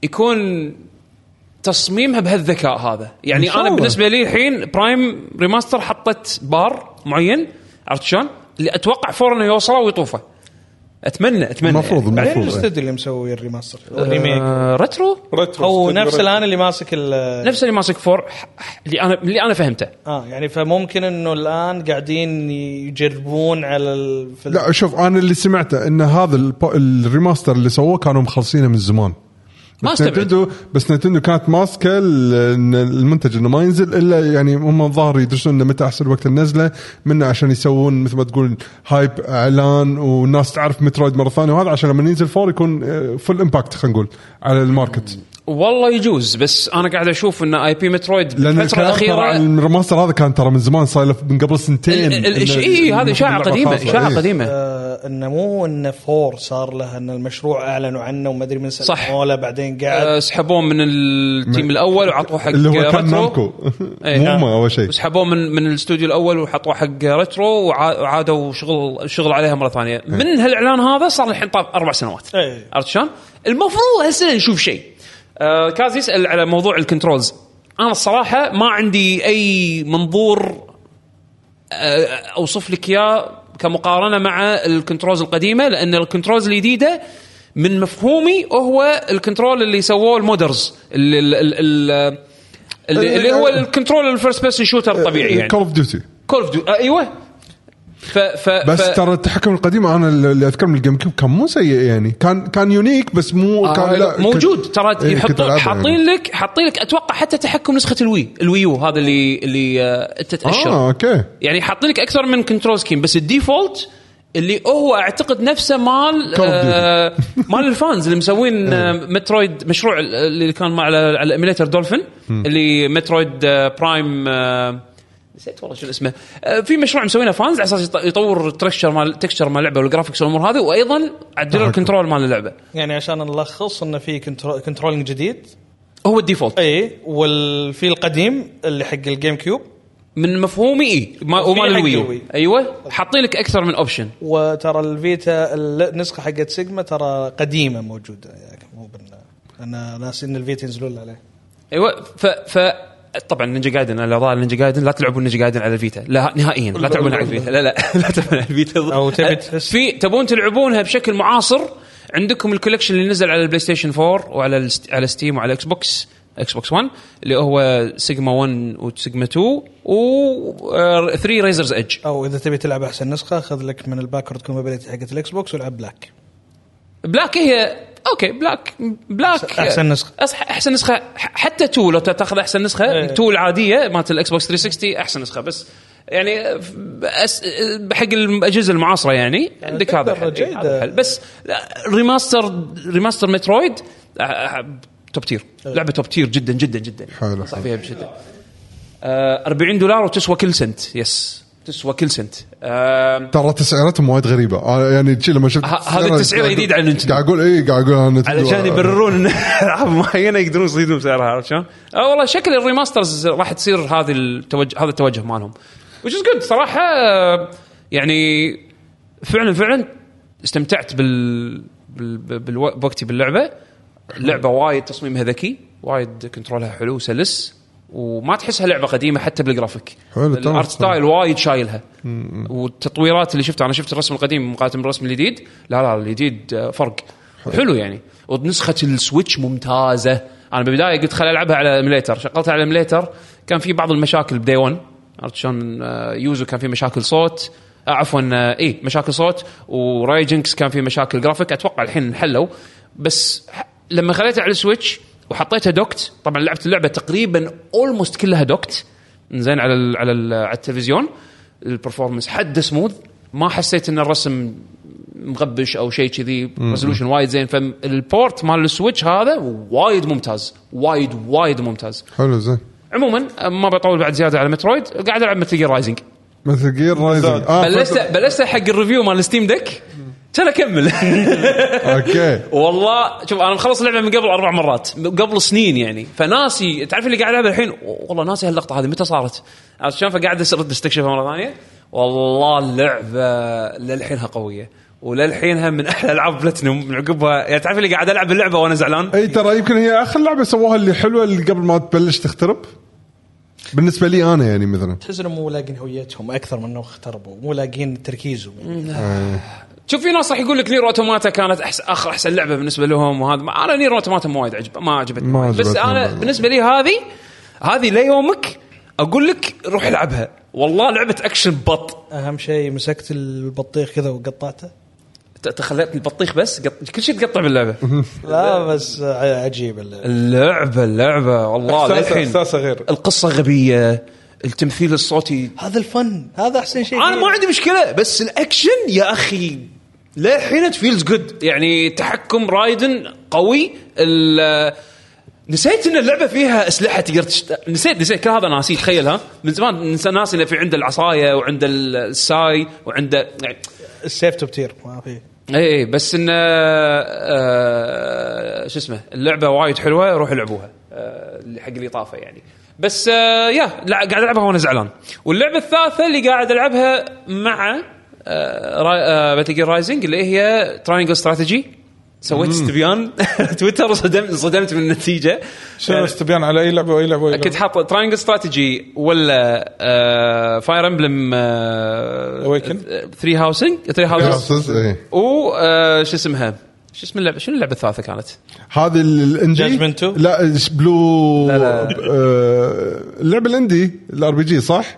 Speaker 6: يكون تصميمها بهالذكاء هذا
Speaker 4: إن
Speaker 6: يعني
Speaker 4: شاء
Speaker 6: انا
Speaker 4: الله.
Speaker 6: بالنسبه لي الحين برايم ريماستر حطت بار معين عرفت شلون؟ اللي اتوقع 4 انه يوصله ويطوفه اتمنى اتمنى
Speaker 4: المفروض
Speaker 6: يعني.
Speaker 2: بعدين
Speaker 4: المفروض إيه.
Speaker 2: الاستوديو اللي مسوي الريماستر أو الريميك
Speaker 6: آه ريترو
Speaker 3: ريترو
Speaker 2: هو
Speaker 3: استوديو
Speaker 2: نفس
Speaker 3: ريترو.
Speaker 2: الان اللي ماسك ال-
Speaker 6: نفس اللي ماسك 4 اللي انا اللي انا فهمته
Speaker 2: اه يعني فممكن انه الان قاعدين يجربون على ال... في ال-
Speaker 4: لا شوف انا اللي سمعته ان هذا الب- الريماستر اللي سووه كانوا مخلصينه من زمان
Speaker 6: ما
Speaker 4: بس
Speaker 6: استبعد.
Speaker 4: نتندو بس نتندو كانت ماسكه ال- إن المنتج انه ما ينزل الا يعني هم الظاهر يدرسون انه متى احسن وقت النزله منه عشان يسوون مثل ما تقول هايب اعلان والناس تعرف مترويد مره ثانيه وهذا عشان لما ينزل فور يكون فول امباكت خلينا نقول على الماركت
Speaker 6: والله يجوز بس انا قاعد اشوف ان اي بي مترويد
Speaker 4: لان
Speaker 6: الفتره
Speaker 4: الكلام ترى
Speaker 6: الاخيره
Speaker 4: عن الريماستر هذا كان ترى من زمان صاير له من قبل سنتين
Speaker 6: ال- ال- إش- اي هذه اشاعه قديمه
Speaker 4: إيه.
Speaker 6: اشاعه قديمه
Speaker 2: آه انه مو انه فور صار له ان المشروع اعلنوا عنه وما ادري من سنه
Speaker 6: صح.
Speaker 2: مولا بعدين
Speaker 6: آه،
Speaker 2: قاعد
Speaker 6: سحبوه من التيم الاول وعطوه حق
Speaker 4: اللي هو كان
Speaker 6: ريترو.
Speaker 4: نامكو
Speaker 6: إيه.
Speaker 4: مو هم اول شيء
Speaker 6: وسحبوه من من الاستوديو الاول وحطوه حق ريترو وعا- وعادوا شغل شغل عليها مره ثانيه من هالاعلان هذا صار الحين طاب اربع سنوات
Speaker 2: إيه.
Speaker 6: عرفت شلون؟ المفروض هالسنه نشوف شيء. آه كاز يسال على موضوع الكنترولز. انا الصراحه ما عندي اي منظور آه اوصف لك اياه كمقارنه مع الكنترولز القديمه لان الكنترولز الجديده من مفهومي هو الكنترول اللي سووه المودرز اللي, اللي, اللي, اللي هو الكنترول الفيرست بيرسون شوتر الطبيعي يعني
Speaker 4: كول اوف ديوتي
Speaker 6: كول اوف ديوتي ايوه ف ف
Speaker 4: بس
Speaker 6: ف-
Speaker 4: ترى التحكم القديم انا اللي اذكر من الجيم كيوب كان مو سيء يعني كان كان يونيك بس مو
Speaker 6: آه،
Speaker 4: كان لا
Speaker 6: موجود
Speaker 4: كنت-
Speaker 6: ترى
Speaker 4: إيه، كنت
Speaker 6: يحطون
Speaker 4: ألعبها
Speaker 6: حاطين
Speaker 4: يعني.
Speaker 6: لك حاطين لك اتوقع حتى تحكم نسخه الوي الويو هذا اللي اللي آه، انت تاشر
Speaker 4: اه اوكي
Speaker 6: يعني حاطين لك اكثر من كنترول سكيم بس الديفولت اللي هو اعتقد نفسه مال
Speaker 4: Call of Duty. إيه.
Speaker 6: آه مال الفانز اللي مسوين آه مترويد مشروع اللي كان مع على على الاميليتر دولفين اللي مترويد آه برايم آه نسيت والله شو اسمه آه في مشروع مسوينه فانز على اساس يط- يطور التكشر مال تكشر مال اللعبه والجرافكس والامور هذه وايضا عدلوا الكنترول مال اللعبه
Speaker 2: يعني عشان نلخص انه في كنترول كنترولنج جديد
Speaker 6: هو الديفولت
Speaker 2: اي والفي القديم اللي حق الجيم كيوب
Speaker 6: من مفهومي اي ما- ومال
Speaker 2: حق
Speaker 6: الويو
Speaker 2: الوي.
Speaker 6: ايوه حاطين لك اكثر من اوبشن
Speaker 2: وترى الفيتا النسخه حقت سيجما ترى قديمه موجوده يعني مو بال انا ناسي ان الفيتا ينزلون عليه
Speaker 6: ايوه ف ف طبعا نينجا جايدن انا ضاع نينجا جايدن لا تلعبون نينجا جايدن على الفيتا لا نهائيا لا تلعبون على الفيتا لا لا لا تلعبون على الفيتا أه،
Speaker 2: أو تبي تحس-
Speaker 6: في تبون تلعبونها بشكل معاصر عندكم الكوليكشن اللي نزل على البلاي ستيشن 4 وعلى الست- على ستيم وعلى اكس بوكس اكس بوكس 1 اللي هو سيجما 1 وسيجما 2 و آه، 3 ريزرز ايدج
Speaker 2: او اذا تبي تلعب احسن نسخه خذ لك من الباكورد كومبابيلتي حقت الاكس بوكس والعب بلاك
Speaker 6: بلاك هي اوكي بلاك بلاك
Speaker 2: أحسن نسخة.
Speaker 6: أصح- احسن نسخه ح- حتى تو لو تاخذ احسن نسخه
Speaker 2: إيه.
Speaker 6: تو العاديه مالت الاكس بوكس 360 احسن نسخه بس يعني ف- أس... حق الاجهزه المعاصره يعني عندك
Speaker 2: تقدر
Speaker 6: هذا الحل إيه،
Speaker 2: جيدة.
Speaker 6: هذا الحل بس لا، ريماستر ريماستر مترويد أ- أ- توب تير
Speaker 2: إيه.
Speaker 6: لعبه توب تير جدا جدا جدا
Speaker 4: حلو،
Speaker 6: انصح
Speaker 4: حلو.
Speaker 6: فيها بشده آه، 40 دولار وتسوى كل سنت يس تسوى كل سنت آه،
Speaker 4: ترى تسعيرتهم وايد غريبه أنا يعني شي لما شفت
Speaker 6: ه- هذه
Speaker 4: تسعيرة-
Speaker 6: التسعيرة
Speaker 4: قاعد-
Speaker 6: جديدة على نينتندو.
Speaker 4: قاعد اقول اي قاعد اقول أنا نينتندو.
Speaker 6: علشان يبررون ان العاب معينه يقدرون يصيدون سعرها عرفت شلون؟ آه والله شكل الريماسترز راح تصير هذه التوجه هذا التوجه مالهم. وش جود صراحه آه، يعني فعلا فعلا استمتعت بال, بال... بال... بوقتي باللعبه. اللعبه وايد تصميمها ذكي، وايد كنترولها حلو وسلس وما تحسها لعبه قديمه حتى بالجرافيك.
Speaker 4: حلو، تمام.
Speaker 6: الارت ستايل وايد شايلها والتطويرات اللي شفتها انا شفت الرسم القديم مقارنه بالرسم الجديد لا لا الجديد آه، فرق حلو يعني ونسخه السويتش ممتازه انا بالبدايه قلت خل العبها على ايميليتر شغلتها على ايميليتر كان في بعض المشاكل بدي 1 عرفت شلون من آه، يوزو كان في مشاكل صوت آه، عفوا آه، اي مشاكل صوت وراي جنكس كان في مشاكل جرافيك اتوقع الحين انحلوا بس ح- لما خليتها على السويتش وحطيتها دوكت طبعا لعبت اللعبه تقريبا اولموست كلها دوكت زين على ال على, ال على التلفزيون البرفورمنس حد سموث ما حسيت ان الرسم مغبش او شيء كذي ريزولوشن وايد زين فالبورت مال السويتش هذا وايد ممتاز وايد وايد ممتاز
Speaker 4: حلو زين
Speaker 6: عموما ما بطول بعد زياده على مترويد قاعد العب متل جير رايزنج
Speaker 4: مثل جير رايزنج آه
Speaker 6: بلشت
Speaker 4: فكر-
Speaker 6: بلشت حق الريفيو مال ستيم دك كان اكمل
Speaker 4: اوكي
Speaker 6: والله شوف انا مخلص اللعبه من قبل اربع مرات من قبل سنين يعني فناسي تعرف اللي قاعد العبها الحين والله ناسي هاللقطه هذه متى صارت عرفت شلون فقاعد أس- ارد استكشفها مره ثانيه والله اللعبه للحينها قويه وللحينها من احلى العاب بلاتنوم من عقبها يعني تعرف اللي قاعد العب اللعبه وانا زعلان
Speaker 4: اي إيه، ترى يمكن هي اخر لعبه سووها اللي حلوه اللي قبل ما تبلش تخترب بالنسبه لي انا يعني مثلا
Speaker 2: تحس انهم مو لاقين هويتهم اكثر من انهم اختربوا مو لاقين تركيزهم يعني.
Speaker 6: شوف في ناس راح يقول لك نير اوتوماتا كانت احسن اخر احسن لعبه بالنسبه لهم وهذا ما انا نير اوتوماتا ما وايد عجب ما عجبتني
Speaker 4: ما
Speaker 6: وايد. بس
Speaker 4: عجبتني
Speaker 6: انا
Speaker 4: والله.
Speaker 6: بالنسبه لي هذه هذه ليومك اقول لك روح العبها والله لعبه اكشن بط
Speaker 2: اهم شيء مسكت البطيخ كذا وقطعته
Speaker 6: ت- تخليت البطيخ بس قط... كل شيء تقطع باللعبه
Speaker 2: لا بس ع- عجيب اللعبة.
Speaker 6: اللعبه اللعبه والله
Speaker 3: احساسه
Speaker 6: للحين
Speaker 3: احساسه غير
Speaker 6: القصه غبيه التمثيل الصوتي
Speaker 2: هذا الفن هذا احسن شيء
Speaker 6: انا
Speaker 2: فيه.
Speaker 6: ما عندي مشكله بس الاكشن يا اخي للحين فيلز جود يعني تحكم رايدن قوي ال- نسيت ان اللعبه فيها اسلحه تقدر تشت... نسيت نسيت كل هذا ناسي تخيل ها من زمان نس- ناسي انه في عنده العصايه وعنده الساي وعنده يعني
Speaker 2: السيف تبتير ما في
Speaker 6: اي إي، إيه، بس ان آه، شو اسمه اللعبه وايد حلوه روحوا العبوها آه، اللي حق اللي طافه يعني بس آه، يا لا قاعد العبها وانا زعلان واللعبه الثالثه اللي قاعد العبها مع آه، باتل جير رايزنج اللي هي تراينجل استراتيجي سويت استبيان تويتر وصدمت صدمت من النتيجه إيه.
Speaker 3: شنو استبيان على اي لعبه واي لعبه واي
Speaker 6: كنت
Speaker 3: لعبه
Speaker 6: حاط تراينجل استراتيجي ولا آه, فاير امبلم آه,
Speaker 3: Awaken.
Speaker 6: 3 هاوسنج 3 هاوسز
Speaker 4: Houses، إيه.
Speaker 6: و آه، شو اسمها؟ شو اسم اللعبه؟ شنو اللعبه الثالثه كانت؟
Speaker 4: هذه ال- الاندي
Speaker 2: Judgment two؟
Speaker 4: لا إيش بلو
Speaker 6: لا، لا.
Speaker 4: آه، اللعبه الاندي الار بي جي صح؟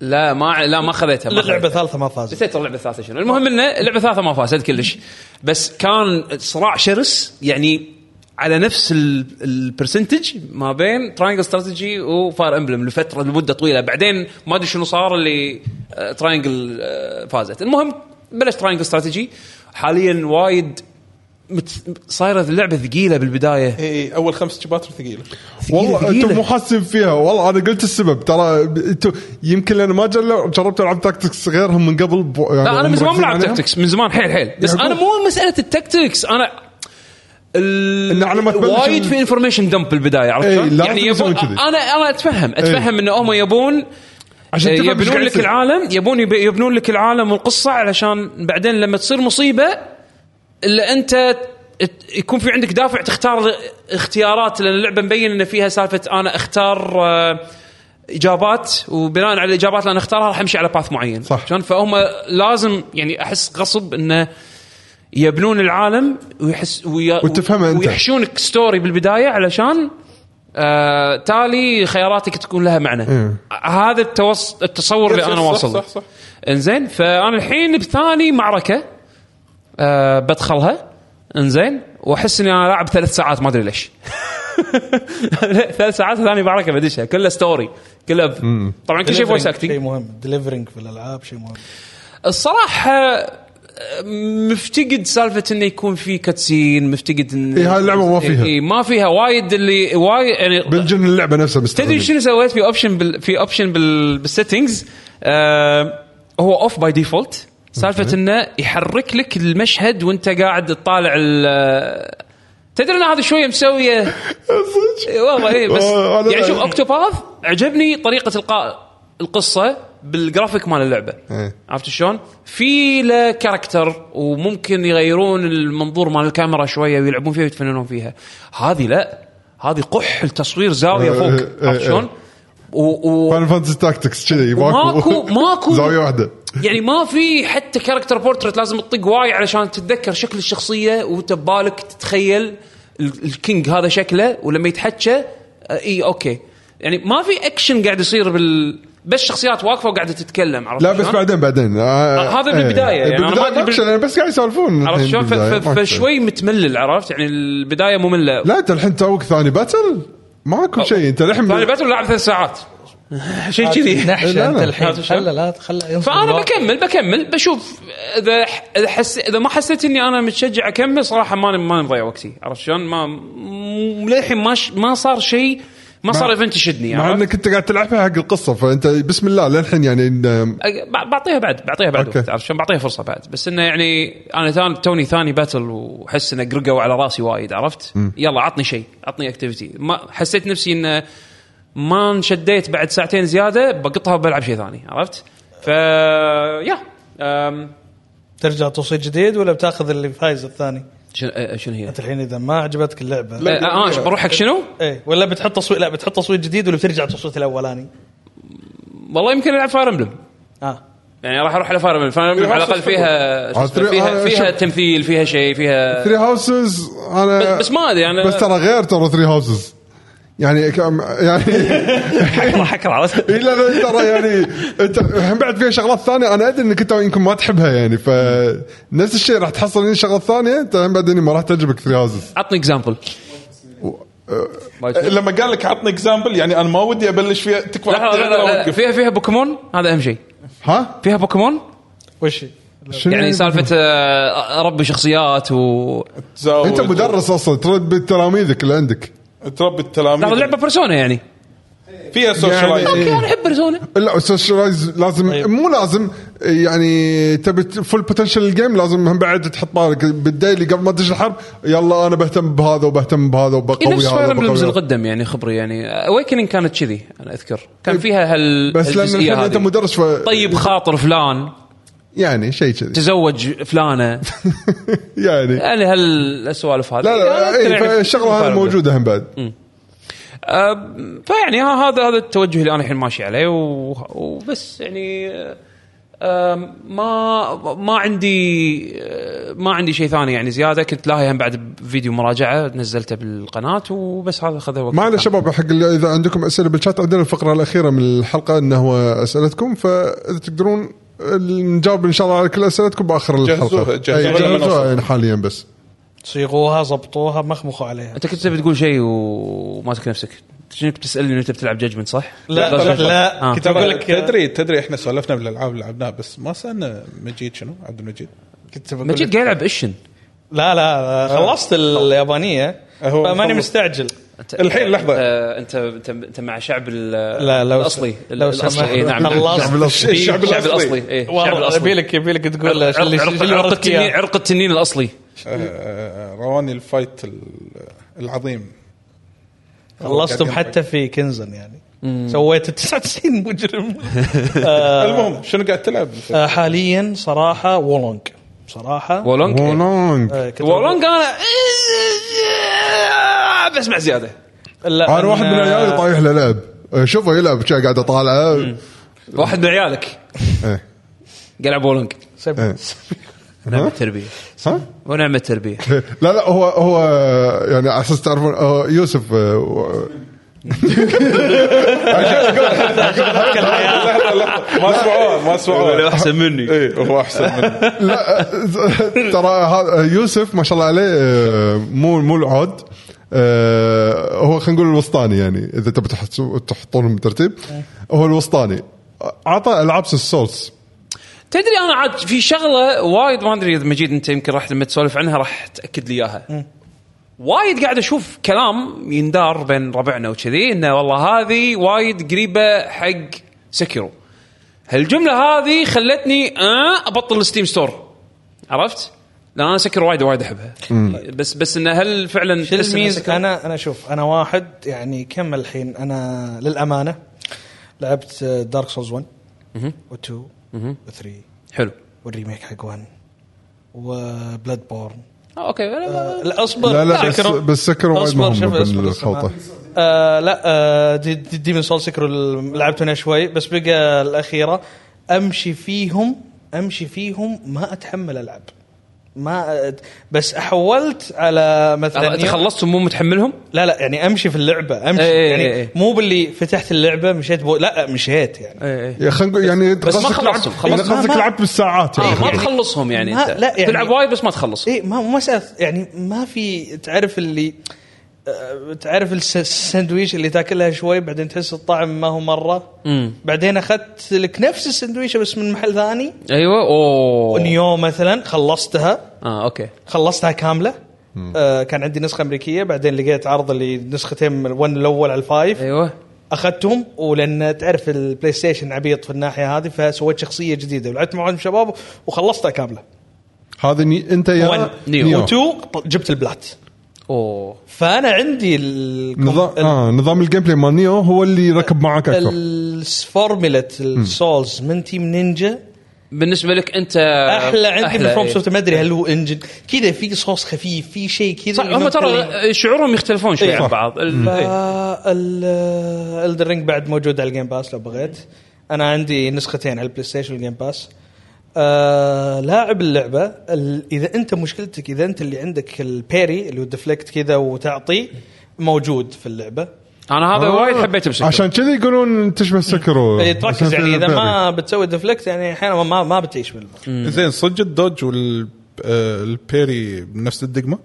Speaker 6: لا ما لا ما خذيتها ما
Speaker 2: اللعبه
Speaker 6: خذيتها.
Speaker 2: الثالثه ما فازت
Speaker 6: نسيت اللعبه الثالثه شنو المهم انه اللعبه الثالثه ما فازت كلش بس كان صراع شرس يعني على نفس ال- البرسنتج ما بين تراينجل استراتيجي وفاير امبلم لفتره لمده طويله بعدين ما ادري شنو صار اللي تراينجل فازت المهم بلش تراينجل استراتيجي حاليا وايد مت... صايره اللعبه ثقيله بالبدايه
Speaker 3: اي اول إيه، خمس شباتر ثقيله
Speaker 4: والله
Speaker 6: ثقيلة.
Speaker 4: انتم مو حاسين فيها والله انا قلت السبب ترى انتم يمكن انا ما جل- جربت العب تاكتكس غيرهم من قبل بو- يعني
Speaker 6: لا انا
Speaker 4: هم
Speaker 6: من زمان
Speaker 4: مركزين
Speaker 6: بلعب
Speaker 4: عليها.
Speaker 6: تكتكس من زمان حيل حيل بس
Speaker 4: يعقوب.
Speaker 6: انا مو مساله التكتكس انا ال...
Speaker 4: إنه على ما تبلش
Speaker 6: وايد
Speaker 4: ال-
Speaker 6: في انفورميشن دمب بالبدايه عرفت
Speaker 4: إي،
Speaker 6: شلون؟
Speaker 4: لا
Speaker 6: يعني
Speaker 4: لازم إيه.
Speaker 6: يبون...
Speaker 4: يسوي كذي.
Speaker 6: انا انا اتفهم اتفهم ان هم يبون
Speaker 4: عشان تفهم إيش
Speaker 6: يبنون
Speaker 4: قاعد
Speaker 6: إيه، لك
Speaker 4: يصير.
Speaker 6: العالم يبون يب- يبنون لك العالم والقصه علشان بعدين لما تصير مصيبه الا انت ت- يكون في عندك دافع تختار اختيارات لان اللعبه مبين ان فيها سالفه انا اختار آه، اجابات وبناء على الاجابات اللي انا اختارها راح امشي على باث معين
Speaker 4: صح.
Speaker 6: شلون فهم لازم يعني احس غصب انه يبنون العالم ويحس ويا
Speaker 4: وتفهمه أنت.
Speaker 6: ويحشونك ستوري بالبدايه علشان آه تالي خياراتك تكون لها معنى
Speaker 4: إيه.
Speaker 6: هذا التوص... التصور اللي انا
Speaker 3: صح-
Speaker 6: واصل له.
Speaker 3: صح صح
Speaker 6: انزين فانا الحين بثاني معركه آه بدخلها انزين واحس اني انا لاعب ثلاث ساعات ما ادري ليش ثلاث ساعات ثاني معركه بدشها كلها ستوري كلها ب... طبعا كل شيء فويس اكتنج
Speaker 2: شيء مهم دليفرنج في الالعاب شيء مهم
Speaker 6: الصراحه آه، مفتقد سالفه انه يكون في كاتسين مفتقد ان
Speaker 4: إي، إيه، هاي اللعبة ما فيها.
Speaker 6: إي، إي، ما فيها وايد اللي وايد يعني
Speaker 4: بالجن اللعبه نفسها
Speaker 6: تدري
Speaker 4: مستحيل
Speaker 6: شنو سويت في اوبشن بال... في اوبشن بال... بالسيتنجز آه... هو اوف باي ديفولت سالفه انه يحرك لك المشهد وانت قاعد تطالع ال تدري ان هذا شويه مسويه إي إيه، والله اي بس
Speaker 4: آه، أنا-
Speaker 6: يعني شوف اوكتوباث عجبني طريقه القاء القصه بالجرافيك مال اللعبه
Speaker 4: إيه.
Speaker 6: عرفت شلون؟ في له كاركتر وممكن يغيرون المنظور مال الكاميرا شويه ويلعبون فيها ويتفننون فيها. هذه لا هذه قح التصوير زاويه
Speaker 4: إيه،
Speaker 6: فوق
Speaker 4: إيه،
Speaker 6: عرفت
Speaker 4: إيه.
Speaker 6: شلون؟ و... و...
Speaker 4: فاينل فانتسي تاكتكس كذي
Speaker 6: ماكو ماكو
Speaker 4: زاويه واحده
Speaker 6: يعني ما في حتى كاركتر بورتريت لازم تطق واي علشان تتذكر شكل الشخصيه وانت ببالك تتخيل ال- الكينج هذا شكله ولما يتحكى آه، اي اوكي يعني ما في اكشن قاعد يصير بال بس شخصيات واقفه وقاعده تتكلم عرفت
Speaker 4: لا بس
Speaker 6: شلون؟
Speaker 4: بعدين بعدين آه،
Speaker 6: هذا
Speaker 4: إيه.
Speaker 6: بالبداية، يعني أنا
Speaker 4: بالبداية
Speaker 6: ما أدري
Speaker 4: ما
Speaker 6: بال-
Speaker 4: أكشن، يعني بس قاعد يسولفون
Speaker 6: عرفت شلون؟ ف-
Speaker 4: بالبداية، ما
Speaker 6: ف-
Speaker 4: أكشن.
Speaker 6: فشوي متملل عرفت يعني البدايه ممله
Speaker 4: لا انت الحين توك ثاني باتل ماكو شيء انت الحين
Speaker 6: ثاني باتل لعب ثلاث ساعات نعم. شيء كذي
Speaker 2: نحشة
Speaker 4: لا،
Speaker 2: انت
Speaker 4: لا.
Speaker 2: الحين
Speaker 6: عرفت شلون؟
Speaker 2: خله لا خله
Speaker 6: فانا بكمل بكمل بشوف اذا ح- اذا حس اذا ما حسيت اني انا متشجع اكمل صراحه ماني ما مضيع وقتي عرفت شلون؟ ما م- للحين ما ش... ما صار شيء ما صار ايفنت يشدني
Speaker 4: مع
Speaker 6: عرفت؟
Speaker 4: انك انت قاعد تلعبها حق القصه فانت بسم الله للحين يعني إن-
Speaker 6: أ- ب- بعطيها بعد بعطيها بعد
Speaker 4: أوكي.
Speaker 6: وقت عرفت شلون؟ بعطيها فرصه بعد بس انه يعني انا ثان- توني ثاني باتل واحس انه قرقوا على راسي وايد عرفت؟ يلا عطني شيء عطني اكتيفيتي ما حسيت نفسي انه ما انشديت بعد ساعتين زياده بقطها وبلعب شيء ثاني عرفت؟ ف يا أم،
Speaker 2: ترجع توصيل جديد ولا بتاخذ اللي فايز الثاني؟
Speaker 6: شنو أه، شنو هي؟
Speaker 2: انت الحين اذا ما عجبتك اللعبه
Speaker 6: آه، آه، ش- بروح حق شنو؟
Speaker 2: ايه ولا بتحط تصويت لا بتحط تصويت جديد ولا بترجع تصويت الاولاني؟
Speaker 6: والله يمكن العب فاير امبلم
Speaker 2: اه يعني
Speaker 6: يعني راح اروح على فاير امبلم فاير امبلم على الاقل فيها شو اسمه،
Speaker 4: عاد
Speaker 6: فيها
Speaker 4: تري-
Speaker 6: فيها
Speaker 4: آه، شوف.
Speaker 6: تمثيل فيها شيء فيها
Speaker 4: ثري هاوسز انا
Speaker 6: بس- بس ما أدري، يعني أنا-
Speaker 4: بس ترى غير ترى ثري هاوسز يعني كم يعني
Speaker 6: حكره حكره عرفت؟
Speaker 4: إيه لا لا ترى يعني انت الحين بعد فيها شغلات ثانيه انا ادري انك انت يمكن ما تحبها يعني فنفس الشيء راح تحصل من شغلات ثانيه انت الحين بعدين ما راح تعجبك ثري هاوسز
Speaker 6: عطني اكزامبل
Speaker 4: آه،
Speaker 3: إيه، لما قال لك عطني اكزامبل يعني انا ما ودي ابلش فيها تكفى
Speaker 6: لحظه لا لا
Speaker 4: آه،
Speaker 6: لا فيها فيها بوكيمون هذا اهم شيء
Speaker 4: ها؟
Speaker 6: فيها بوكيمون
Speaker 2: وش
Speaker 4: شنو
Speaker 6: يعني سالفه آه، ربي شخصيات و
Speaker 4: انت مدرس اصلا ترد تلاميذك اللي عندك
Speaker 3: تربي التلاميذ
Speaker 6: لحظه لعبه بيرسونا يعني
Speaker 3: فيها
Speaker 4: يعني
Speaker 3: سوشيال
Speaker 4: إيه.
Speaker 6: اوكي انا احب بيرسونا
Speaker 4: لا سوشيالايز لازم
Speaker 2: طيب.
Speaker 4: مو لازم يعني تبي فول بوتنشل الجيم لازم هم بعد تحط بالك بالديلي قبل ما تدش الحرب يلا انا بهتم بهذا وبهتم بهذا
Speaker 6: إيه،
Speaker 4: وبقوي
Speaker 6: نفس فاير
Speaker 4: هذا
Speaker 6: امبلمز
Speaker 4: وبقوي هذا.
Speaker 6: القدم يعني خبري يعني اويكننج كانت كذي انا اذكر كان فيها هال
Speaker 4: إيه. بس لان
Speaker 6: هالجزئية
Speaker 4: الحين
Speaker 6: هذه.
Speaker 4: انت مدرس ف...
Speaker 6: طيب خاطر فلان
Speaker 4: يعني شيء كذي
Speaker 6: تزوج فلانه
Speaker 4: يعني
Speaker 6: يعني هالسوالف هذه
Speaker 4: لا إيه، لا
Speaker 6: يعني
Speaker 4: اي
Speaker 6: أذكر يعني
Speaker 4: فالشغله هذه
Speaker 6: فاير أمبلم.
Speaker 4: موجوده هم بعد
Speaker 6: أم، أه، فيعني ها- هذا هذا التوجه اللي انا الحين ماشي عليه و- وبس يعني أم، ما ما عندي أه، ما عندي شيء ثاني يعني زياده كنت لاهي هم بعد فيديو مراجعه نزلته بالقناه وبس هذا خذ وقت
Speaker 4: معنا شباب حق اللي اذا عندكم اسئله بالشات عندنا الفقره الاخيره من الحلقه انه هو اسئلتكم فاذا تقدرون نجاوب ان شاء الله على كل اسئلتكم باخر الحلقه
Speaker 3: جهزوها-
Speaker 4: أي،
Speaker 3: جهزوها لما
Speaker 4: جهزوها
Speaker 3: نوصل.
Speaker 4: يعني حاليا بس
Speaker 2: صيغوها ضبطوها مخمخوا عليها
Speaker 6: انت كنت تبي تقول شيء وماسك نفسك شنك بتسالني إن انت بتلعب ججمنت صح؟
Speaker 2: لا لا, لا.
Speaker 6: آه.
Speaker 2: كنت بقول لك
Speaker 3: تدري تدري احنا سولفنا بالالعاب اللي لعبناها بس ما سالنا مجيد شنو عبد المجيد
Speaker 2: كنت بقول
Speaker 6: مجيد
Speaker 2: لك-
Speaker 6: قاعد يلعب اشن
Speaker 2: لا لا خلصت اليابانيه
Speaker 3: هو
Speaker 2: فماني
Speaker 3: مخلص.
Speaker 2: مستعجل
Speaker 3: الحين لحظة.
Speaker 6: آه، انت انت انت مع شعب ال-
Speaker 2: لا لو
Speaker 6: الاصلي
Speaker 2: لو
Speaker 6: الاصلي
Speaker 2: سمحت
Speaker 6: إيه، نعم
Speaker 2: خلصت
Speaker 4: يعني
Speaker 3: الأصلي. الشعب
Speaker 6: الشعب
Speaker 3: الأصلي.
Speaker 6: الاصلي إيه، الشعب
Speaker 2: والله،
Speaker 6: الاصلي
Speaker 2: يبيلك يبيلك تقول
Speaker 6: عرق- عرق- عرق التنين عرق التنين الاصلي
Speaker 3: آه، آه، رواني الفايت ال- العظيم
Speaker 2: خلصتهم حتى في كنزن يعني سويت ال 99 مجرم آه،
Speaker 3: المهم شنو قاعد تلعب؟
Speaker 2: آه، حاليا صراحه وولونج صراحه
Speaker 6: وولونج إيه.
Speaker 4: ولونج
Speaker 2: آه، كنت
Speaker 6: وولونج إيه، انا بسمع زياده
Speaker 2: لا
Speaker 4: انا واحد من عيالي طايح له لعب شوفه يلعب شا قاعد اطالعه
Speaker 6: واحد من عيالك
Speaker 4: إيه.
Speaker 6: قاعد يلعب وولونج
Speaker 2: طايح
Speaker 4: إيه.
Speaker 6: نعمه تربيه
Speaker 4: ها؟
Speaker 6: ونعمه تربيه
Speaker 4: لا لا هو هو يعني على اساس تعرفون هو يوسف آه، و-
Speaker 3: لحظة لحظة ما سمعوه ما سمعوه
Speaker 6: احسن مني
Speaker 3: اي هو احسن مني
Speaker 4: لا آه، ترى هذا- يوسف ما شاء الله عليه آه، مو مو العود آه، هو خلينا نقول الوسطاني يعني اذا تبي تحسو- تحطونهم بالترتيب هو الوسطاني عطى العاب السولز
Speaker 6: تدري انا عاد في شغله وايد ما ادري اذا مجيد انت يمكن راح لما تسولف عنها راح تاكد لي اياها وايد قاعد اشوف كلام يندار بين ربعنا وكذي انه والله هذه وايد قريبه حق سكيرو هالجمله هذه خلتني آه ابطل الستيم ستور عرفت؟ لان انا سكر وايد وايد احبها بس بس انه هل فعلا
Speaker 2: شو
Speaker 6: تحس إن
Speaker 2: الميز
Speaker 6: سكر-
Speaker 2: انا انا شوف انا واحد يعني كم الحين انا للامانه لعبت آه، دارك سولز 1 و2 و3
Speaker 6: حلو
Speaker 2: والريميك حق 1 وبلاد بورن
Speaker 6: آه اوكي لا، لا، لا.
Speaker 2: لا اصبر
Speaker 4: لا، لا، بس-
Speaker 2: سكرو.
Speaker 4: بس سكرو وايد
Speaker 2: اصبر
Speaker 4: مهم
Speaker 2: شوف اصبر
Speaker 4: بالخلطة.
Speaker 2: بس أنا- آه لا آه دي دي ديمن سول سكرو لعبت منها شوي بس بقى الاخيره امشي فيهم امشي فيهم ما اتحمل العب ما بس حولت على مثلا
Speaker 6: انت
Speaker 2: يوم-
Speaker 6: خلصتهم مو متحملهم؟
Speaker 2: لا لا يعني امشي في اللعبه امشي
Speaker 6: إيه،
Speaker 2: يعني
Speaker 6: إيه، إيه.
Speaker 2: مو باللي فتحت اللعبه مشيت بو... لا مشيت يعني
Speaker 6: اي اي
Speaker 4: يا خلينا نقول يعني
Speaker 6: بس ما خلصتهم،
Speaker 4: يعني
Speaker 6: خلصت.
Speaker 4: قصدك
Speaker 2: ما- ما-
Speaker 4: لعبت بالساعات يعني.
Speaker 6: ما تخلصهم يعني
Speaker 2: ما-
Speaker 6: انت
Speaker 2: لا، يعني-
Speaker 6: تلعب وايد بس ما تخلص
Speaker 2: اي إيه، ما مو مساله يعني ما في تعرف اللي آه، تعرف الس- السندويش اللي تاكلها شوي بعدين تحس الطعم ما هو مره
Speaker 6: مم.
Speaker 2: بعدين اخذت لك نفس السندويشه بس من محل ثاني
Speaker 6: ايوه اوه
Speaker 2: نيو مثلا خلصتها
Speaker 6: اه اوكي
Speaker 2: خلصتها كامله آه كان عندي نسخه امريكيه بعدين لقيت عرض اللي نسختين من الون الاول على الفايف
Speaker 6: ايوه
Speaker 2: اخذتهم ولان تعرف البلاي ستيشن عبيط في الناحيه هذه فسويت شخصيه جديده ولعبت مع واحد من الشباب وخلصتها كامله
Speaker 4: هذا ني... انت يا
Speaker 2: 1
Speaker 6: نيو.
Speaker 4: نيو.
Speaker 2: و2 جبت البلات
Speaker 6: اوه
Speaker 2: فانا عندي ال-
Speaker 4: نظام
Speaker 2: ال-
Speaker 4: اه نظام الجيم بلاي مال نيو هو اللي ركب معك اكثر
Speaker 2: ال- فورمولا السولز من تيم نينجا
Speaker 6: بالنسبه لك انت
Speaker 2: احلى عندي من فروم
Speaker 6: إيه.
Speaker 2: سوفت ما ادري هل هو انجن كذا في صوص خفيف في شيء كذا
Speaker 6: صح هم ترى شعورهم يختلفون شوي
Speaker 2: إيه.
Speaker 6: عن بعض ال- إيه.
Speaker 2: الرينج بعد موجود على الجيم باس لو بغيت انا عندي نسختين على البلاي ستيشن والجيم باس آه لاعب اللعبه ال- اذا انت مشكلتك اذا انت اللي عندك البيري اللي هو الدفلكت كذا وتعطي موجود في اللعبه
Speaker 6: انا هذا
Speaker 4: آه.
Speaker 6: وايد حبيته بشكل
Speaker 4: عشان كذي يقولون تشبه سكرو
Speaker 2: إيه، تركز يعني اذا ما بتسوي ديفلكت يعني احيانا ما ما بتعيش بالموضوع
Speaker 3: زين صدق الدوج آه، والبيري نفس الدقمه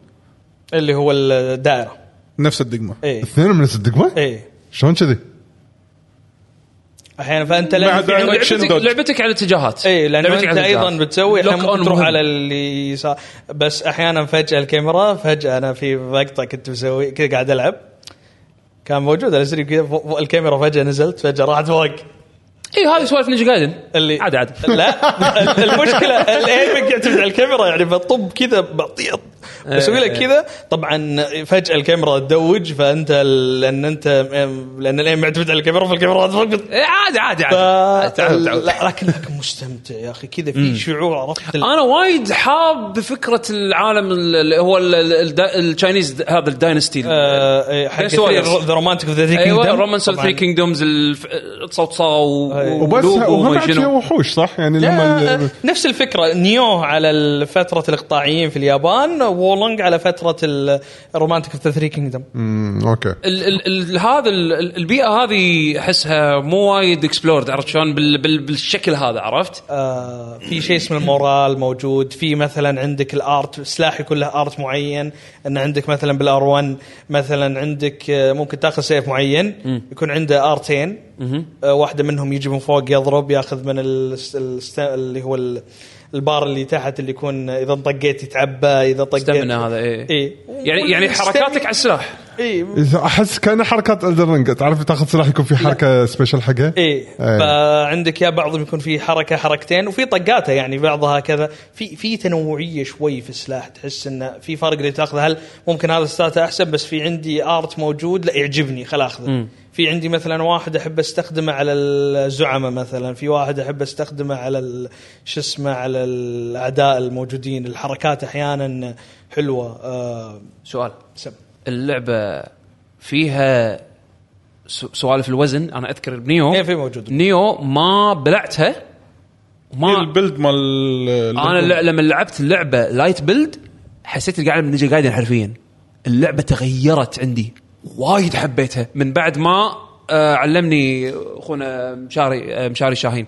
Speaker 2: اللي هو إيه. الدائره
Speaker 3: نفس الدقمه
Speaker 2: اي
Speaker 4: اثنين من نفس الدقمه
Speaker 2: اي
Speaker 4: شلون كذي؟
Speaker 2: احيانا فانت لأن
Speaker 3: مع
Speaker 2: في
Speaker 3: دائرة
Speaker 2: عندك- إيه،
Speaker 3: Action
Speaker 6: لعبتك,
Speaker 3: dodge.
Speaker 6: لعبتك على اتجاهات
Speaker 2: اي لان
Speaker 6: لعبتك
Speaker 2: انت
Speaker 6: على
Speaker 2: ايضا
Speaker 6: اتجاهات.
Speaker 2: بتسوي
Speaker 6: Lock
Speaker 2: احيانا
Speaker 6: on
Speaker 2: ممكن تروح
Speaker 6: مهم.
Speaker 2: على اللي يسار بس احيانا فجاه الكاميرا فجاه انا في مقطع كنت مسوي كذا قاعد العب كان موجود على الستريم كذا فوق- فوق الكاميرا فجاه نزلت فجاه راحت فوق
Speaker 6: اي إيه، هذه سوالف نينجا جايدن
Speaker 2: اللي
Speaker 6: عادي عادي
Speaker 2: لا المشكله الايمنج يعتمد على الكاميرا يعني بطب كذا بعطيه بسوي
Speaker 6: إيه.
Speaker 2: لك كذا طبعا فجاه الكاميرا تدوج فانت ال- لان انت لان الايم معتمد على الكاميرا فالكاميرا تفقد
Speaker 6: إيه، عادي عادي
Speaker 2: ف...
Speaker 6: عادي تعود تعود
Speaker 2: لا، لكن لكن مستمتع يا اخي كذا في شعور عرفت ال-
Speaker 6: انا وايد حاب فكره العالم اللي هو ال- ال- الدا- التشاينيز هذا الداينستي
Speaker 2: آه، إيه، حق
Speaker 6: إيش سوالف؟
Speaker 2: ذا رومانتيك اوف ذا ثري
Speaker 6: ايوه
Speaker 2: كينجدم.
Speaker 6: رومان سول
Speaker 2: طبعاً.
Speaker 6: ثري كينجدومز الصوصاو
Speaker 2: أيوة.
Speaker 4: وبس وهم بعد فيها وحوش صح؟ يعني لما
Speaker 2: لا،
Speaker 4: ال-
Speaker 2: نفس الفكره نيو على فتره الاقطاعيين في اليابان وولونج على فتره الرومانتيك اوف ذا ثري كينجدم
Speaker 4: مم، اوكي
Speaker 6: ال ال ال هذا ال ال- البيئه هذه احسها مو وايد اكسبلورد عرفت شلون بال بال بالشكل هذا عرفت؟
Speaker 2: آه، في شيء اسمه المورال موجود في مثلا عندك الارت سلاح يكون له ارت معين ان عندك مثلا بالار 1 مثلا عندك آه، ممكن تاخذ سيف معين يكون عنده ارتين آه، واحده منهم يجي من فوق يضرب ياخذ من ال- الست- اللي هو ال- البار اللي تحت اللي يكون اذا طقيت يتعبى اذا طقيت إيه.
Speaker 6: استمنا هذا ايه
Speaker 2: اي
Speaker 6: يعني يعني حركاتك على السلاح
Speaker 2: اي
Speaker 4: إذا احس كان حركات الدرنج تعرف تاخذ سلاح يكون في حركه سبيشل حقها
Speaker 2: ايه
Speaker 4: إيه.
Speaker 2: فعندك يا بعضهم يكون في حركه حركتين وفي طقاته يعني بعضها كذا في في تنوعيه شوي في السلاح تحس انه في فرق اللي تاخذه هل ممكن هذا ستاته احسن بس في عندي ارت موجود لا يعجبني خل اخذه في عندي مثلا واحد احب استخدمه على الزعماء مثلا في واحد احب استخدمه على ال- شو اسمه على الاعداء الموجودين الحركات احيانا حلوه آه
Speaker 6: سؤال
Speaker 2: سب
Speaker 6: اللعبه فيها س- سوالف الوزن انا اذكر بنيو
Speaker 2: ايه في موجود
Speaker 6: نيو ما بلعتها ما
Speaker 3: البلد مال ال-
Speaker 6: انا
Speaker 3: ال-
Speaker 6: ل- لما لعبت اللعبه لايت بيلد حسيت اني قاعد العب نينجا جايدن حرفيا اللعبه تغيرت عندي وايد حبيتها من بعد ما آه، علمني اخونا مشاري آه، مشاري شاهين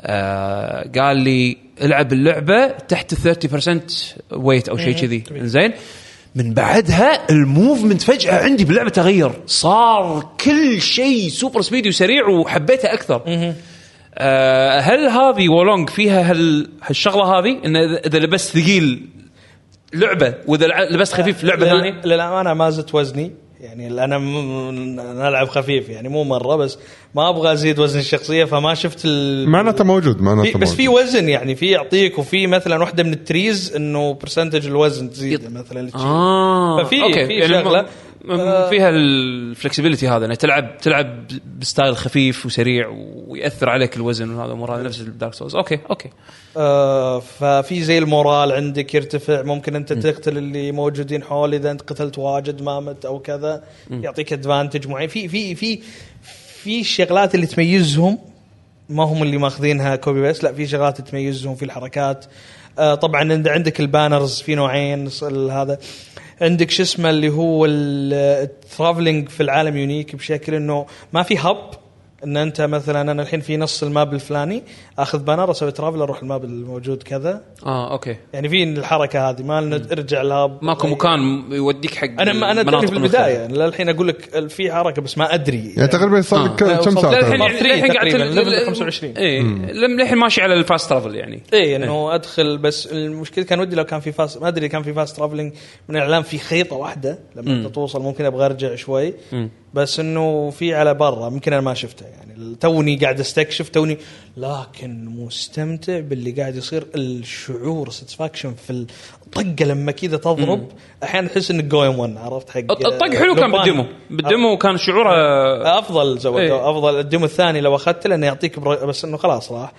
Speaker 6: آه، قال لي العب اللعبه تحت 30% ويت او شيء كذي زين من بعدها الموفمنت فجاه عندي باللعبه تغير صار كل شيء سوبر سبيد وسريع وحبيته اكثر آه، هل هذه وولونج فيها هال هالشغله هذه ان اذا إذا لبست ثقيل لعبه واذا لع- لبست خفيف لعبه
Speaker 2: لل-
Speaker 6: ثانيه؟
Speaker 2: للامانه ما زدت وزني يعني ال- انا م- أنا العب خفيف يعني مو مره بس ما ابغى ازيد وزن الشخصيه فما شفت ال...
Speaker 4: معناته موجود
Speaker 2: في
Speaker 4: معناته
Speaker 2: بس في
Speaker 4: موجود.
Speaker 2: وزن يعني في يعطيك وفي مثلا واحده من التريز انه برسنتج الوزن تزيد مثلا اللي تشيله.
Speaker 6: اه
Speaker 2: ففي-
Speaker 6: اوكي
Speaker 2: في
Speaker 6: يعني
Speaker 2: شغلة.
Speaker 6: م- م- فيها الفلكسبيتي هذا انك تلعب تلعب بستايل خفيف وسريع وياثر عليك الوزن وهذا الامور هذا نفس الدارك سولز اوكي اوكي
Speaker 2: آه ففي زي المورال عندك يرتفع ممكن انت تقتل اللي موجودين حول اذا انت قتلت واجد ما مت او كذا يعطيك ادفانتج معين في في في في الشغلات اللي تميزهم ما هم اللي ماخذينها كوبي بيست لا في شغلات تميزهم في الحركات آه، طبعا عند- عندك البانرز في نوعين ص- ال- هذا عندك شو اسمه اللي هو الترافلنج في العالم يونيك بشكل انه ما في هب ان انت مثلا انا الحين في نص الماب الفلاني اخذ بانر اسوي ترافل اروح الماب الموجود كذا
Speaker 6: اه اوكي
Speaker 2: يعني في الحركه هذه ما إنه ارجع لهب
Speaker 6: ماكو مكان يوديك حق
Speaker 2: انا ما انا تدري
Speaker 6: مناطق
Speaker 2: في
Speaker 6: مختلفة.
Speaker 2: البدايه للحين اقول لك في حركه بس ما ادري
Speaker 4: يعني تقريبا صار لك
Speaker 2: لا،
Speaker 4: كم
Speaker 2: آه، وصلت
Speaker 4: ساعه
Speaker 6: للحين
Speaker 4: تقريباً؟
Speaker 6: يعني للحين قاعد
Speaker 2: تقريباً،
Speaker 6: تل- إيه.
Speaker 2: level 25.
Speaker 6: اي للحين ماشي على الفاست ترافل يعني
Speaker 2: اي انه ادخل إيه، بس المشكله كان ودي لو كان في فاست ما ادري كان في فاست ترافلنج من الاعلام في خيطه واحده لما انت توصل ممكن ابغى ارجع شوي بس انه في على برا ممكن انا ما شفته يعني توني قاعد استكشف توني لكن مستمتع باللي قاعد يصير الشعور ساتسفاكشن في الطقه لما كذا تضرب احيانا تحس انك جوين ون عرفت حق
Speaker 6: الطق حلو
Speaker 2: لوبان.
Speaker 6: كان
Speaker 2: آه.
Speaker 6: بالديمو بالديمو كان شعوره
Speaker 2: افضل زود
Speaker 6: إيه.
Speaker 2: إيه. افضل الديمو الثاني لو اخذته لانه يعطيك بر... بس انه خلاص راح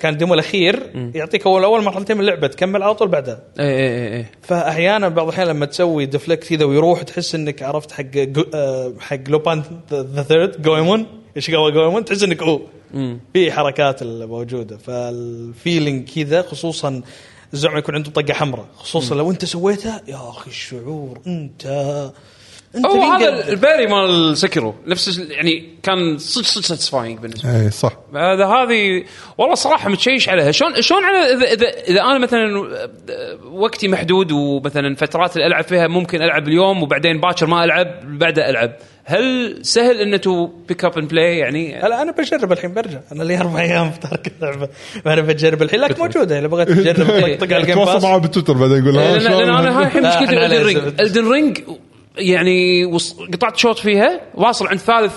Speaker 2: كان الديمو الاخير يعطيك اول اول مرحلتين من اللعبه تكمل على طول بعدها
Speaker 6: اي اي اي
Speaker 2: فاحيانا بعض الاحيان لما تسوي ديفلكت كذا ويروح تحس انك عرفت حق جو... آه، حق لوبان ذا ثيرد جويمون ايش قوي جويمون تحس انك اوه في حركات الموجوده فالفيلينج كذا خصوصا الزعماء يكون عنده طقه حمراء خصوصا لو انت سويتها يا اخي الشعور انت انت
Speaker 6: هو
Speaker 2: مين
Speaker 6: هذا
Speaker 2: قلبك؟
Speaker 6: الباري مال سكرو نفس الش- يعني كان صدق صدق ساتسفاينج بالنسبه
Speaker 4: اي إيه، صح
Speaker 6: هذا هذه والله صراحه متشيش عليها شلون شلون على اذا اذا اذا انا مثلا آه، وقتي محدود ومثلا فترات اللي العب فيها ممكن العب اليوم وبعدين باكر ما العب بعدها العب هل سهل انه تو بيك اب اند بلاي يعني
Speaker 2: هلا انا بجرب الحين برجع انا لي اربع ايام في ترك اللعبه فانا بجرب الحين لك موجوده اذا بغيت تجرب
Speaker 6: طيب،
Speaker 2: يعني طق على إيه، الجيم
Speaker 4: تواصل
Speaker 2: باس
Speaker 4: معاه بالتويتر بعدين يقول "آه، ها
Speaker 6: لان لأن انا هاي
Speaker 4: شلون
Speaker 6: الحين
Speaker 2: لا،
Speaker 6: مشكلتي
Speaker 2: إحنا
Speaker 6: الدن
Speaker 2: على
Speaker 6: رينج
Speaker 2: زبد.
Speaker 6: الدن رينج يعني وص- قطعت شوط فيها واصل عند ثالث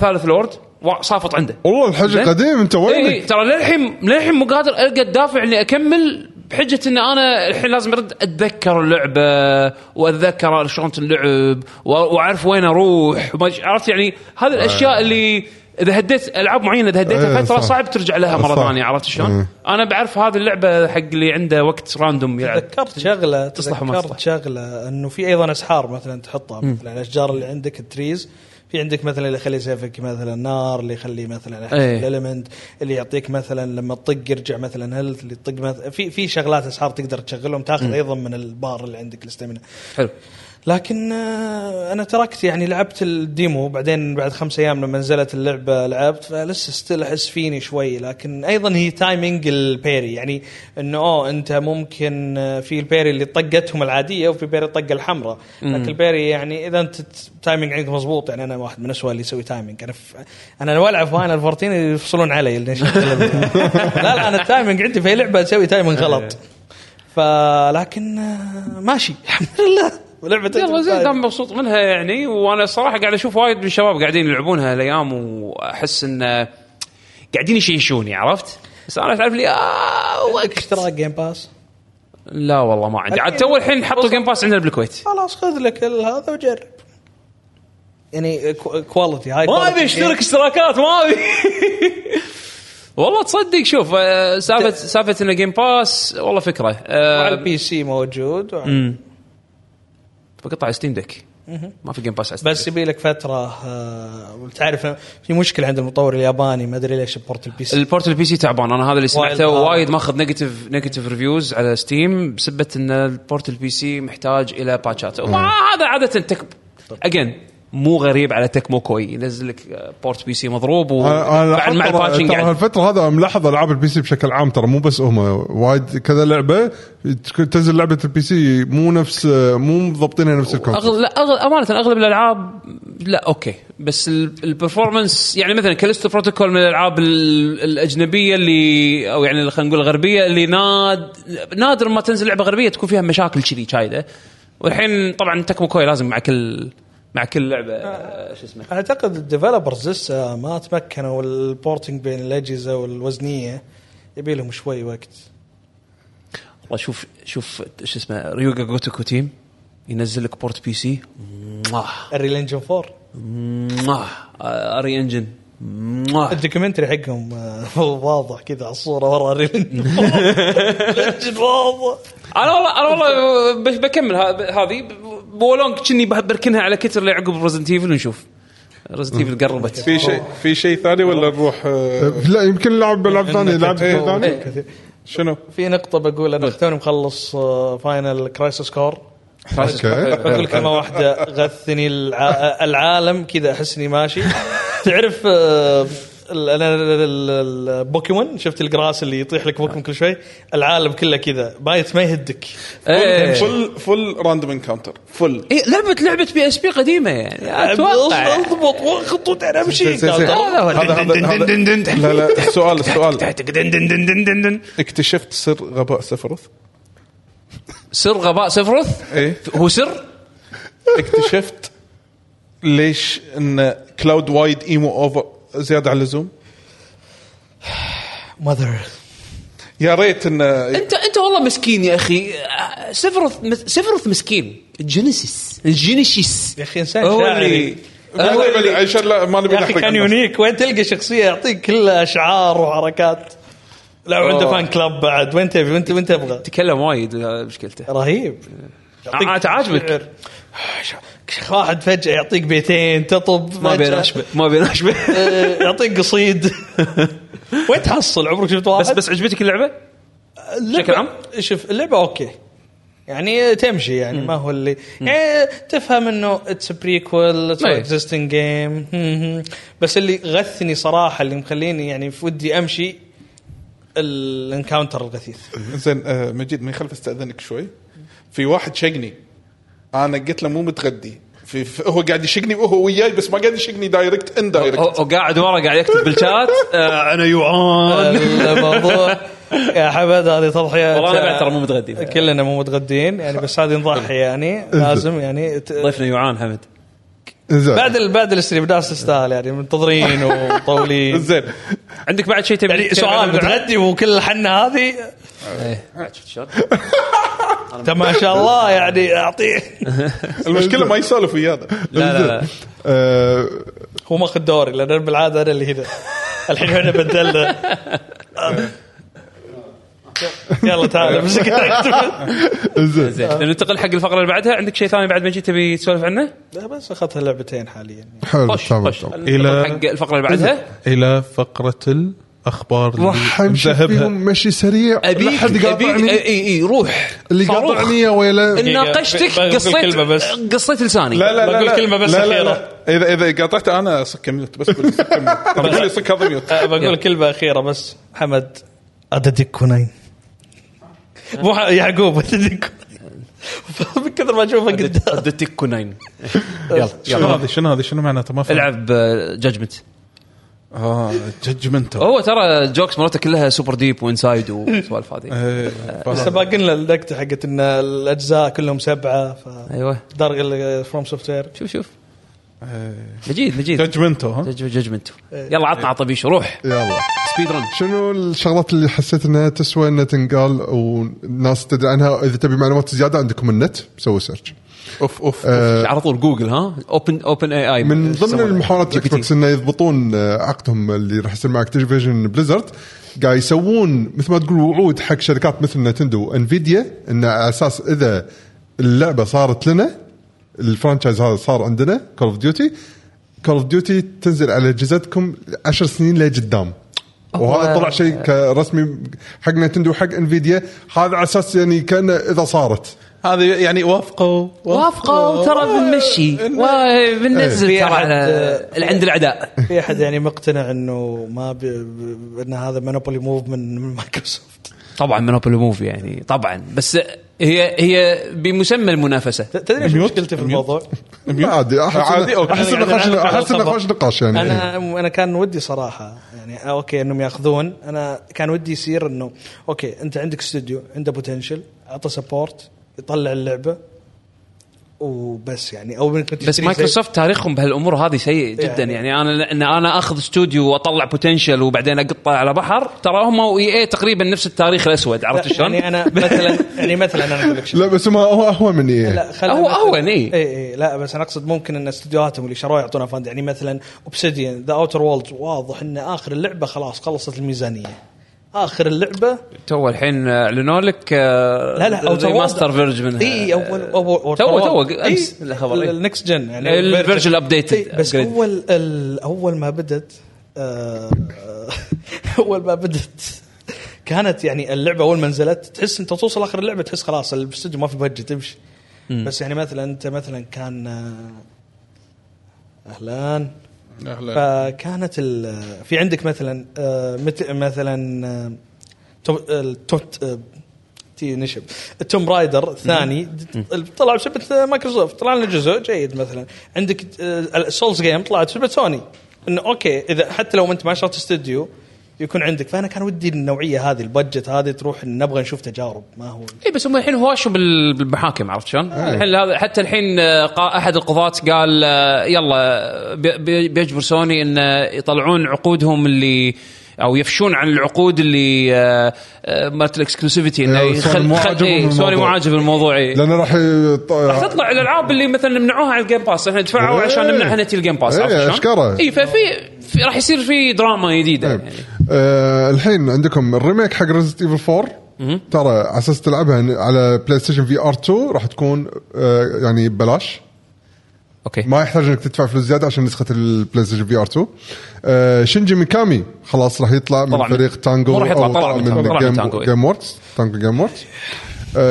Speaker 6: ثالث لورد وا- صافط عنده
Speaker 4: والله الحج
Speaker 6: زين؟
Speaker 4: قديم انت
Speaker 2: إيه،
Speaker 6: اي
Speaker 4: وينك؟
Speaker 6: ترى للحين للحين مو قادر القى الدافع اني اكمل بحجه ان انا الحين لازم ارد اتذكر اللعبه واتذكر شلون تنلعب و- واعرف وين اروح وما- عرفت يعني هذه الاشياء اللي اذا هديت العاب معينه اذا هديتها
Speaker 4: إيه،
Speaker 6: فتره
Speaker 4: صح.
Speaker 6: صعب ترجع لها مره
Speaker 4: صح.
Speaker 6: ثانيه عرفت شلون؟
Speaker 4: إيه.
Speaker 6: انا بعرف هذه اللعبه حق اللي عنده وقت راندوم يلعب
Speaker 2: تذكرت شغله
Speaker 6: تصلح وما تصلح.
Speaker 2: تذكرت شغله انه في ايضا اسحار مثلا تحطها مثلا الاشجار اللي عندك التريز في عندك مثلا اللي يخلي سيفك مثلا نار اللي يخلي مثلا
Speaker 6: إيه.
Speaker 2: الاليمنت اللي يعطيك مثلا لما تطق يرجع مثلا هيلث اللي تطق مثلا في في شغلات اسحار تقدر تشغلهم تاخذ ايضا من البار اللي عندك الاستمنه
Speaker 6: حلو
Speaker 2: لكن آه، انا تركت يعني لعبت الديمو بعدين بعد خمس ايام لما نزلت اللعبه لعبت فلسه ستيل احس فيني شوي لكن ايضا هي تايمينج البيري يعني انه اوه انت ممكن آه، في البيري اللي طقتهم العاديه وفي بيري الطقه الحمراء لكن البيري يعني اذا انت ت- تايمينج عندك مضبوط يعني انا واحد من اسوء اللي يسوي تايمينج انا ف... انا لو العب فاينل 14 يفصلون علي ليش لا لا انا التايمينج عندي في أي لعبه اسوي تايمينج غلط فلكن آه، ماشي الحمد لله ولعبه
Speaker 6: يلا زين دام مبسوط منها يعني وانا صراحه قاعد اشوف وايد من الشباب قاعدين يلعبونها الايام واحس انه قاعدين يشيشوني عرفت؟ بس انا تعرف لي آه
Speaker 2: عندك
Speaker 6: وقت
Speaker 2: اشتراك جيم باس
Speaker 6: لا والله ما عندي عاد تو الحين حطوا جيم باس عندنا بالكويت
Speaker 2: خلاص خذ لك ال- هذا وجرب يعني كو- كواليتي هاي
Speaker 6: ما
Speaker 2: كواليتي.
Speaker 6: ابي اشترك اشتراكات ما ابي والله تصدق شوف آه، سالفه سالفه انه جيم باس والله فكره
Speaker 2: على
Speaker 6: آه،
Speaker 2: البي سي موجود وعلى-
Speaker 6: بقطع ستيم ديك ما في جيم باس على Steam
Speaker 2: بس
Speaker 6: Deck.
Speaker 2: يبي لك فتره آه، وتعرف في مشكله عند المطور الياباني ما ادري ليش بورت البي سي
Speaker 6: البورت البي سي تعبان انا هذا اللي سمعته
Speaker 2: وايد.
Speaker 6: وايد ماخذ نيجاتيف نيجاتيف ريفيوز على ستيم بسبه ان البورت البي سي محتاج الى باتشات وما- هذا عاده تك اجين مو غريب على تكمو كوي ينزل لك آه، بورت بي سي مضروب
Speaker 4: انا أنا
Speaker 6: وبعد مع يعني.
Speaker 4: لاحظت ترى-
Speaker 6: الباتشنج
Speaker 4: ترى
Speaker 6: قاعد
Speaker 4: هالفتره هذا ملاحظ العاب البي سي بشكل عام ترى مو بس هم وايد كذا لعبه تك- تنزل لعبه البي سي مو نفس مو مضبطينها نفس الكونسبت
Speaker 6: أغل... لا أغل... امانه اغلب الالعاب لا اوكي بس ال- البرفورمانس يعني مثلا كاليستو بروتوكول من الالعاب ال- الاجنبيه اللي او يعني خلينا نقول الغربيه اللي ناد نادر ما تنزل لعبه غربيه تكون فيها مشاكل كذي شايده والحين طبعا تكمو كوي لازم مع كل مع كل لعبه آه، شو اسمه
Speaker 2: اعتقد الديفلوبرز لسه ما تمكنوا البورتنج بين الاجهزه والوزنيه يبي لهم شوي وقت
Speaker 6: والله شوف شوف شو اسمه ريوغا جوتوكو تيم ينزل لك بورت بي سي مواه
Speaker 2: الريل انجن 4
Speaker 6: مواه آه، اري انجن مواه
Speaker 2: الدوكيومنتري حقهم آه، واضح كذا على الصوره ورا الريل انجن 4 واضح
Speaker 6: انا والله انا والله بش- بكمل ه- هذه ب- بولونج كني بح- بركنها على كتر اللي عقب ريزنت ايفل ونشوف ريزنت ايفل قربت
Speaker 3: في شيء في شيء ثاني ولا نروح آه،
Speaker 4: أه،
Speaker 6: إيه.
Speaker 4: لا يمكن لعب بلعب ثاني لعب شيء ثاني
Speaker 2: كثير
Speaker 5: شنو؟
Speaker 2: في نقطه بقول انا توني مخلص آه، فاينل كرايسس كور
Speaker 6: إيه،
Speaker 4: اوكي
Speaker 2: اقول كلمه واحده غثني الع- العالم كذا احس اني ماشي تعرف آه، ال- انا ال- ال- البوكيمون شفت القراص اللي يطيح لك بوكيمون كل شوي العالم كله كذا بايت ما يهدك
Speaker 6: إيه.
Speaker 5: فل فل راندوم انكاونتر فل
Speaker 6: إيه لعبه لعبه بي اس بي قديمه يعني اتوقع
Speaker 2: اضبط واخط وتعال امشي
Speaker 5: زين، زين.
Speaker 6: لا، لا،
Speaker 5: هذا هذا هذا- لا لا السؤال السؤال
Speaker 6: تحتك دن دن دن دن دن دن
Speaker 5: اكتشفت سر غباء سفرث
Speaker 6: سر غباء سفرث
Speaker 5: ايه
Speaker 6: هو سر
Speaker 5: اكتشفت ليش ان كلاود وايد ايمو اوفر زياده على اللزوم
Speaker 2: ماذر
Speaker 5: يا ريت ان
Speaker 3: إيه.
Speaker 6: انت انت والله مسكين يا اخي آه، سفرث مس- سفرث مسكين جينيسيس الجينيسيس
Speaker 2: يا اخي انسان
Speaker 6: هو
Speaker 2: شاعري
Speaker 6: اللي
Speaker 5: ما
Speaker 6: هو
Speaker 5: نبي-
Speaker 6: اللي-
Speaker 5: عشان لا ما نبي
Speaker 2: يا اخي
Speaker 5: نحرق
Speaker 2: كان
Speaker 5: الناس.
Speaker 2: يونيك وين تلقى شخصيه يعطيك كلها اشعار وحركات لا وعنده فان كلاب بعد وين تبي وانت وين تبغى
Speaker 6: تكلم وايد هذا مشكلته
Speaker 2: رهيب يعطيك
Speaker 6: آه، أنت عاجبك؟
Speaker 2: شعر. واحد فجاه يعطيك بيتين تطب
Speaker 6: ما بين
Speaker 2: فجأة.
Speaker 6: اشبه ما بين اشبه
Speaker 2: آه، يعطيك قصيد وين تحصل عمرك شفت واحد
Speaker 6: بس بس عجبتك اللعبه؟
Speaker 2: اللعبة-
Speaker 6: بشكل عام؟
Speaker 2: شوف اللعبه اوكي يعني تمشي يعني ما هو اللي يعني تفهم انه اتس بريكول اتس
Speaker 6: أي.
Speaker 2: اكزيستنج جيم بس اللي غثني صراحه اللي مخليني يعني في ودي امشي الانكاونتر الغثيث
Speaker 5: زين آه، مجيد ما يخلف استاذنك شوي في واحد شقني انا قلت له مو متغدي في في- هو قاعد يشقني وهو وياي بس ما قاعد يشقني دايركت ان
Speaker 6: هو
Speaker 5: دايركت
Speaker 6: هو قاعد ورا قاعد يكتب بالشات آه، انا يوعان
Speaker 2: الموضوع يا حمد هذه تضحيه
Speaker 6: والله أنا بعد ترى مو متغدي. طيب.
Speaker 2: كلنا مو متغدين يعني بس هذه نضحي يعني لازم يعني ت-
Speaker 6: ضيفنا يوعان حمد
Speaker 4: انزين
Speaker 2: بعد ال- بعد الاستريم ناس تستاهل يعني منتظرين ومطولين
Speaker 5: زين
Speaker 6: عندك بعد شيء تبي
Speaker 2: يعني
Speaker 6: تتكلم
Speaker 2: سؤال
Speaker 6: عنه؟
Speaker 2: متغدي وكل الحنه هذه
Speaker 6: بعد شفت شلون؟
Speaker 2: انت ما شاء الله يعني اعطيه
Speaker 5: المشكله ما يسولف ويانا
Speaker 6: لا لا لا
Speaker 4: آه،
Speaker 2: هو ماخذ دوري لان أنا بالعاده انا اللي هنا الحين هنا بدلنا يلا تعال امسك
Speaker 4: انزين
Speaker 6: زين ننتقل حق الفقره اللي بعدها عندك شيء ثاني بعد ما جيت تبي تسولف عنه؟
Speaker 2: لا بس اخذتها لعبتين حاليا
Speaker 4: حلو
Speaker 6: طش
Speaker 4: تمام
Speaker 6: طش
Speaker 4: تمام.
Speaker 6: ننتقل حق الفقره اللي
Speaker 2: إيه.
Speaker 6: بعدها
Speaker 5: الى فقره الاخبار
Speaker 4: راح امشي فيهم مشي سريع لا
Speaker 6: ابيك
Speaker 4: حد
Speaker 6: ابيك
Speaker 4: قاطعني
Speaker 6: اي اي روح
Speaker 4: اللي
Speaker 6: صاروخ.
Speaker 4: قاطعني يا ويله
Speaker 6: ناقشتك
Speaker 2: بقول
Speaker 6: قصيت
Speaker 2: كلمة بس.
Speaker 6: قصيت لساني
Speaker 5: لا لا لا
Speaker 2: بقول
Speaker 5: لا.
Speaker 2: كلمة بس
Speaker 5: لا لا
Speaker 2: أخيرة.
Speaker 5: لا. اذا اذا قاطعت انا صك ميوت بس قول لي صك ميوت طب قول لي صك هذا ميوت
Speaker 2: أه، بقول كلمه اخيره بس حمد اددك ونين مو ح- يعقوب اددك من كثر ما اشوفه قدام
Speaker 6: ادتك كونين
Speaker 5: شنو هذه شنو هذه شنو معناته ما فهمت.
Speaker 6: العب آه، جادجمنت
Speaker 5: اه جادجمنت
Speaker 6: هو ترى الجوكس مالته كلها سوبر ديب وانسايد والسوالف
Speaker 3: أه.
Speaker 6: هذه
Speaker 5: إيه،
Speaker 2: لسه باقي لنا اللقطه حقت ان الاجزاء كلهم سبعه ف
Speaker 6: ايوه
Speaker 2: دار فروم سوفت وير
Speaker 6: شوف شوف
Speaker 2: آه.
Speaker 6: مجيد مجيد
Speaker 5: جادجمنت ها
Speaker 6: جادجمنت يلا عطنا عطبيش روح
Speaker 4: يلا
Speaker 6: سبيد رن
Speaker 4: شنو الشغلات اللي حسيت انها تسوى انها تنقال والناس تدري عنها اذا تبي معلومات زياده عندكم النت سوي سيرش
Speaker 5: اوف اوف
Speaker 6: على طول جوجل ها اوبن اوبن اي اي
Speaker 4: من ضمن المحاولات الاكس بوكس انه يضبطون آه، عقدهم اللي راح يصير مع اكتيفيجن بليزرد قاعد يسوون مثل ما تقول وعود حق شركات مثل نتندو انفيديا ان على اساس اذا اللعبه صارت لنا الفرانشايز هذا صار عندنا كول اوف ديوتي كول اوف ديوتي تنزل على اجهزتكم 10 سنين لقدام وهذا طلع شيء كرسمي حق نتندو حق انفيديا هذا على اساس يعني كان اذا صارت
Speaker 5: هذه يعني وافقوا
Speaker 6: وافقوا ترى بنمشي
Speaker 2: آه،
Speaker 6: بننزل
Speaker 2: في
Speaker 6: ترى
Speaker 2: أحد-
Speaker 6: على
Speaker 2: آه.
Speaker 6: اللي عند الاعداء
Speaker 2: في احد يعني مقتنع انه ما ب... ب- ان هذا مونوبولي موف من من مايكروسوفت
Speaker 6: طبعا مونوبولي موف يعني طبعا بس هي هي بمسمى المنافسه
Speaker 2: ت- تدري ايش
Speaker 5: ميوت؟
Speaker 2: مشكلتي في
Speaker 5: ميوت.
Speaker 2: الموضوع؟
Speaker 4: عادي احس
Speaker 5: عادي،
Speaker 4: إنه-
Speaker 5: أوكي.
Speaker 4: احس انه
Speaker 2: يعني
Speaker 4: خوش-
Speaker 2: أنا-
Speaker 4: احس انه خوش نقاش يعني
Speaker 2: انا انا كان ودي صراحه يعني اوكي انهم ياخذون انا كان ودي يصير انه اوكي انت عندك استوديو عنده بوتنشل اعطى سبورت يطلع اللعبه وبس يعني او ممكن
Speaker 6: بس
Speaker 2: تشتري زي-
Speaker 6: مايكروسوفت تاريخهم بهالامور هذه سيء جدا
Speaker 2: يعني.
Speaker 6: يعني, يعني انا ان انا اخذ استوديو واطلع بوتنشل وبعدين اقطه على بحر ترى هم واي اي تقريبا نفس التاريخ الاسود
Speaker 2: لا،
Speaker 6: عرفت شلون؟
Speaker 2: يعني انا مثلا يعني مثلا انا اقول لك شيء
Speaker 4: لا بس ما هو اهون من ايه
Speaker 2: لا خلنا
Speaker 6: هو
Speaker 2: مثلاً-
Speaker 6: أول، إي.
Speaker 2: اي اي إيه، لا بس انا اقصد ممكن ان استديوهاتهم اللي شروها يعطونا فند يعني مثلا اوبسيديان ذا اوتر وولدز واضح ان اخر اللعبه خلاص خلصت الميزانيه اخر اللعبه
Speaker 6: تو الحين آه، اعلنوا لك
Speaker 2: لا لا إيه، اوتر
Speaker 6: ماستر فيرج منها
Speaker 2: اي اول اول
Speaker 6: تو- تو أمس الخبر، إي.
Speaker 2: النكست جن يعني
Speaker 6: ال-
Speaker 2: version.
Speaker 6: version updated،
Speaker 2: إي، بس
Speaker 6: upgrade.
Speaker 2: اول ال- اول ما بدت آه، اول ما بدت كانت يعني اللعبه اول ما نزلت تحس انت توصل اخر اللعبه تحس خلاص الاستوديو ما في بهجه تمشي بس يعني مثلا انت مثلا كان آه، اهلا
Speaker 3: اهلا
Speaker 2: فكانت ال- في عندك مثلا آه، مت- مثلا آه، تو- التوت آه، تي نشب التوم رايدر الثاني د- طلع بشبكه مايكروسوفت طلع لنا جزء جيد مثلا عندك آه، السولز جيم طلعت بشبكه سوني انه اوكي اذا حتى لو انت ما شريت استوديو يكون عندك فانا كان ودي النوعيه هذه البادجت هذه تروح إن نبغى نشوف تجارب ما هو
Speaker 6: اي إيه، بس هم الحين هواشوا بال- بالمحاكم عرفت شلون؟
Speaker 4: آه.
Speaker 6: الحين هذا حتى الحين آه، قا- احد القضاة قال آه، يلا بي- بي- بيجبر سوني ان آه، يطلعون عقودهم اللي او يفشون عن العقود اللي آه، آه، مالت الاكسكلوسيفيتي انه
Speaker 4: أيوة، سوني
Speaker 6: يخل-
Speaker 4: مو
Speaker 6: خل-
Speaker 4: عاجبهم
Speaker 6: إيه، سوني مو
Speaker 4: الموضوع.
Speaker 6: عاجب الموضوع اي
Speaker 4: لانه راح يط-
Speaker 6: راح تطلع الالعاب اللي مثلا ممنعوها على الجيم باس احنا دفعوا
Speaker 4: إيه.
Speaker 6: عشان نمنع هنتي الجيم باس
Speaker 4: إيه،
Speaker 6: عرفت شلون؟
Speaker 4: أشكره.
Speaker 6: اي ففي في- راح يصير في دراما جديده
Speaker 4: طيب.
Speaker 6: يعني
Speaker 4: آه الحين عندكم الريميك حق ريزنت ايفل 4 ترى على اساس تلعبها على بلاي ستيشن في ار 2 راح تكون آه يعني ببلاش
Speaker 6: اوكي
Speaker 4: ما يحتاج انك تدفع فلوس زياده عشان نسخه البلاي ستيشن في ار 2 آه شينجي ميكامي خلاص راح يطلع من
Speaker 6: طلع من-
Speaker 4: فريق تانجو
Speaker 6: مو راح يطلع،
Speaker 4: أو
Speaker 6: طلع من تانجو، طلع من
Speaker 4: جيم-
Speaker 6: تانجو، إيه.
Speaker 4: جيم ووركس تانجو جيم ووركس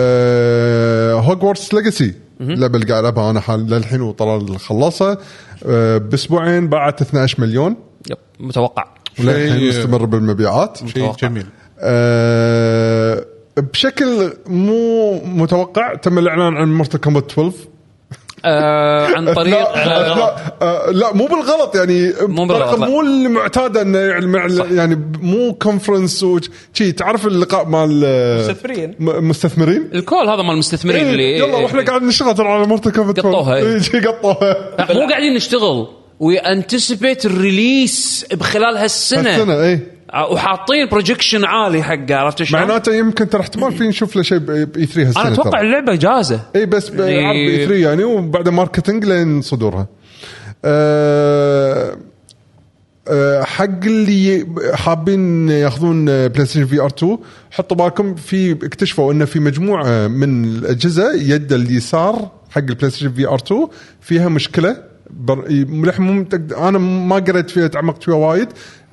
Speaker 4: آه هوجورتس ليجاسي اللعبه اللي قاعد العبها انا حال للحين وطلال خلصها آه باسبوعين باعت 12 مليون
Speaker 6: يب متوقع
Speaker 4: وللحين
Speaker 3: شيء-
Speaker 4: مستمر بالمبيعات
Speaker 3: شيء جميل
Speaker 4: آه، بشكل مو متوقع تم الاعلان عن مورتال كومبات 12
Speaker 6: آه عن طريق
Speaker 4: لا لا, لا, آه، لا مو بالغلط يعني
Speaker 6: مو بالغلط،
Speaker 4: بطريقة
Speaker 6: لا.
Speaker 4: مو المعتاده انه يعلم- يعني مو كونفرنس وشي تعرف اللقاء مال آه،
Speaker 2: مستثمرين.
Speaker 4: م- مستثمرين
Speaker 6: الكول هذا مال المستثمرين اللي
Speaker 4: إيه، يلا واحنا قاعد نشتغل ترى على مورتال كومبات
Speaker 6: قطوها، إيه.
Speaker 4: قطوها
Speaker 6: لا، مو قاعدين نشتغل ويانتسبيت الريليس بخلال هالسنه
Speaker 4: السنه اي
Speaker 6: ع- وحاطين بروجكشن عالي حقه عرفت شلون؟ انا
Speaker 4: معناته يمكن ترى احتمال في نشوف له شيء باي 3 هالسنه
Speaker 6: اتوقع
Speaker 4: ترى.
Speaker 6: اللعبه جاهزه
Speaker 4: اي بس ب-
Speaker 6: يعني-
Speaker 4: عرض اي 3 يعني وبعد ماركتنج لين صدورها. أه أه حق اللي حابين ياخذون بلاي ستيشن في ار 2 حطوا بالكم في اكتشفوا انه في مجموعه من الاجهزه يد اليسار حق البلاي ستيشن في ار 2 فيها مشكله بر... ملح مو متأكد- انا ما قريت فيها تعمقت فيها وايد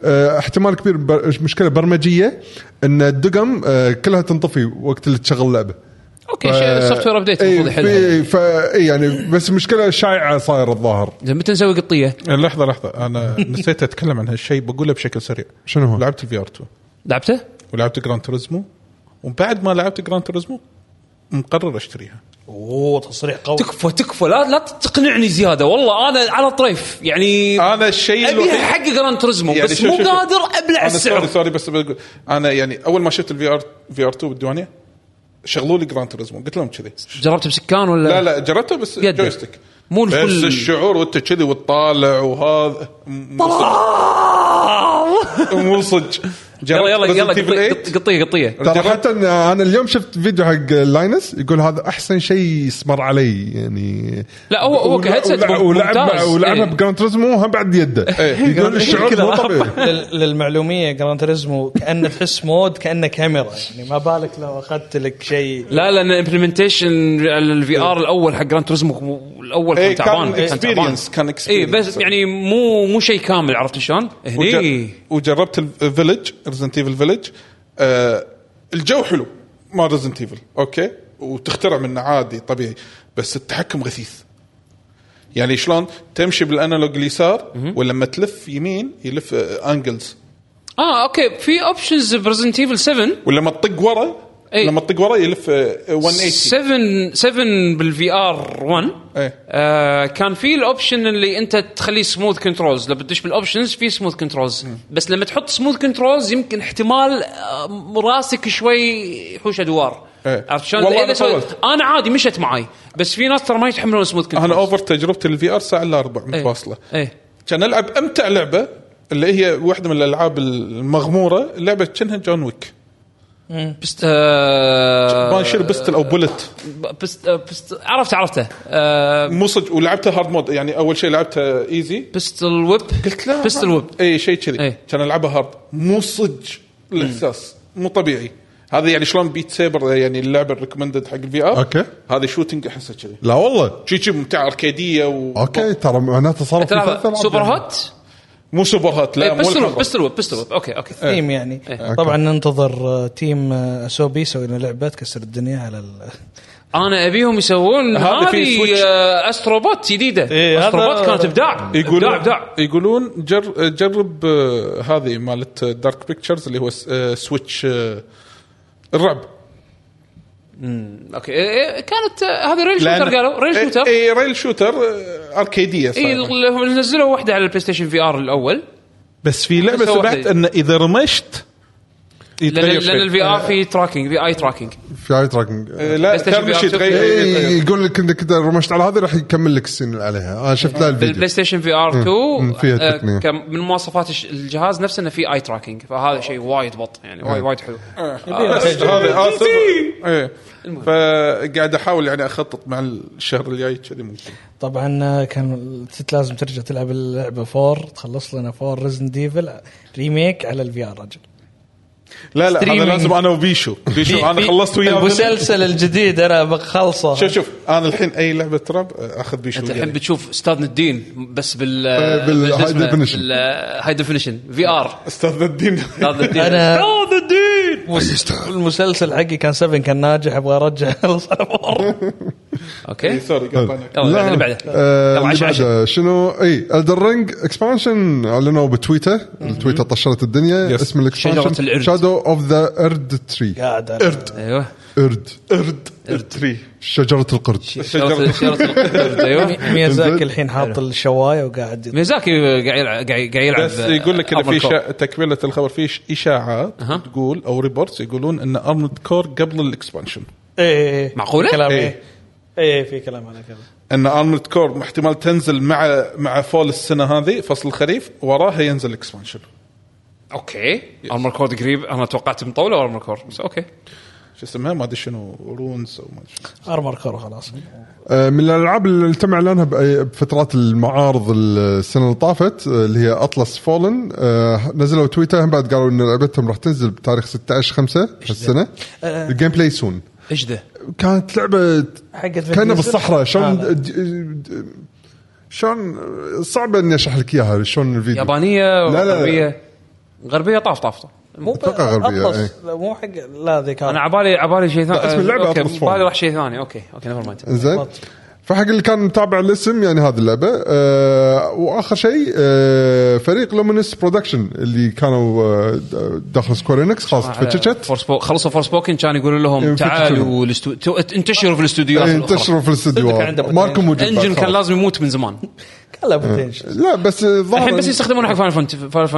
Speaker 4: أه احتمال كبير بر... مشكله برمجيه ان الدقم أه كلها تنطفي وقت اللي تشغل اللعبه
Speaker 6: اوكي شيء سوفت وير ابديت
Speaker 3: إيه،
Speaker 6: المفروض يحلها
Speaker 4: اي فا إيه يعني بس مشكله شائعه صايره الظاهر
Speaker 6: زين متى نسوي قطيه؟
Speaker 3: لحظه لحظه انا نسيت اتكلم عن هالشيء بقوله بشكل سريع
Speaker 4: شنو هو؟
Speaker 3: لعبت الفي ار 2
Speaker 6: لعبته؟
Speaker 3: ولعبت جران توريزمو وبعد ما لعبت جران توريزمو مقرر اشتريها
Speaker 2: اوه تصريح قوي
Speaker 6: تكفى تكفى لا لا تقنعني زياده والله انا على طريف يعني
Speaker 3: انا الشيء
Speaker 6: ابيها
Speaker 3: الوحيد-
Speaker 6: حق جراند تريزمو
Speaker 3: آه، إيه، يعني
Speaker 6: بس
Speaker 3: شوف-
Speaker 6: مو
Speaker 3: شوف-
Speaker 6: قادر ابلع
Speaker 3: انا سوري
Speaker 6: السعر
Speaker 3: سوري بس بقول انا يعني اول ما شفت الفي ار في ار 2 بالديوانيه شغلوا لي جران توريزمو قلت لهم كذي
Speaker 6: جربته بسكان ولا
Speaker 3: لا لا جربته بس
Speaker 6: يده.
Speaker 3: جويستيك
Speaker 6: مو
Speaker 3: بس
Speaker 6: الكل-
Speaker 3: الشعور وانت كذي وتطالع وهذا م- مو صدق. مو صدق
Speaker 6: آه. يلا يلا يلا
Speaker 3: قطية
Speaker 6: قطية- قطيه قطيه
Speaker 4: ترى
Speaker 3: جربت-
Speaker 4: حتى إن انا اليوم شفت فيديو حق لاينس يقول هذا احسن شيء سمر علي يعني
Speaker 6: لا، هو- هو
Speaker 4: ولا-
Speaker 6: كهيدسيت
Speaker 4: ولا-
Speaker 6: ممتاز.
Speaker 4: ولعبها ولعبها
Speaker 6: إيه.
Speaker 4: بجراند تريزمو هم بعد يده
Speaker 3: إيه.
Speaker 4: يقول الشعور مو طبيعي
Speaker 2: لل- للمعلوميه جران تريزمو كانه تحس مود كانه كاميرا يعني ما بالك لو اخذت لك شيء
Speaker 6: لا لان امبلمنتيشن الفي ار الاول حق جراند توريزمو الاول كان
Speaker 3: إيه، كان
Speaker 6: تعبان
Speaker 3: experience، كان
Speaker 6: اي
Speaker 3: experience.
Speaker 6: بس يعني مو مو شيء كامل عرفت شلون؟ هني
Speaker 3: وج- وجربت الفيلج ريزنت ايفل فيلج آه الجو حلو ما ريزنت ايفل اوكي وتخترع منه عادي طبيعي بس التحكم غثيث يعني شلون تمشي بالانالوج اليسار ولما تلف يمين يلف آه، انجلز
Speaker 6: اه اوكي في اوبشنز بريزنت ايفل 7
Speaker 3: ولما تطق ورا
Speaker 6: إي.
Speaker 3: لما تطق ورا يلف آه، 180
Speaker 6: 7 7 بالفي ار 1
Speaker 3: إيه.
Speaker 6: آه كان في الاوبشن اللي انت تخليه سموث كنترولز لما تدش بالاوبشنز في سموث كنترولز بس لما تحط سموث كنترولز يمكن احتمال آه، راسك شوي يحوش ادوار
Speaker 3: إيه.
Speaker 6: عرفت شلون؟
Speaker 3: والله
Speaker 6: إذا
Speaker 3: أنا
Speaker 6: سويت-
Speaker 3: طولت.
Speaker 6: انا عادي مشت معي بس في ناس ترى ما يتحملون سموث كنترولز
Speaker 3: انا اوفر تجربتي الفي ار ساعه الا ربع
Speaker 6: إيه.
Speaker 3: متواصله
Speaker 6: ايه
Speaker 3: كان العب امتع لعبه اللي هي واحده من الالعاب المغموره لعبه كأنها جون ويك
Speaker 6: بست آه
Speaker 3: ما يشيل بستل او بولت
Speaker 6: بست, آه، بست عرفت عرفته آه
Speaker 3: مو صدق ولعبتها هارد مود يعني اول شيء لعبتها ايزي
Speaker 6: بستل ويب
Speaker 3: قلت لا
Speaker 6: بستل ويب
Speaker 3: اي شيء كذي
Speaker 6: إي.
Speaker 3: كان العبها هارد مو صدق الاحساس مو طبيعي هذا يعني شلون بيت سيبر يعني اللعبه الريكومندد حق الفي ار
Speaker 4: أوكي.
Speaker 3: هذه شوتنج احسها كذي
Speaker 4: لا والله
Speaker 3: شي شي ممتع اركيديه و
Speaker 4: اوكي ترى معناته صار في ثلاث
Speaker 6: ترى
Speaker 4: ألعاب
Speaker 6: سوبر
Speaker 4: يعني.
Speaker 6: هوت
Speaker 3: مو سوبر هات لا
Speaker 6: إيه،
Speaker 3: مو
Speaker 6: بستل ويب
Speaker 3: الحمراء.
Speaker 6: بستل ويب بستل ويب اوكي اوكي
Speaker 2: تيم يعني
Speaker 6: إيه.
Speaker 2: طبعا ننتظر آه، تيم آه، اسوبي يسوي لنا لعبه تكسر الدنيا على ال...
Speaker 6: انا ابيهم يسوون
Speaker 3: هذا في
Speaker 6: هذه
Speaker 3: سويتش.
Speaker 6: آه، استروبوت جديده
Speaker 2: إيه،
Speaker 6: استروبوت
Speaker 2: هذا-
Speaker 6: كانت ابداع
Speaker 3: يقولون
Speaker 6: ابداع ابداع
Speaker 3: يقولون جر جرب آه، هذه مالت دارك بيكتشرز اللي هو س- آه، سويتش آه، الرعب
Speaker 6: اوكي إيه، إيه، كانت آه، هذه ريل
Speaker 3: لأن- إيه،
Speaker 6: شوتر قالوا ريل شوتر
Speaker 3: اي إي، ريل شوتر آه، اركيديه
Speaker 6: اي
Speaker 3: صار.
Speaker 6: ال- هم نزلوا واحده على البلاي ستيشن في ار الاول
Speaker 3: بس في لعبه
Speaker 6: بس هو
Speaker 3: سمعت
Speaker 6: واحدة.
Speaker 3: ان اذا رمشت
Speaker 6: لان
Speaker 3: يتغير شيء
Speaker 6: لان الفي ار في تراكنج في اي تراكنج
Speaker 4: يعني. في اي تراكنج
Speaker 3: آه، لا
Speaker 6: PlayStation
Speaker 3: كرنش
Speaker 6: VR
Speaker 3: يتغير يتغير.
Speaker 4: إيه، يقول لك انك اذا رمشت على هذه راح يكمل لك السنين اللي عليها انا شفت لها الفيديو
Speaker 6: بالبلاي ستيشن في ار
Speaker 4: مم،
Speaker 6: 2
Speaker 4: فيها
Speaker 6: آه،
Speaker 4: تقنية.
Speaker 6: كم- من مواصفات الش- الجهاز نفسه انه في اي تراكنج فهذا شيء وايد بط يعني وايد وايد حلو
Speaker 3: بس آه، هذا آه، اسف ايه فقاعد احاول يعني اخطط مع الشهر الجاي كذي ممكن
Speaker 2: طبعا آه، كان كنت لازم ترجع تلعب اللعبه فور تخلص لنا فور ريزن ديفل ريميك على الفي ار رجل
Speaker 3: لا لا هذا
Speaker 2: Streaming.
Speaker 3: لازم انا وبيشو بيشو انا خلصت وياه
Speaker 2: المسلسل الجديد انا بخلصه
Speaker 3: شوف شوف انا الحين اي لعبه رب اخذ آه، بيشو
Speaker 6: انت الحين
Speaker 3: وياي.
Speaker 6: بتشوف استاذ الدين بس بال
Speaker 4: بال- high definition.
Speaker 6: هاي ديفينيشن في ار
Speaker 3: استاذ الدين
Speaker 6: استاذ الدين
Speaker 2: أنا-
Speaker 6: استاذ الدين
Speaker 2: المسلسل حقي كان 7 كان ناجح ابغى ارجع الصبر
Speaker 6: اوكي
Speaker 3: سوري قطعناك
Speaker 6: يلا
Speaker 4: لا،
Speaker 6: اللي بعده
Speaker 4: آه،
Speaker 6: يلا
Speaker 4: اللي
Speaker 6: 10 10
Speaker 4: بعده شنو اي الدر رينج اكسبانشن اعلنوا بتويتر التويتر طشرت الدنيا اسم
Speaker 6: شجرة
Speaker 4: الاكسبانشن
Speaker 6: القرد.
Speaker 4: شادو اوف ذا ارد تري
Speaker 2: قاعد أنا-
Speaker 6: ايوه
Speaker 4: ارد
Speaker 3: ارد تري
Speaker 4: شجره القرد
Speaker 6: شجرة شجرة القرد ايوه
Speaker 2: ميازاكي الحين حاط الشوايه وقاعد يط-
Speaker 6: ميزاكي قاعد يلعب قاعد قاعد يلعب
Speaker 3: بس يقول لك ان
Speaker 6: أرمل
Speaker 3: في
Speaker 6: كور.
Speaker 3: شا... تكمله الخبر في ش- اشاعات
Speaker 6: أها.
Speaker 3: تقول او ريبورتس يقولون ان ارمد كور قبل الاكسبانشن
Speaker 2: إيه، إيه، إيه.
Speaker 6: معقولة؟
Speaker 2: كلام
Speaker 3: إيه.
Speaker 2: ايه ايه في كلام على كذا
Speaker 3: ان ارمد كور احتمال تنزل مع مع فول السنه هذه فصل الخريف وراها ينزل اكسبانشن
Speaker 6: اوكي ارمر كور قريب انا توقعت مطوله ارمر كور بس اوكي
Speaker 3: شو اسمها ما ادري شنو رونز او ما ادري شنو.
Speaker 2: ارمر كور خلاص
Speaker 4: آه، من الالعاب اللي تم اعلانها بأي- آه، بفترات المعارض السنه اللي طافت آه، اللي هي اطلس فولن نزلوا تويتر هم بعد قالوا ان لعبتهم راح تنزل بتاريخ 16 5 هالسنه
Speaker 6: آه.
Speaker 4: الجيم بلاي سون
Speaker 6: ايش ذا؟
Speaker 4: كانت لعبه
Speaker 2: حقت فين
Speaker 4: كانها
Speaker 2: نزل؟
Speaker 4: بالصحراء شلون
Speaker 2: هذا.
Speaker 4: د- د- شلون صعب اني اشرح لك اياها شلون الفيديو
Speaker 6: يابانيه
Speaker 4: لا، لا.
Speaker 6: غربيه غربيه طاف طاف طاف.
Speaker 2: مو
Speaker 4: أتوقع غربية، إيه.
Speaker 2: أطلس، لا، مو حق لا ذيك
Speaker 6: انا عبالي عبالي شيء ثاني
Speaker 4: اسم اللعبة
Speaker 6: اوكي
Speaker 4: Atlas Fallen.
Speaker 6: بالي راح شيء ثاني اوكي اوكي نيفر مايند
Speaker 4: زين
Speaker 2: بالضبط.
Speaker 4: فحق اللي كان متابع الاسم يعني هذه اللعبه آه واخر شيء آه فريق لومينس برودكشن اللي كانوا آه د- داخل سكوير انكس خلاص تفتشت
Speaker 6: فورس آه، خلصوا فور سبوكن كان يقولوا لهم
Speaker 4: ينفتشون.
Speaker 6: تعالوا الاستو- تو- انتشروا في الاستوديوهات
Speaker 4: إيه،
Speaker 6: الأخرى.
Speaker 4: انتشروا في
Speaker 2: صدق
Speaker 4: الاستديو
Speaker 2: كان عنده
Speaker 4: ماركو
Speaker 2: potential.
Speaker 4: موجود بعد
Speaker 6: انجن كان
Speaker 4: خلاص.
Speaker 6: لازم يموت من زمان
Speaker 2: كان له بوتنشل
Speaker 4: لا بس آه،
Speaker 6: الحين بس
Speaker 4: ظهر
Speaker 6: يستخدمونه حق فاينل فانت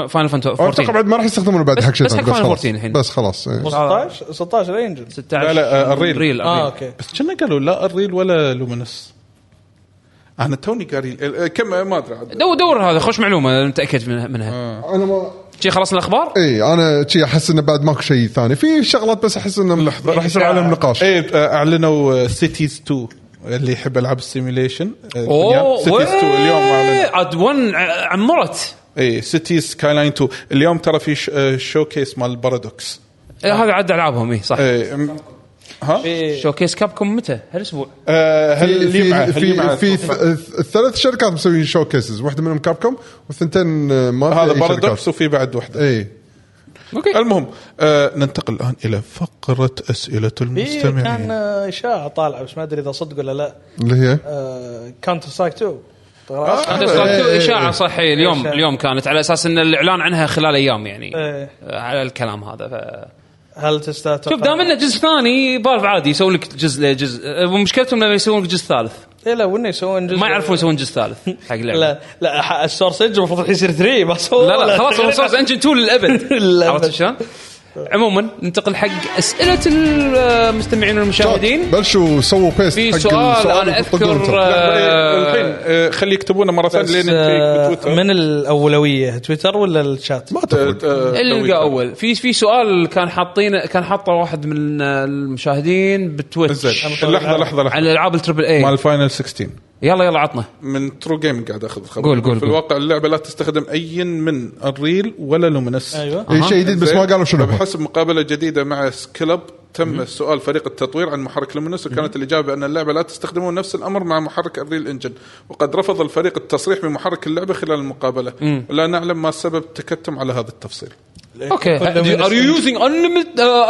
Speaker 6: فاينل فانت
Speaker 4: اتوقع
Speaker 6: 14
Speaker 4: بعد ما راح يستخدمونه بعد
Speaker 6: بس-
Speaker 4: حق شيء
Speaker 6: بس حق
Speaker 4: ثاني،
Speaker 6: Final
Speaker 4: خلاص.
Speaker 6: 14 الحين.
Speaker 4: بس خلاص إيه.
Speaker 2: 16 16 رينجن
Speaker 6: 16
Speaker 3: لا، لا، آه، الريل.
Speaker 6: الريل
Speaker 2: اه
Speaker 6: الريل.
Speaker 2: اوكي
Speaker 3: بس كنا قالوا لا الريل ولا لومنس انا توني قاري ال- كم ما ادري عاد
Speaker 6: دور دور هذا خوش معلومه أنا متاكد من-
Speaker 3: آه.
Speaker 6: منها
Speaker 4: انا ما
Speaker 6: شي خلصنا الاخبار
Speaker 3: إيه،
Speaker 4: اي انا شي احس انه بعد ماكو شيء ثاني في شغلات بس احس انه راح يصير عليهم نقاش
Speaker 3: ايه آه، اعلنوا سيتيز 2 اللي يحب العاب السيميليشن سيتيز 2 اليوم إيه، اعلنوا
Speaker 6: عاد 1 عمرت
Speaker 3: اي سيتيز سكاي لاين 2 اليوم ترى في ش... شو كيس مال بارادوكس
Speaker 6: إيه، هذا عاد العابهم اي صح
Speaker 3: إيه، م- ها
Speaker 6: شوكيس كاب كوم متى؟ هالاسبوع
Speaker 3: آه، هل
Speaker 4: في
Speaker 3: اللي معه
Speaker 4: في
Speaker 3: اللي معه
Speaker 4: في, في ث- الثلاث شركات مسويين شو كيسز واحده منهم كاب كوم والثنتين آه، ما في
Speaker 3: هذا
Speaker 4: أي
Speaker 3: بارادوكس
Speaker 4: شركات. إيه.
Speaker 3: وفي بعد واحده
Speaker 4: اي
Speaker 6: اوكي
Speaker 3: المهم آه ننتقل الان الى فقره اسئله
Speaker 2: في كان
Speaker 3: المستمعين
Speaker 2: آه، اشاعه طالعه بس ما ادري اذا صدق ولا لا آه،
Speaker 4: اللي هي
Speaker 2: كاونتر سترايك 2
Speaker 6: هذا
Speaker 4: إيه،
Speaker 6: سؤال
Speaker 4: إيه،
Speaker 6: تو-
Speaker 4: إيه.
Speaker 6: اشاعه صح إيه، اليوم
Speaker 2: إشاعة.
Speaker 6: اليوم كانت على اساس ان الاعلان عنها خلال ايام يعني
Speaker 2: إيه.
Speaker 6: آه، على الكلام هذا ف...
Speaker 2: هل تستاهل
Speaker 6: شوف دام انه جزء ثاني فالف عادي يسوون لك جزء لجزء آه، ومشكلتهم لما يسوون لك جزء ثالث
Speaker 2: إيه لا وانه يسوون جزء
Speaker 6: ما يعرفون يسوون جزء ثالث حق اللعبه لا
Speaker 2: لا لا ح- السورس انجن المفروض الحين يصير 3 ما سووا
Speaker 6: لا, لا
Speaker 2: ولا
Speaker 6: خلاص هو
Speaker 2: تقريباً.
Speaker 6: سورس انجن 2 للابد
Speaker 2: للأبد.
Speaker 6: عرفت شلون؟ عموما ننتقل حق اسئله المستمعين والمشاهدين
Speaker 4: بلشوا سووا بيست
Speaker 6: في
Speaker 4: حق
Speaker 6: سؤال
Speaker 4: السؤال
Speaker 6: انا
Speaker 4: وطقوا
Speaker 6: اذكر
Speaker 4: انتم.
Speaker 6: آه،
Speaker 3: الحين آه، خلي يكتبونه مره
Speaker 2: بس،
Speaker 3: ثانيه لين
Speaker 2: آه،
Speaker 3: نتفيق بتويتر
Speaker 2: من الاولويه تويتر ولا الشات؟
Speaker 4: ما
Speaker 3: آه،
Speaker 4: تفرق
Speaker 6: اللي
Speaker 3: اللي
Speaker 6: نلقى اول في في سؤال كان حاطين كان حاطه واحد من المشاهدين بتويتش
Speaker 3: لحظه لحظه لحظه
Speaker 6: عن العاب التربل
Speaker 3: مال
Speaker 6: اي
Speaker 3: فاينل 16
Speaker 6: إيه. يلا يلا عطنا
Speaker 3: من ترو جيم قاعد اخذ الخبر
Speaker 6: قول- قول-
Speaker 3: في
Speaker 6: قول.
Speaker 3: الواقع اللعبه لا تستخدم اي من الريل ولا لومنس
Speaker 2: ايوه
Speaker 4: اي شيء جديد بس ما قالوا شنو هو.
Speaker 3: بحسب مقابله جديده مع سكلب تم سؤال فريق التطوير عن محرك لومينوس وكانت الاجابه ان اللعبه لا تستخدمون نفس الامر مع محرك الريل انجن وقد رفض الفريق التصريح بمحرك اللعبه خلال المقابله ولا نعلم ما سبب التكتم على هذا التفصيل
Speaker 6: اوكي ار يو يوزنج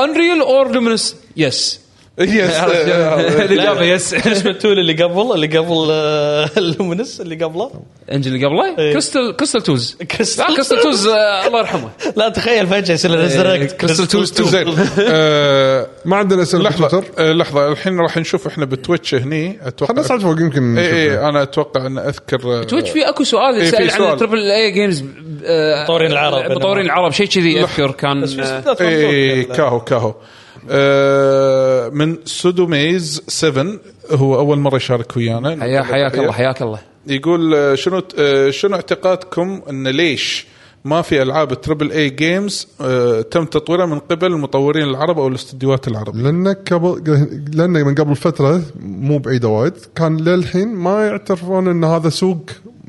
Speaker 6: انريل اور لومينس يس
Speaker 3: آه،
Speaker 6: الاجابه يس
Speaker 2: بالنسبه التول اللي قبل اللي قبل اللومنس اللي قبله
Speaker 6: انجل اللي
Speaker 3: إيه.
Speaker 6: قبله كريستال كريستال توز
Speaker 2: كريستال
Speaker 6: لا كريستال توز آه، الله يرحمه
Speaker 2: لا تخيل فجاه يصير ريزركت
Speaker 6: إيه، كريستال توز 2
Speaker 3: زين آه،
Speaker 4: ما عندنا اسئله في
Speaker 3: لحظه
Speaker 4: تويتر
Speaker 3: آه، لحظه الحين راح نشوف احنا بتويتش هني إيه، اتوقع
Speaker 4: خلنا نصعد فوق يمكن
Speaker 3: اي
Speaker 4: نشوف.
Speaker 3: اي انا اتوقع ان اذكر آه،
Speaker 6: تويتش في اكو سؤال
Speaker 3: إيه، في
Speaker 6: سال عن
Speaker 3: سؤال.
Speaker 6: تربل اي جيمز
Speaker 2: بطورين العرب.
Speaker 6: آه، بطورين العرب شيء كذي اذكر كان آه،
Speaker 3: اي إيه، كاهو كاهو آه، من سودو ميز 7 هو اول مره يشارك ويانا
Speaker 6: حيا حياك الله حياك الله
Speaker 3: يقول آه، شنو آه، شنو اعتقادكم ان ليش ما في العاب تربل اي جيمز آه، تم تطويرها من قبل المطورين العرب او الاستديوهات العرب
Speaker 4: لان قبل لان من قبل فتره مو بعيده وايد كان للحين ما يعترفون ان هذا سوق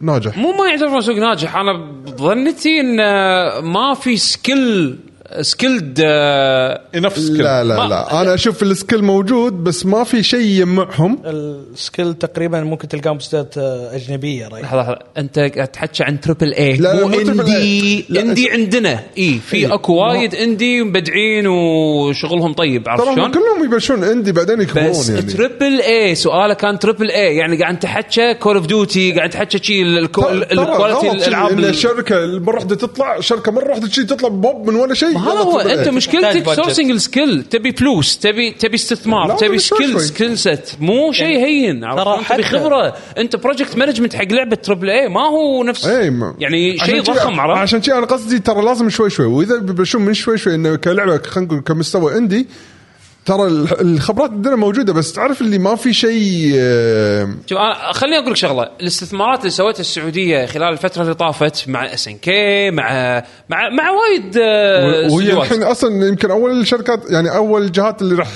Speaker 4: ناجح
Speaker 6: مو ما يعتبرون سوق ناجح انا ظنيتي ان آه، ما في آه، سكيل سكيلد
Speaker 3: انف
Speaker 4: لا لا
Speaker 6: ما-
Speaker 4: لا انا اشوف السكيل موجود بس ما في شيء يجمعهم
Speaker 2: السكيل تقريبا ممكن تلقاهم بستات اجنبيه رايح
Speaker 6: لحظه لحظه انت قاعد تحكي عن تربل اي
Speaker 4: لا،
Speaker 6: مو
Speaker 4: مو تربل
Speaker 6: اندي
Speaker 4: A. لا،
Speaker 6: اندي عندنا اي في اكو وايد اندي مبدعين وشغلهم طيب عرفت
Speaker 4: ترى
Speaker 6: شلون؟
Speaker 4: هم كلهم يبلشون عندي بعدين يكبرون
Speaker 6: بس
Speaker 4: يعني
Speaker 6: تربل اي سؤاله كان تربل اي يعني قاعد تحكى كول اوف ديوتي قاعد تحكى شيء
Speaker 4: ترى- ترى
Speaker 6: الكواليتي
Speaker 4: غلط شي
Speaker 6: الالعاب
Speaker 4: ان
Speaker 6: ال-
Speaker 4: الشركه مره واحده تطلع شركه مره واحده شي تطلع بوب من ولا شيء
Speaker 6: ما هذا
Speaker 4: يلا
Speaker 6: هو
Speaker 4: تربل
Speaker 6: انت
Speaker 4: إيه.
Speaker 6: مشكلتك
Speaker 2: تحتاج budget.
Speaker 6: سورسنج السكيل تبي فلوس تبي تبي استثمار
Speaker 4: لا،
Speaker 6: تبي
Speaker 4: تبي شوي
Speaker 6: سكيل
Speaker 4: شوي.
Speaker 6: سكيل سيت مو شيء هين عرفت؟
Speaker 2: يعني ترى
Speaker 6: انت تبي
Speaker 2: حتى-
Speaker 6: خبره انت بروجكت مانجمنت حق لعبه تربل اي ما هو نفس
Speaker 4: إيه، ما-
Speaker 6: يعني
Speaker 4: عشان
Speaker 6: شيء
Speaker 4: كذا-
Speaker 6: ضخم عرفت
Speaker 4: عشان كذا انا قصدي ترى لازم شوي شوي واذا بيبلشون من شوي شوي انه كلعبه خلينا نقول كمستوى عندي ترى ال- الخبرات عندنا موجوده بس تعرف اللي ما في شيء آه،
Speaker 6: شوف انا خليني اقول لك شغله الاستثمارات اللي سويتها السعوديه خلال الفتره اللي طافت مع اس ان كي مع مع مع وايد آه،
Speaker 4: وهي
Speaker 6: استديوهات.
Speaker 4: الحين اصلا يمكن اول الشركات يعني اول الجهات اللي راح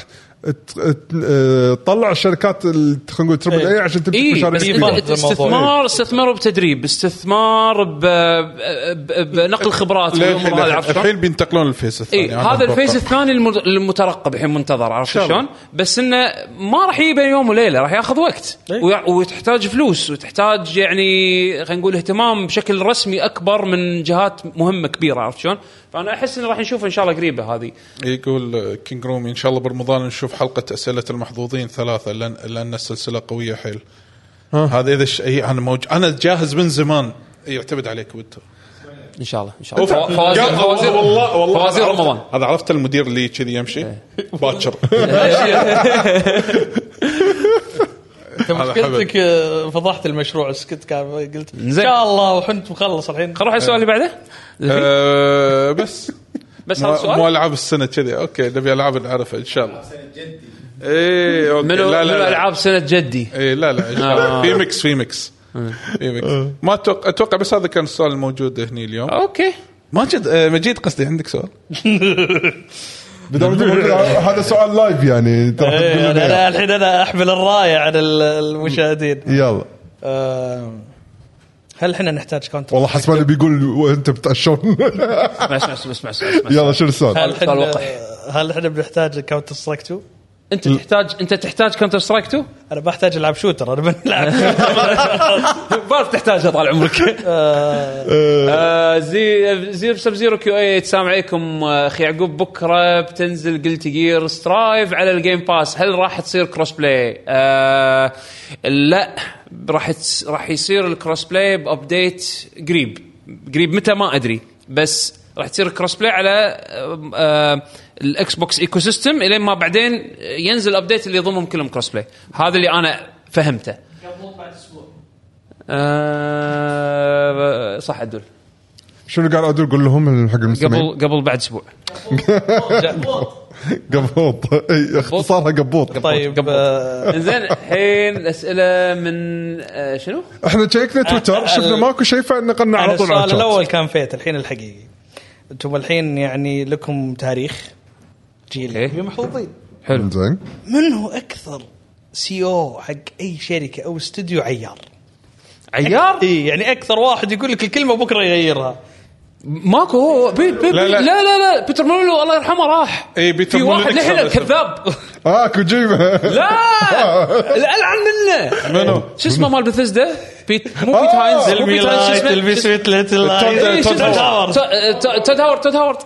Speaker 4: ت- ت- آه، تطلع الشركات ال- خلينا نقول تربل اي عشان تمسك
Speaker 6: اي
Speaker 4: مشاريع
Speaker 6: بس
Speaker 4: كبيره
Speaker 2: إيه،
Speaker 6: انت استثمار استثمار بتدريب استثمار ب- ب- ب- بنقل خبرات والأمور هذه، عرفت شلون؟
Speaker 3: الحين بينتقلون للفيس الثاني
Speaker 6: اي
Speaker 3: أنا
Speaker 6: إيه، هذا
Speaker 3: أتوقع.
Speaker 6: الفيز الثاني المر- المترقب الحين منتظر عرفت
Speaker 3: شاء الله.
Speaker 6: شلون؟ بس انه ما راح يجي بين يوم وليله راح ياخذ وقت
Speaker 2: إيه.
Speaker 6: ويع- وتحتاج فلوس وتحتاج يعني خلينا نقول اهتمام بشكل رسمي اكبر من جهات مهمه كبيره عرفت شلون؟ فانا احس انه راح نشوف ان شاء الله قريبه هذه
Speaker 3: يقول كينج رومي ان شاء الله برمضان نشوف حلقه اسئله المحظوظين ثلاثه لان لان السلسله قويه حيل هذا اذا ش... أي انا موج... انا جاهز من زمان إيه، يعتمد عليك ود
Speaker 6: ان شاء الله ان شاء الله فوا- فوازير فوازير
Speaker 3: والله والله
Speaker 6: فوازير
Speaker 3: هذا عرفت-
Speaker 6: رمضان إيه.
Speaker 3: هذا عرفت المدير اللي كذي يمشي باكر
Speaker 2: مشكلتك آه، فضحت المشروع سكت كان قلت ان
Speaker 6: زين.
Speaker 2: شاء الله وحنت مخلص الحين
Speaker 6: خلينا نروح على السؤال اللي بعده
Speaker 3: آه، بس
Speaker 6: بس هذا
Speaker 3: مو مو
Speaker 6: السؤال
Speaker 3: العاب السنه كذي اوكي نبي العاب نعرفها ان شاء الله اي اوكي
Speaker 6: منو
Speaker 3: لا لا
Speaker 6: منو
Speaker 3: لا.
Speaker 6: العاب سنه جدي
Speaker 3: اي إيه، لا لا ان شاء
Speaker 6: آه.
Speaker 3: الله في ميكس في ميكس في ميكس ما اتوقع اتوقع بس هذا كان السؤال الموجود هني اليوم
Speaker 6: اوكي
Speaker 3: ماجد آه، مجيد قصدي عندك سؤال
Speaker 4: بدل ما تقول هذا سؤال لايف يعني ترى
Speaker 2: إيه،
Speaker 4: تقول
Speaker 2: أنا-
Speaker 4: لنا
Speaker 2: انا الحين انا احمل الرايه على ال- المشاهدين
Speaker 4: يلا
Speaker 2: آم، هل احنا نحتاج كونتر
Speaker 4: والله حسبالي بيقول وانت بتعشون
Speaker 6: اسمع اسمع اسمع اسمع, اسمع.
Speaker 4: يلا شنو السؤال؟
Speaker 2: هل احنا
Speaker 6: سؤال وقح.
Speaker 2: هل احنا بنحتاج كاونتر سترايك 2؟
Speaker 6: انت تحتاج انت تحتاج كونتر سترايك 2
Speaker 2: انا بحتاج العب شوتر انا بنلعب شوتر.
Speaker 6: بعرف تحتاجها طال عمرك آه، زي زيرو سب زيرو كيو اي السلام عليكم آه، اخي يعقوب بكره بتنزل قلت جير سترايف على الجيم باس هل راح تصير كروس بلاي؟ آه، لا راح تس- راح يصير الكروس بلاي بابديت قريب قريب متى ما ادري بس راح تصير كروس بلاي على آه، آه، الاكس بوكس ايكو سيستم الين ما بعدين ينزل الابديت اللي يضمهم كلهم كروس بلاي هذا اللي انا فهمته آه، صح عدول
Speaker 4: شنو قال عدول قول لهم حق
Speaker 6: قبل
Speaker 4: المستمعين
Speaker 6: قبل بعد اسبوع
Speaker 4: قبوط إي، اختصارها قبوط
Speaker 2: طيب
Speaker 6: قبل.
Speaker 2: آه،
Speaker 6: زين الحين اسئله من آه، شنو؟
Speaker 4: احنا شيكنا تويتر شفنا ماكو شيء فنقلنا
Speaker 2: أنا
Speaker 4: على طول على
Speaker 2: السؤال
Speaker 4: الشات
Speaker 2: الاول كان فيت الحين الحقيقي انتم الحين يعني لكم تاريخ جيل
Speaker 6: إيه.
Speaker 2: محظوظين
Speaker 6: حلو
Speaker 4: زين
Speaker 2: من هو اكثر سي او حق اي شركه او استوديو عيار
Speaker 6: عيار
Speaker 2: اي يعني اكثر واحد يقول لك الكلمه بكره يغيرها
Speaker 6: ماكو هو بي بي لا, لا. لا لا لا بيتر مولو الله يرحمه راح
Speaker 3: إي، بيتر
Speaker 6: في
Speaker 3: مولو
Speaker 6: واحد
Speaker 3: الإكس
Speaker 6: لحين
Speaker 3: هذا اسمه.
Speaker 6: كذاب
Speaker 4: اه كوجيما
Speaker 6: لا العن منه
Speaker 3: منو؟
Speaker 6: شو اسمه مال بثزدا بيت مو بيت
Speaker 4: آه،
Speaker 6: هاينز مو بيت هاينز طيب، شو اسمه؟ شو اسمه؟
Speaker 2: ليتل
Speaker 6: إيه، شو
Speaker 3: تود
Speaker 6: اسمه؟
Speaker 2: هاورد.
Speaker 6: تو- تو- تود هاورد تود هاورد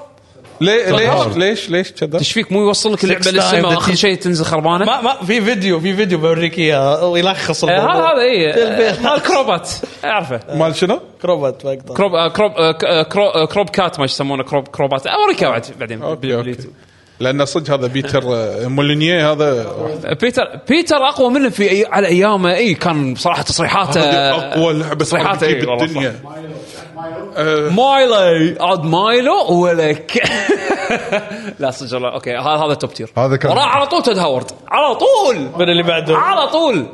Speaker 3: ليه
Speaker 6: هاورد.
Speaker 3: ليش ليش ليش كذا؟
Speaker 6: ايش فيك مو يوصل لك اللعبه
Speaker 2: Six
Speaker 6: للسما
Speaker 2: time
Speaker 6: اخر
Speaker 2: that
Speaker 6: شيء تنزل خربانه
Speaker 2: ما ما في فيديو في فيديو بوريك اياه يلخص
Speaker 6: آه، هذا هذا اي
Speaker 2: البيت.
Speaker 6: مال كروبات اعرفه
Speaker 3: آه. مال شنو؟
Speaker 2: كروبات ما اقدر
Speaker 6: كروب آه، كروب آه، ك- آه، كرو- آه، كروب كات ما يسمونه كروب كروبات اوريك بعد بعدين
Speaker 3: اوكي
Speaker 6: بال-
Speaker 3: اوكي لان صدق هذا بيتر آه، مولينيه هذا واحد.
Speaker 6: بيتر بيتر اقوى منه في أي على ايامه اي كان بصراحه تصريحاته
Speaker 3: اقوى لعبه
Speaker 6: تصريحاته
Speaker 3: صراحه
Speaker 6: إيه، والله
Speaker 3: بالدنيا آه،
Speaker 6: مايلو عاد مايلو ولك لا صدق والله اوكي هذا هذا توب تير
Speaker 4: هذا كان-
Speaker 6: وراه على طول تود هاورد على طول
Speaker 2: من اللي بعده
Speaker 6: على طول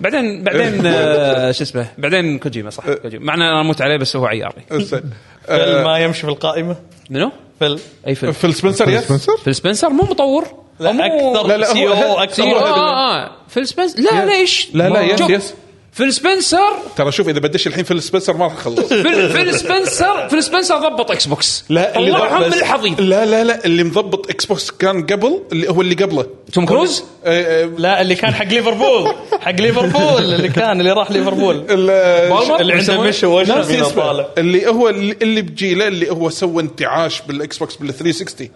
Speaker 6: بعدين بعدين
Speaker 4: إيه.
Speaker 6: آه، شو اسمه بعدين كوجيما صح كوجيما مع إن انا اموت عليه بس هو عياري
Speaker 3: زين.
Speaker 2: فيل ما يمشي في القائمه
Speaker 6: منو؟
Speaker 2: فيل
Speaker 6: اي فيلم
Speaker 3: آه، فيل سبنسر يس
Speaker 4: سبنسر
Speaker 6: فيل سبنسر مو مطور
Speaker 2: لا
Speaker 6: مو-
Speaker 2: اكثر
Speaker 3: لا، لا،
Speaker 2: سي
Speaker 3: هو-
Speaker 2: او
Speaker 6: سي او
Speaker 2: اكثر
Speaker 6: آه، آه. فيل سبنسر لا ليش؟
Speaker 3: لا، لا، يس،
Speaker 6: شوف،
Speaker 3: يس.
Speaker 6: فيل سبنسر
Speaker 3: ترى شوف اذا بدش الحين فيل سبنسر ما راح اخلص
Speaker 6: فيل فيل سبنسر فيل سبنسر ضبط اكس بوكس طلعهم
Speaker 3: ضبط-
Speaker 6: من الحضيض
Speaker 3: لا لا لا اللي مضبط اكس بوكس كان قبل اللي هو اللي قبله
Speaker 6: توم كروز
Speaker 3: آه، آه،
Speaker 2: لا اللي كان حق ليفربول حق ليفربول اللي كان اللي راح ليفربول
Speaker 3: ال-
Speaker 6: بالمر؟
Speaker 2: اللي عنده
Speaker 6: يسوي؟
Speaker 2: مشي وجهه
Speaker 3: ناسي
Speaker 2: فينا
Speaker 3: اسمه.
Speaker 2: طالع
Speaker 3: اللي هو اللي اللي بجيله اللي هو سوى انتعاش بالاكس بوكس بال 360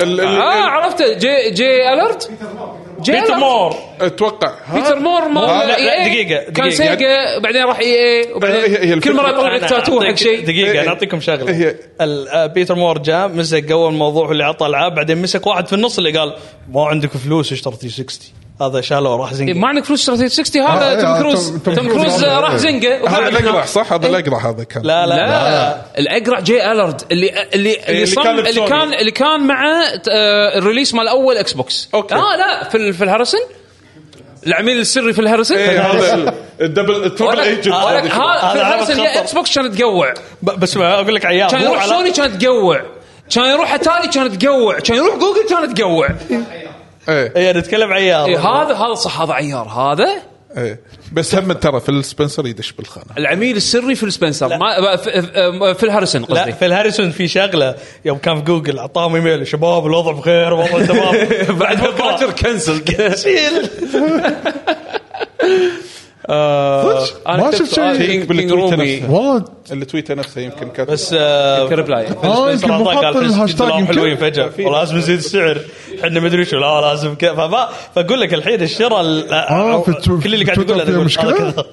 Speaker 3: ال- ال-
Speaker 6: اه عرفته جي جي الرت جي
Speaker 2: بيتر
Speaker 6: Alert.
Speaker 2: مور
Speaker 3: اتوقع ها؟
Speaker 6: بيتر مور مال
Speaker 2: لا، لا،
Speaker 6: EA.
Speaker 2: دقيقة،
Speaker 6: كان
Speaker 2: دقيقة.
Speaker 6: سيجا بعدين راح اي اي
Speaker 3: هي- هي
Speaker 6: وبعدين كل
Speaker 3: الفكرة.
Speaker 6: مره يطلع لك
Speaker 2: أنا
Speaker 6: تاتو حق
Speaker 2: أعطيك-
Speaker 6: شيء
Speaker 2: دقيقه
Speaker 3: إيه.
Speaker 2: انا اعطيكم شغله
Speaker 3: إيه.
Speaker 2: ال- آه، بيتر مور جاء مسك قوى الموضوع اللي عطى العاب بعدين مسك واحد في النص اللي قال ما عندك فلوس اشتر 360 هذا شاله راح زنقه
Speaker 6: إيه، ما عندك فلوس 360
Speaker 4: آه،
Speaker 6: هذا
Speaker 4: آه،
Speaker 6: توم
Speaker 4: توم-
Speaker 6: كروز
Speaker 4: توم
Speaker 6: توم
Speaker 4: كروز
Speaker 6: كروز
Speaker 4: هذا.
Speaker 6: راح زنقه
Speaker 3: هذا
Speaker 6: وخرج
Speaker 3: الاقرع صح هذا الاقرع هذا كان
Speaker 2: لا لا, لا.
Speaker 6: لا الاقرع جي الرد اللي اللي اللي,
Speaker 3: اللي
Speaker 6: صم
Speaker 3: كان
Speaker 6: كان اللي
Speaker 3: بسوني.
Speaker 6: كان اللي كان مع آه، الريليس مال اول اكس بوكس
Speaker 3: أوكي.
Speaker 6: اه لا في ال- في الهارسن العميل السري في الهارسن
Speaker 3: إيه، هذا ال- الدبل التربل
Speaker 6: ولك-
Speaker 3: ايجنت
Speaker 6: ولك
Speaker 3: هذا شو.
Speaker 6: ها- في
Speaker 2: هذا
Speaker 6: الهارسن
Speaker 2: خطر.
Speaker 6: يا اكس بوكس كان تقوع
Speaker 2: ب- بس ما اقول لك عيال
Speaker 6: كان
Speaker 2: مو
Speaker 6: يروح
Speaker 2: على-
Speaker 6: سوني كان تقوع كان يروح اتاري كان تقوع كان يروح جوجل كان تقوع
Speaker 3: إيه،
Speaker 2: اي نتكلم عيال
Speaker 6: إيه هذا هذا صح هذا عيار هذا
Speaker 3: إيه. بس هم ترى في سبنسر يدش بالخانه
Speaker 6: العميل السري في السبنسر ما في, آه، في- في الهارسن
Speaker 2: لا
Speaker 6: قصدي
Speaker 2: في الهاريسون في شغله يوم كان في جوجل اعطاهم ايميل شباب الوضع بخير والله تمام
Speaker 6: بعد
Speaker 2: بكرة.
Speaker 6: بكرة كنسل
Speaker 2: شيل
Speaker 6: آه،
Speaker 4: ما شفت شيء
Speaker 6: كينج
Speaker 3: بالتويتر
Speaker 6: رومي
Speaker 3: نفسه.
Speaker 4: والله
Speaker 3: التويتر نفسه يمكن كاتب
Speaker 2: بس آه،
Speaker 6: ريبلاي
Speaker 4: اه
Speaker 2: بس
Speaker 4: يمكن
Speaker 2: بعضها
Speaker 4: بحط
Speaker 2: قال في
Speaker 4: الهاشتاج
Speaker 2: الدولار حلوين
Speaker 4: يمكن
Speaker 2: فجاه ولازم نزيد السعر احنا ما ادري شو لا لازم كيف فما فاقول لك الحين الشراء ال-
Speaker 4: آه، في التو-
Speaker 2: كل اللي
Speaker 4: في
Speaker 2: قاعد
Speaker 4: تويتر
Speaker 2: يقول
Speaker 4: فيها مشكلة؟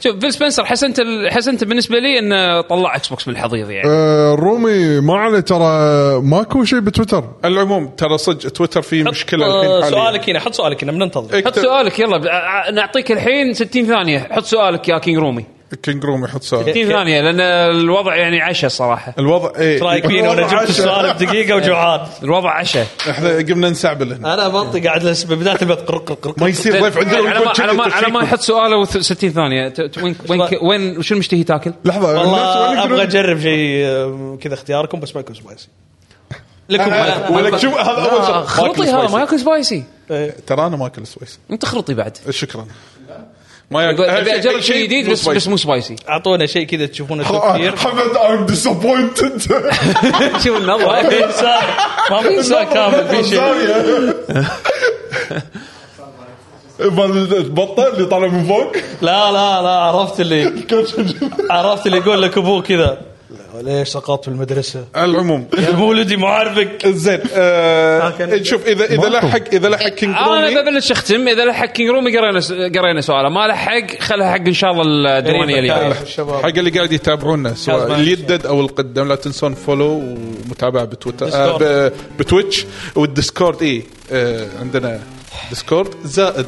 Speaker 6: شوف فيل سبنسر حسنت ال- حسنت بالنسبه لي انه طلع اكس بوكس من الحضيض يعني
Speaker 4: آه، رومي ما عليه ترى ماكو شيء بتويتر
Speaker 3: العموم ترى صدق تويتر فيه مشكله الحين
Speaker 2: مشكله
Speaker 3: حاليا
Speaker 2: سؤالك هنا آه، حط سؤالك هنا بننتظر
Speaker 6: حط
Speaker 3: اكتب
Speaker 6: سؤالك يلا ب- ع- نعطيك الحين 60 ثانيه حط سؤالك يا كينج رومي
Speaker 3: كينج روم يحط سؤال
Speaker 6: 60 ثانيه لان الوضع يعني عشاء الصراحه
Speaker 3: الوضع ايه
Speaker 2: ايش رايك فيني وانا جبت السؤال بدقيقه وجوعان
Speaker 6: الوضع عشاء
Speaker 3: احنا قمنا نسعبل هنا
Speaker 2: انا بطي قاعد لس- بدايه البيت قرق قرق قرق
Speaker 3: ما يصير ضيف عندنا
Speaker 6: على ما
Speaker 3: ويقول
Speaker 6: على ما,
Speaker 3: شنو
Speaker 6: على ما
Speaker 3: تشيك.
Speaker 6: يحط سؤاله وث- 60 ثانيه ت- ت- وين وين ك- وين شنو مشتهي تاكل؟
Speaker 4: لحظه الناس ما
Speaker 2: والله
Speaker 4: يقدرون-
Speaker 2: ابغى اجرب شيء آه، كذا اختياركم بس ما يكون سبايسي لكم
Speaker 3: أنا- ولك شوف هذا اول شغله
Speaker 6: خلطي
Speaker 3: ماكل
Speaker 6: هذا ما
Speaker 3: سويسي.
Speaker 6: ياكل سبايسي
Speaker 3: ترى انا ما اكل سويس
Speaker 6: انت خلطي بعد
Speaker 3: شكرا ما
Speaker 6: أبي- ابي اجرب
Speaker 3: أي
Speaker 6: شيء جديد بس
Speaker 3: سويسي.
Speaker 6: بس مو سبايسي
Speaker 2: اعطونا شيء كذا تشوفونه
Speaker 3: آه،
Speaker 2: كثير
Speaker 4: حمد I'm disappointed
Speaker 6: شوف النظره
Speaker 2: ما في انسان كامل في شيء
Speaker 4: مال البطه اللي طالع من فوق
Speaker 2: لا لا لا عرفت اللي عرفت اللي يقول لك ابوه كذا لا، ليش سقطت في المدرسه؟
Speaker 3: على العموم
Speaker 2: يا ولدي مو عارفك
Speaker 3: زين آه،
Speaker 2: آه، كان-
Speaker 3: شوف اذا اذا
Speaker 4: ماكو.
Speaker 3: لحق اذا لحق كينج
Speaker 6: انا
Speaker 3: رومي
Speaker 6: ببلش اختم اذا لحق كينج رومي قرينا س- قرينا سؤاله ما لحق خلها حق ان شاء الله الديوانيه اللي جايه
Speaker 3: حق اللي قاعد يتابعونا سواء
Speaker 2: كازمان.
Speaker 3: اللي يدد او القدام لا تنسون فولو ومتابعه بتويتر آه
Speaker 2: ديسكورد.
Speaker 3: ب- بتويتش والديسكورد اي آه عندنا ديسكورد زائد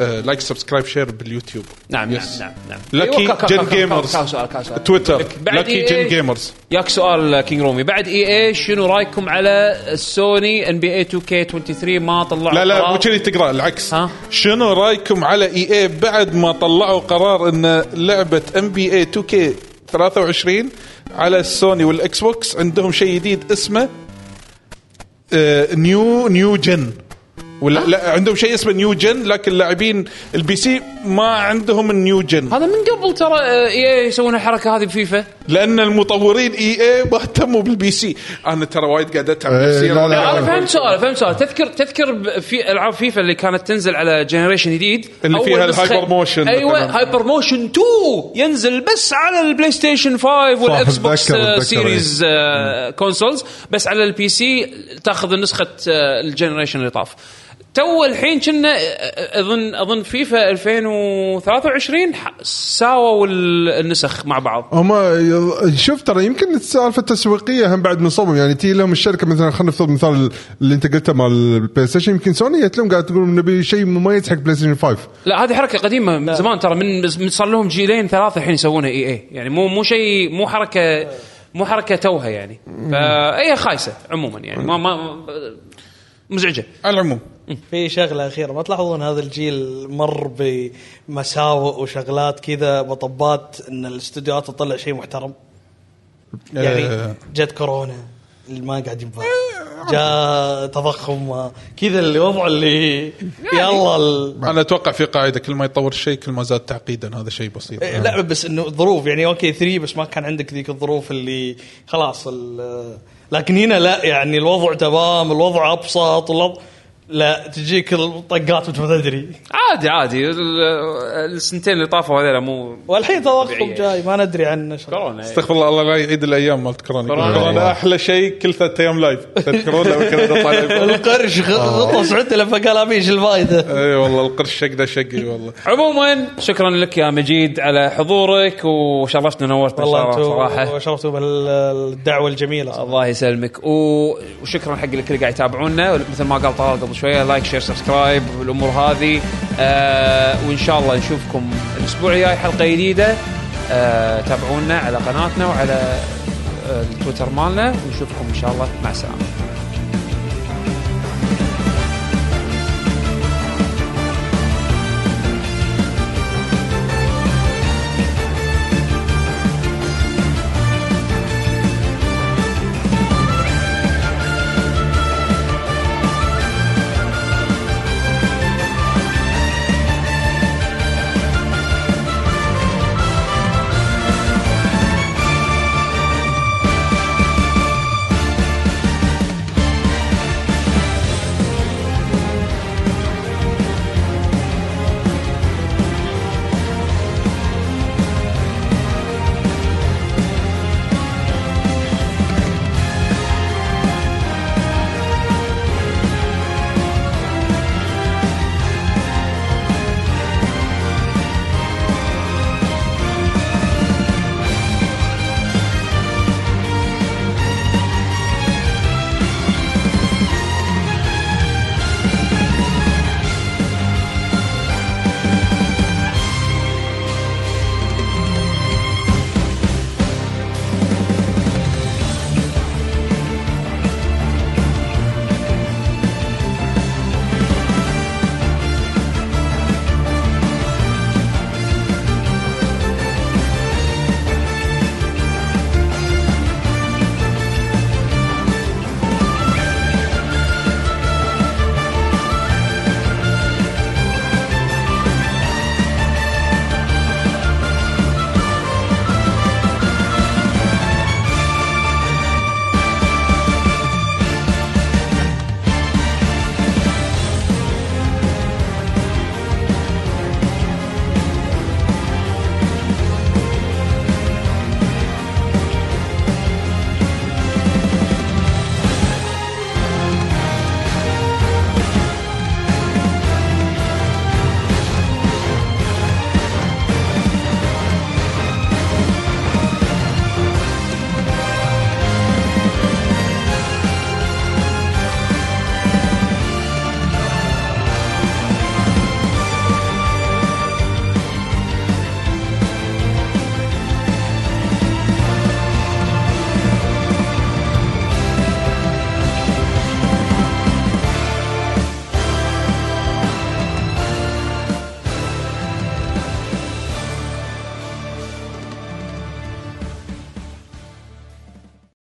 Speaker 3: آه لايك سبسكرايب شير باليوتيوب
Speaker 6: نعم نعم
Speaker 3: Yes.
Speaker 6: نعم نعم
Speaker 3: Lucky
Speaker 6: أيوة، كا- كا-
Speaker 3: Gen
Speaker 6: كا- كا-
Speaker 3: Gamers.
Speaker 6: كا- سؤال كا- سؤال.
Speaker 3: تويتر
Speaker 6: بعد
Speaker 3: لاكي
Speaker 6: EA.
Speaker 3: جن جيمرز
Speaker 6: ياك سؤال كينج رومي بعد اي اي شنو رايكم على السوني ان بي اي 2 كي 23 ما طلعوا
Speaker 3: لا لا
Speaker 6: قرار؟
Speaker 3: مو كذي تقرا العكس
Speaker 6: ها؟
Speaker 3: شنو رايكم على اي اي بعد ما طلعوا قرار ان لعبه ام بي إيه اي 2 كي 23 على السوني والاكس بوكس عندهم شيء جديد اسمه آه، نيو نيو جن ولا لا عندهم شيء اسمه نيو جن لكن اللاعبين البي سي ما عندهم النيو جن
Speaker 6: هذا من قبل ترى اي يسوون الحركه هذه بفيفا
Speaker 3: لان المطورين اي اي ما اهتموا بالبي سي انا ترى وايد قاعد اتعب
Speaker 4: إيه،
Speaker 3: نفسيا
Speaker 4: لا، لا.
Speaker 6: انا فهمت سؤال فهمت سؤال تذكر تذكر ب- في العاب فيفا اللي كانت تنزل على جنريشن جديد
Speaker 3: اللي
Speaker 6: أول
Speaker 3: فيها
Speaker 6: نسخة-
Speaker 3: الهايبر موشن
Speaker 6: ايوه
Speaker 3: مثلاً.
Speaker 6: هايبر موشن 2 ينزل بس على البلاي ستيشن 5 والاكس بوكس
Speaker 4: أتذكر-
Speaker 6: آه،
Speaker 4: أتذكر،
Speaker 6: سيريز آه، كونسولز بس على البي سي تاخذ نسخه آه، الجنريشن اللي طاف تو الحين كنا آه، آه، اظن اظن فيفا 2023 ح- ساووا ال- النسخ مع بعض
Speaker 4: هم يض- شوف ترى يمكن السالفه التسويقيه هم بعد من صوبهم يعني تي لهم الشركه مثلا خلينا نفترض مثال اللي انت قلته مال البلاي ستيشن يمكن سوني جت لهم قاعد تقول نبي شيء مميز حق بلاي ستيشن 5
Speaker 6: لا هذه حركه قديمه من زمان ترى من من صار لهم جيلين ثلاثه الحين يسوونها اي اي يعني مو مو شيء مو حركه مو حركه توها يعني فهي خايسه عموما يعني ما ما مزعجه
Speaker 3: على العموم
Speaker 2: في شغله اخيره ما تلاحظون هذا الجيل مر بمساوئ وشغلات كذا مطبات ان الاستديوهات تطلع شيء محترم يعني جت كورونا ما قاعد ينباع جاء تضخم ما- كذا الوضع اللي يلا ال...
Speaker 3: انا اتوقع في قاعده كل ما يطور الشيء كل ما زاد تعقيدا هذا شيء بسيط
Speaker 2: إيه، لا بس انه ظروف يعني اوكي 3 بس ما كان عندك ذيك الظروف اللي خلاص ال... لكن هنا لا يعني الوضع تمام الوضع ابسط الوضع لا تجيك الطقات وانت ما تدري
Speaker 6: عادي عادي ال- السنتين اللي طافوا هذول مو
Speaker 2: والحين تضخم
Speaker 6: طبيعية.
Speaker 2: جاي ما ندري عنه شو
Speaker 6: كورونا يعني.
Speaker 3: استغفر الله الله لا يعيد الايام مالت كورونا
Speaker 6: كورونا.
Speaker 3: كورونا احلى شيء كل ثلاث ايام لايف تذكرون لما كنا نطلع لايف
Speaker 2: القرش غ- غطس عنده لما قال ابيش الفايده
Speaker 3: اي والله القرش شقنا شقي والله
Speaker 6: عموما شكرا لك يا مجيد على حضورك وشرفتنا نورتنا
Speaker 2: والله
Speaker 6: والله
Speaker 2: انتم
Speaker 6: صراحه
Speaker 2: شرفتوا بالدعوه الجميله صراحة.
Speaker 6: الله يسلمك و- وشكرا حق الكل اللي قاعد يتابعونا مثل ما قال طلال قبل شويه لايك شير سبسكرايب والامور هذه آه وان شاء الله نشوفكم الاسبوع الجاي حلقه جديده آه تابعونا على قناتنا وعلى آه التويتر مالنا ونشوفكم ان شاء الله مع السلامه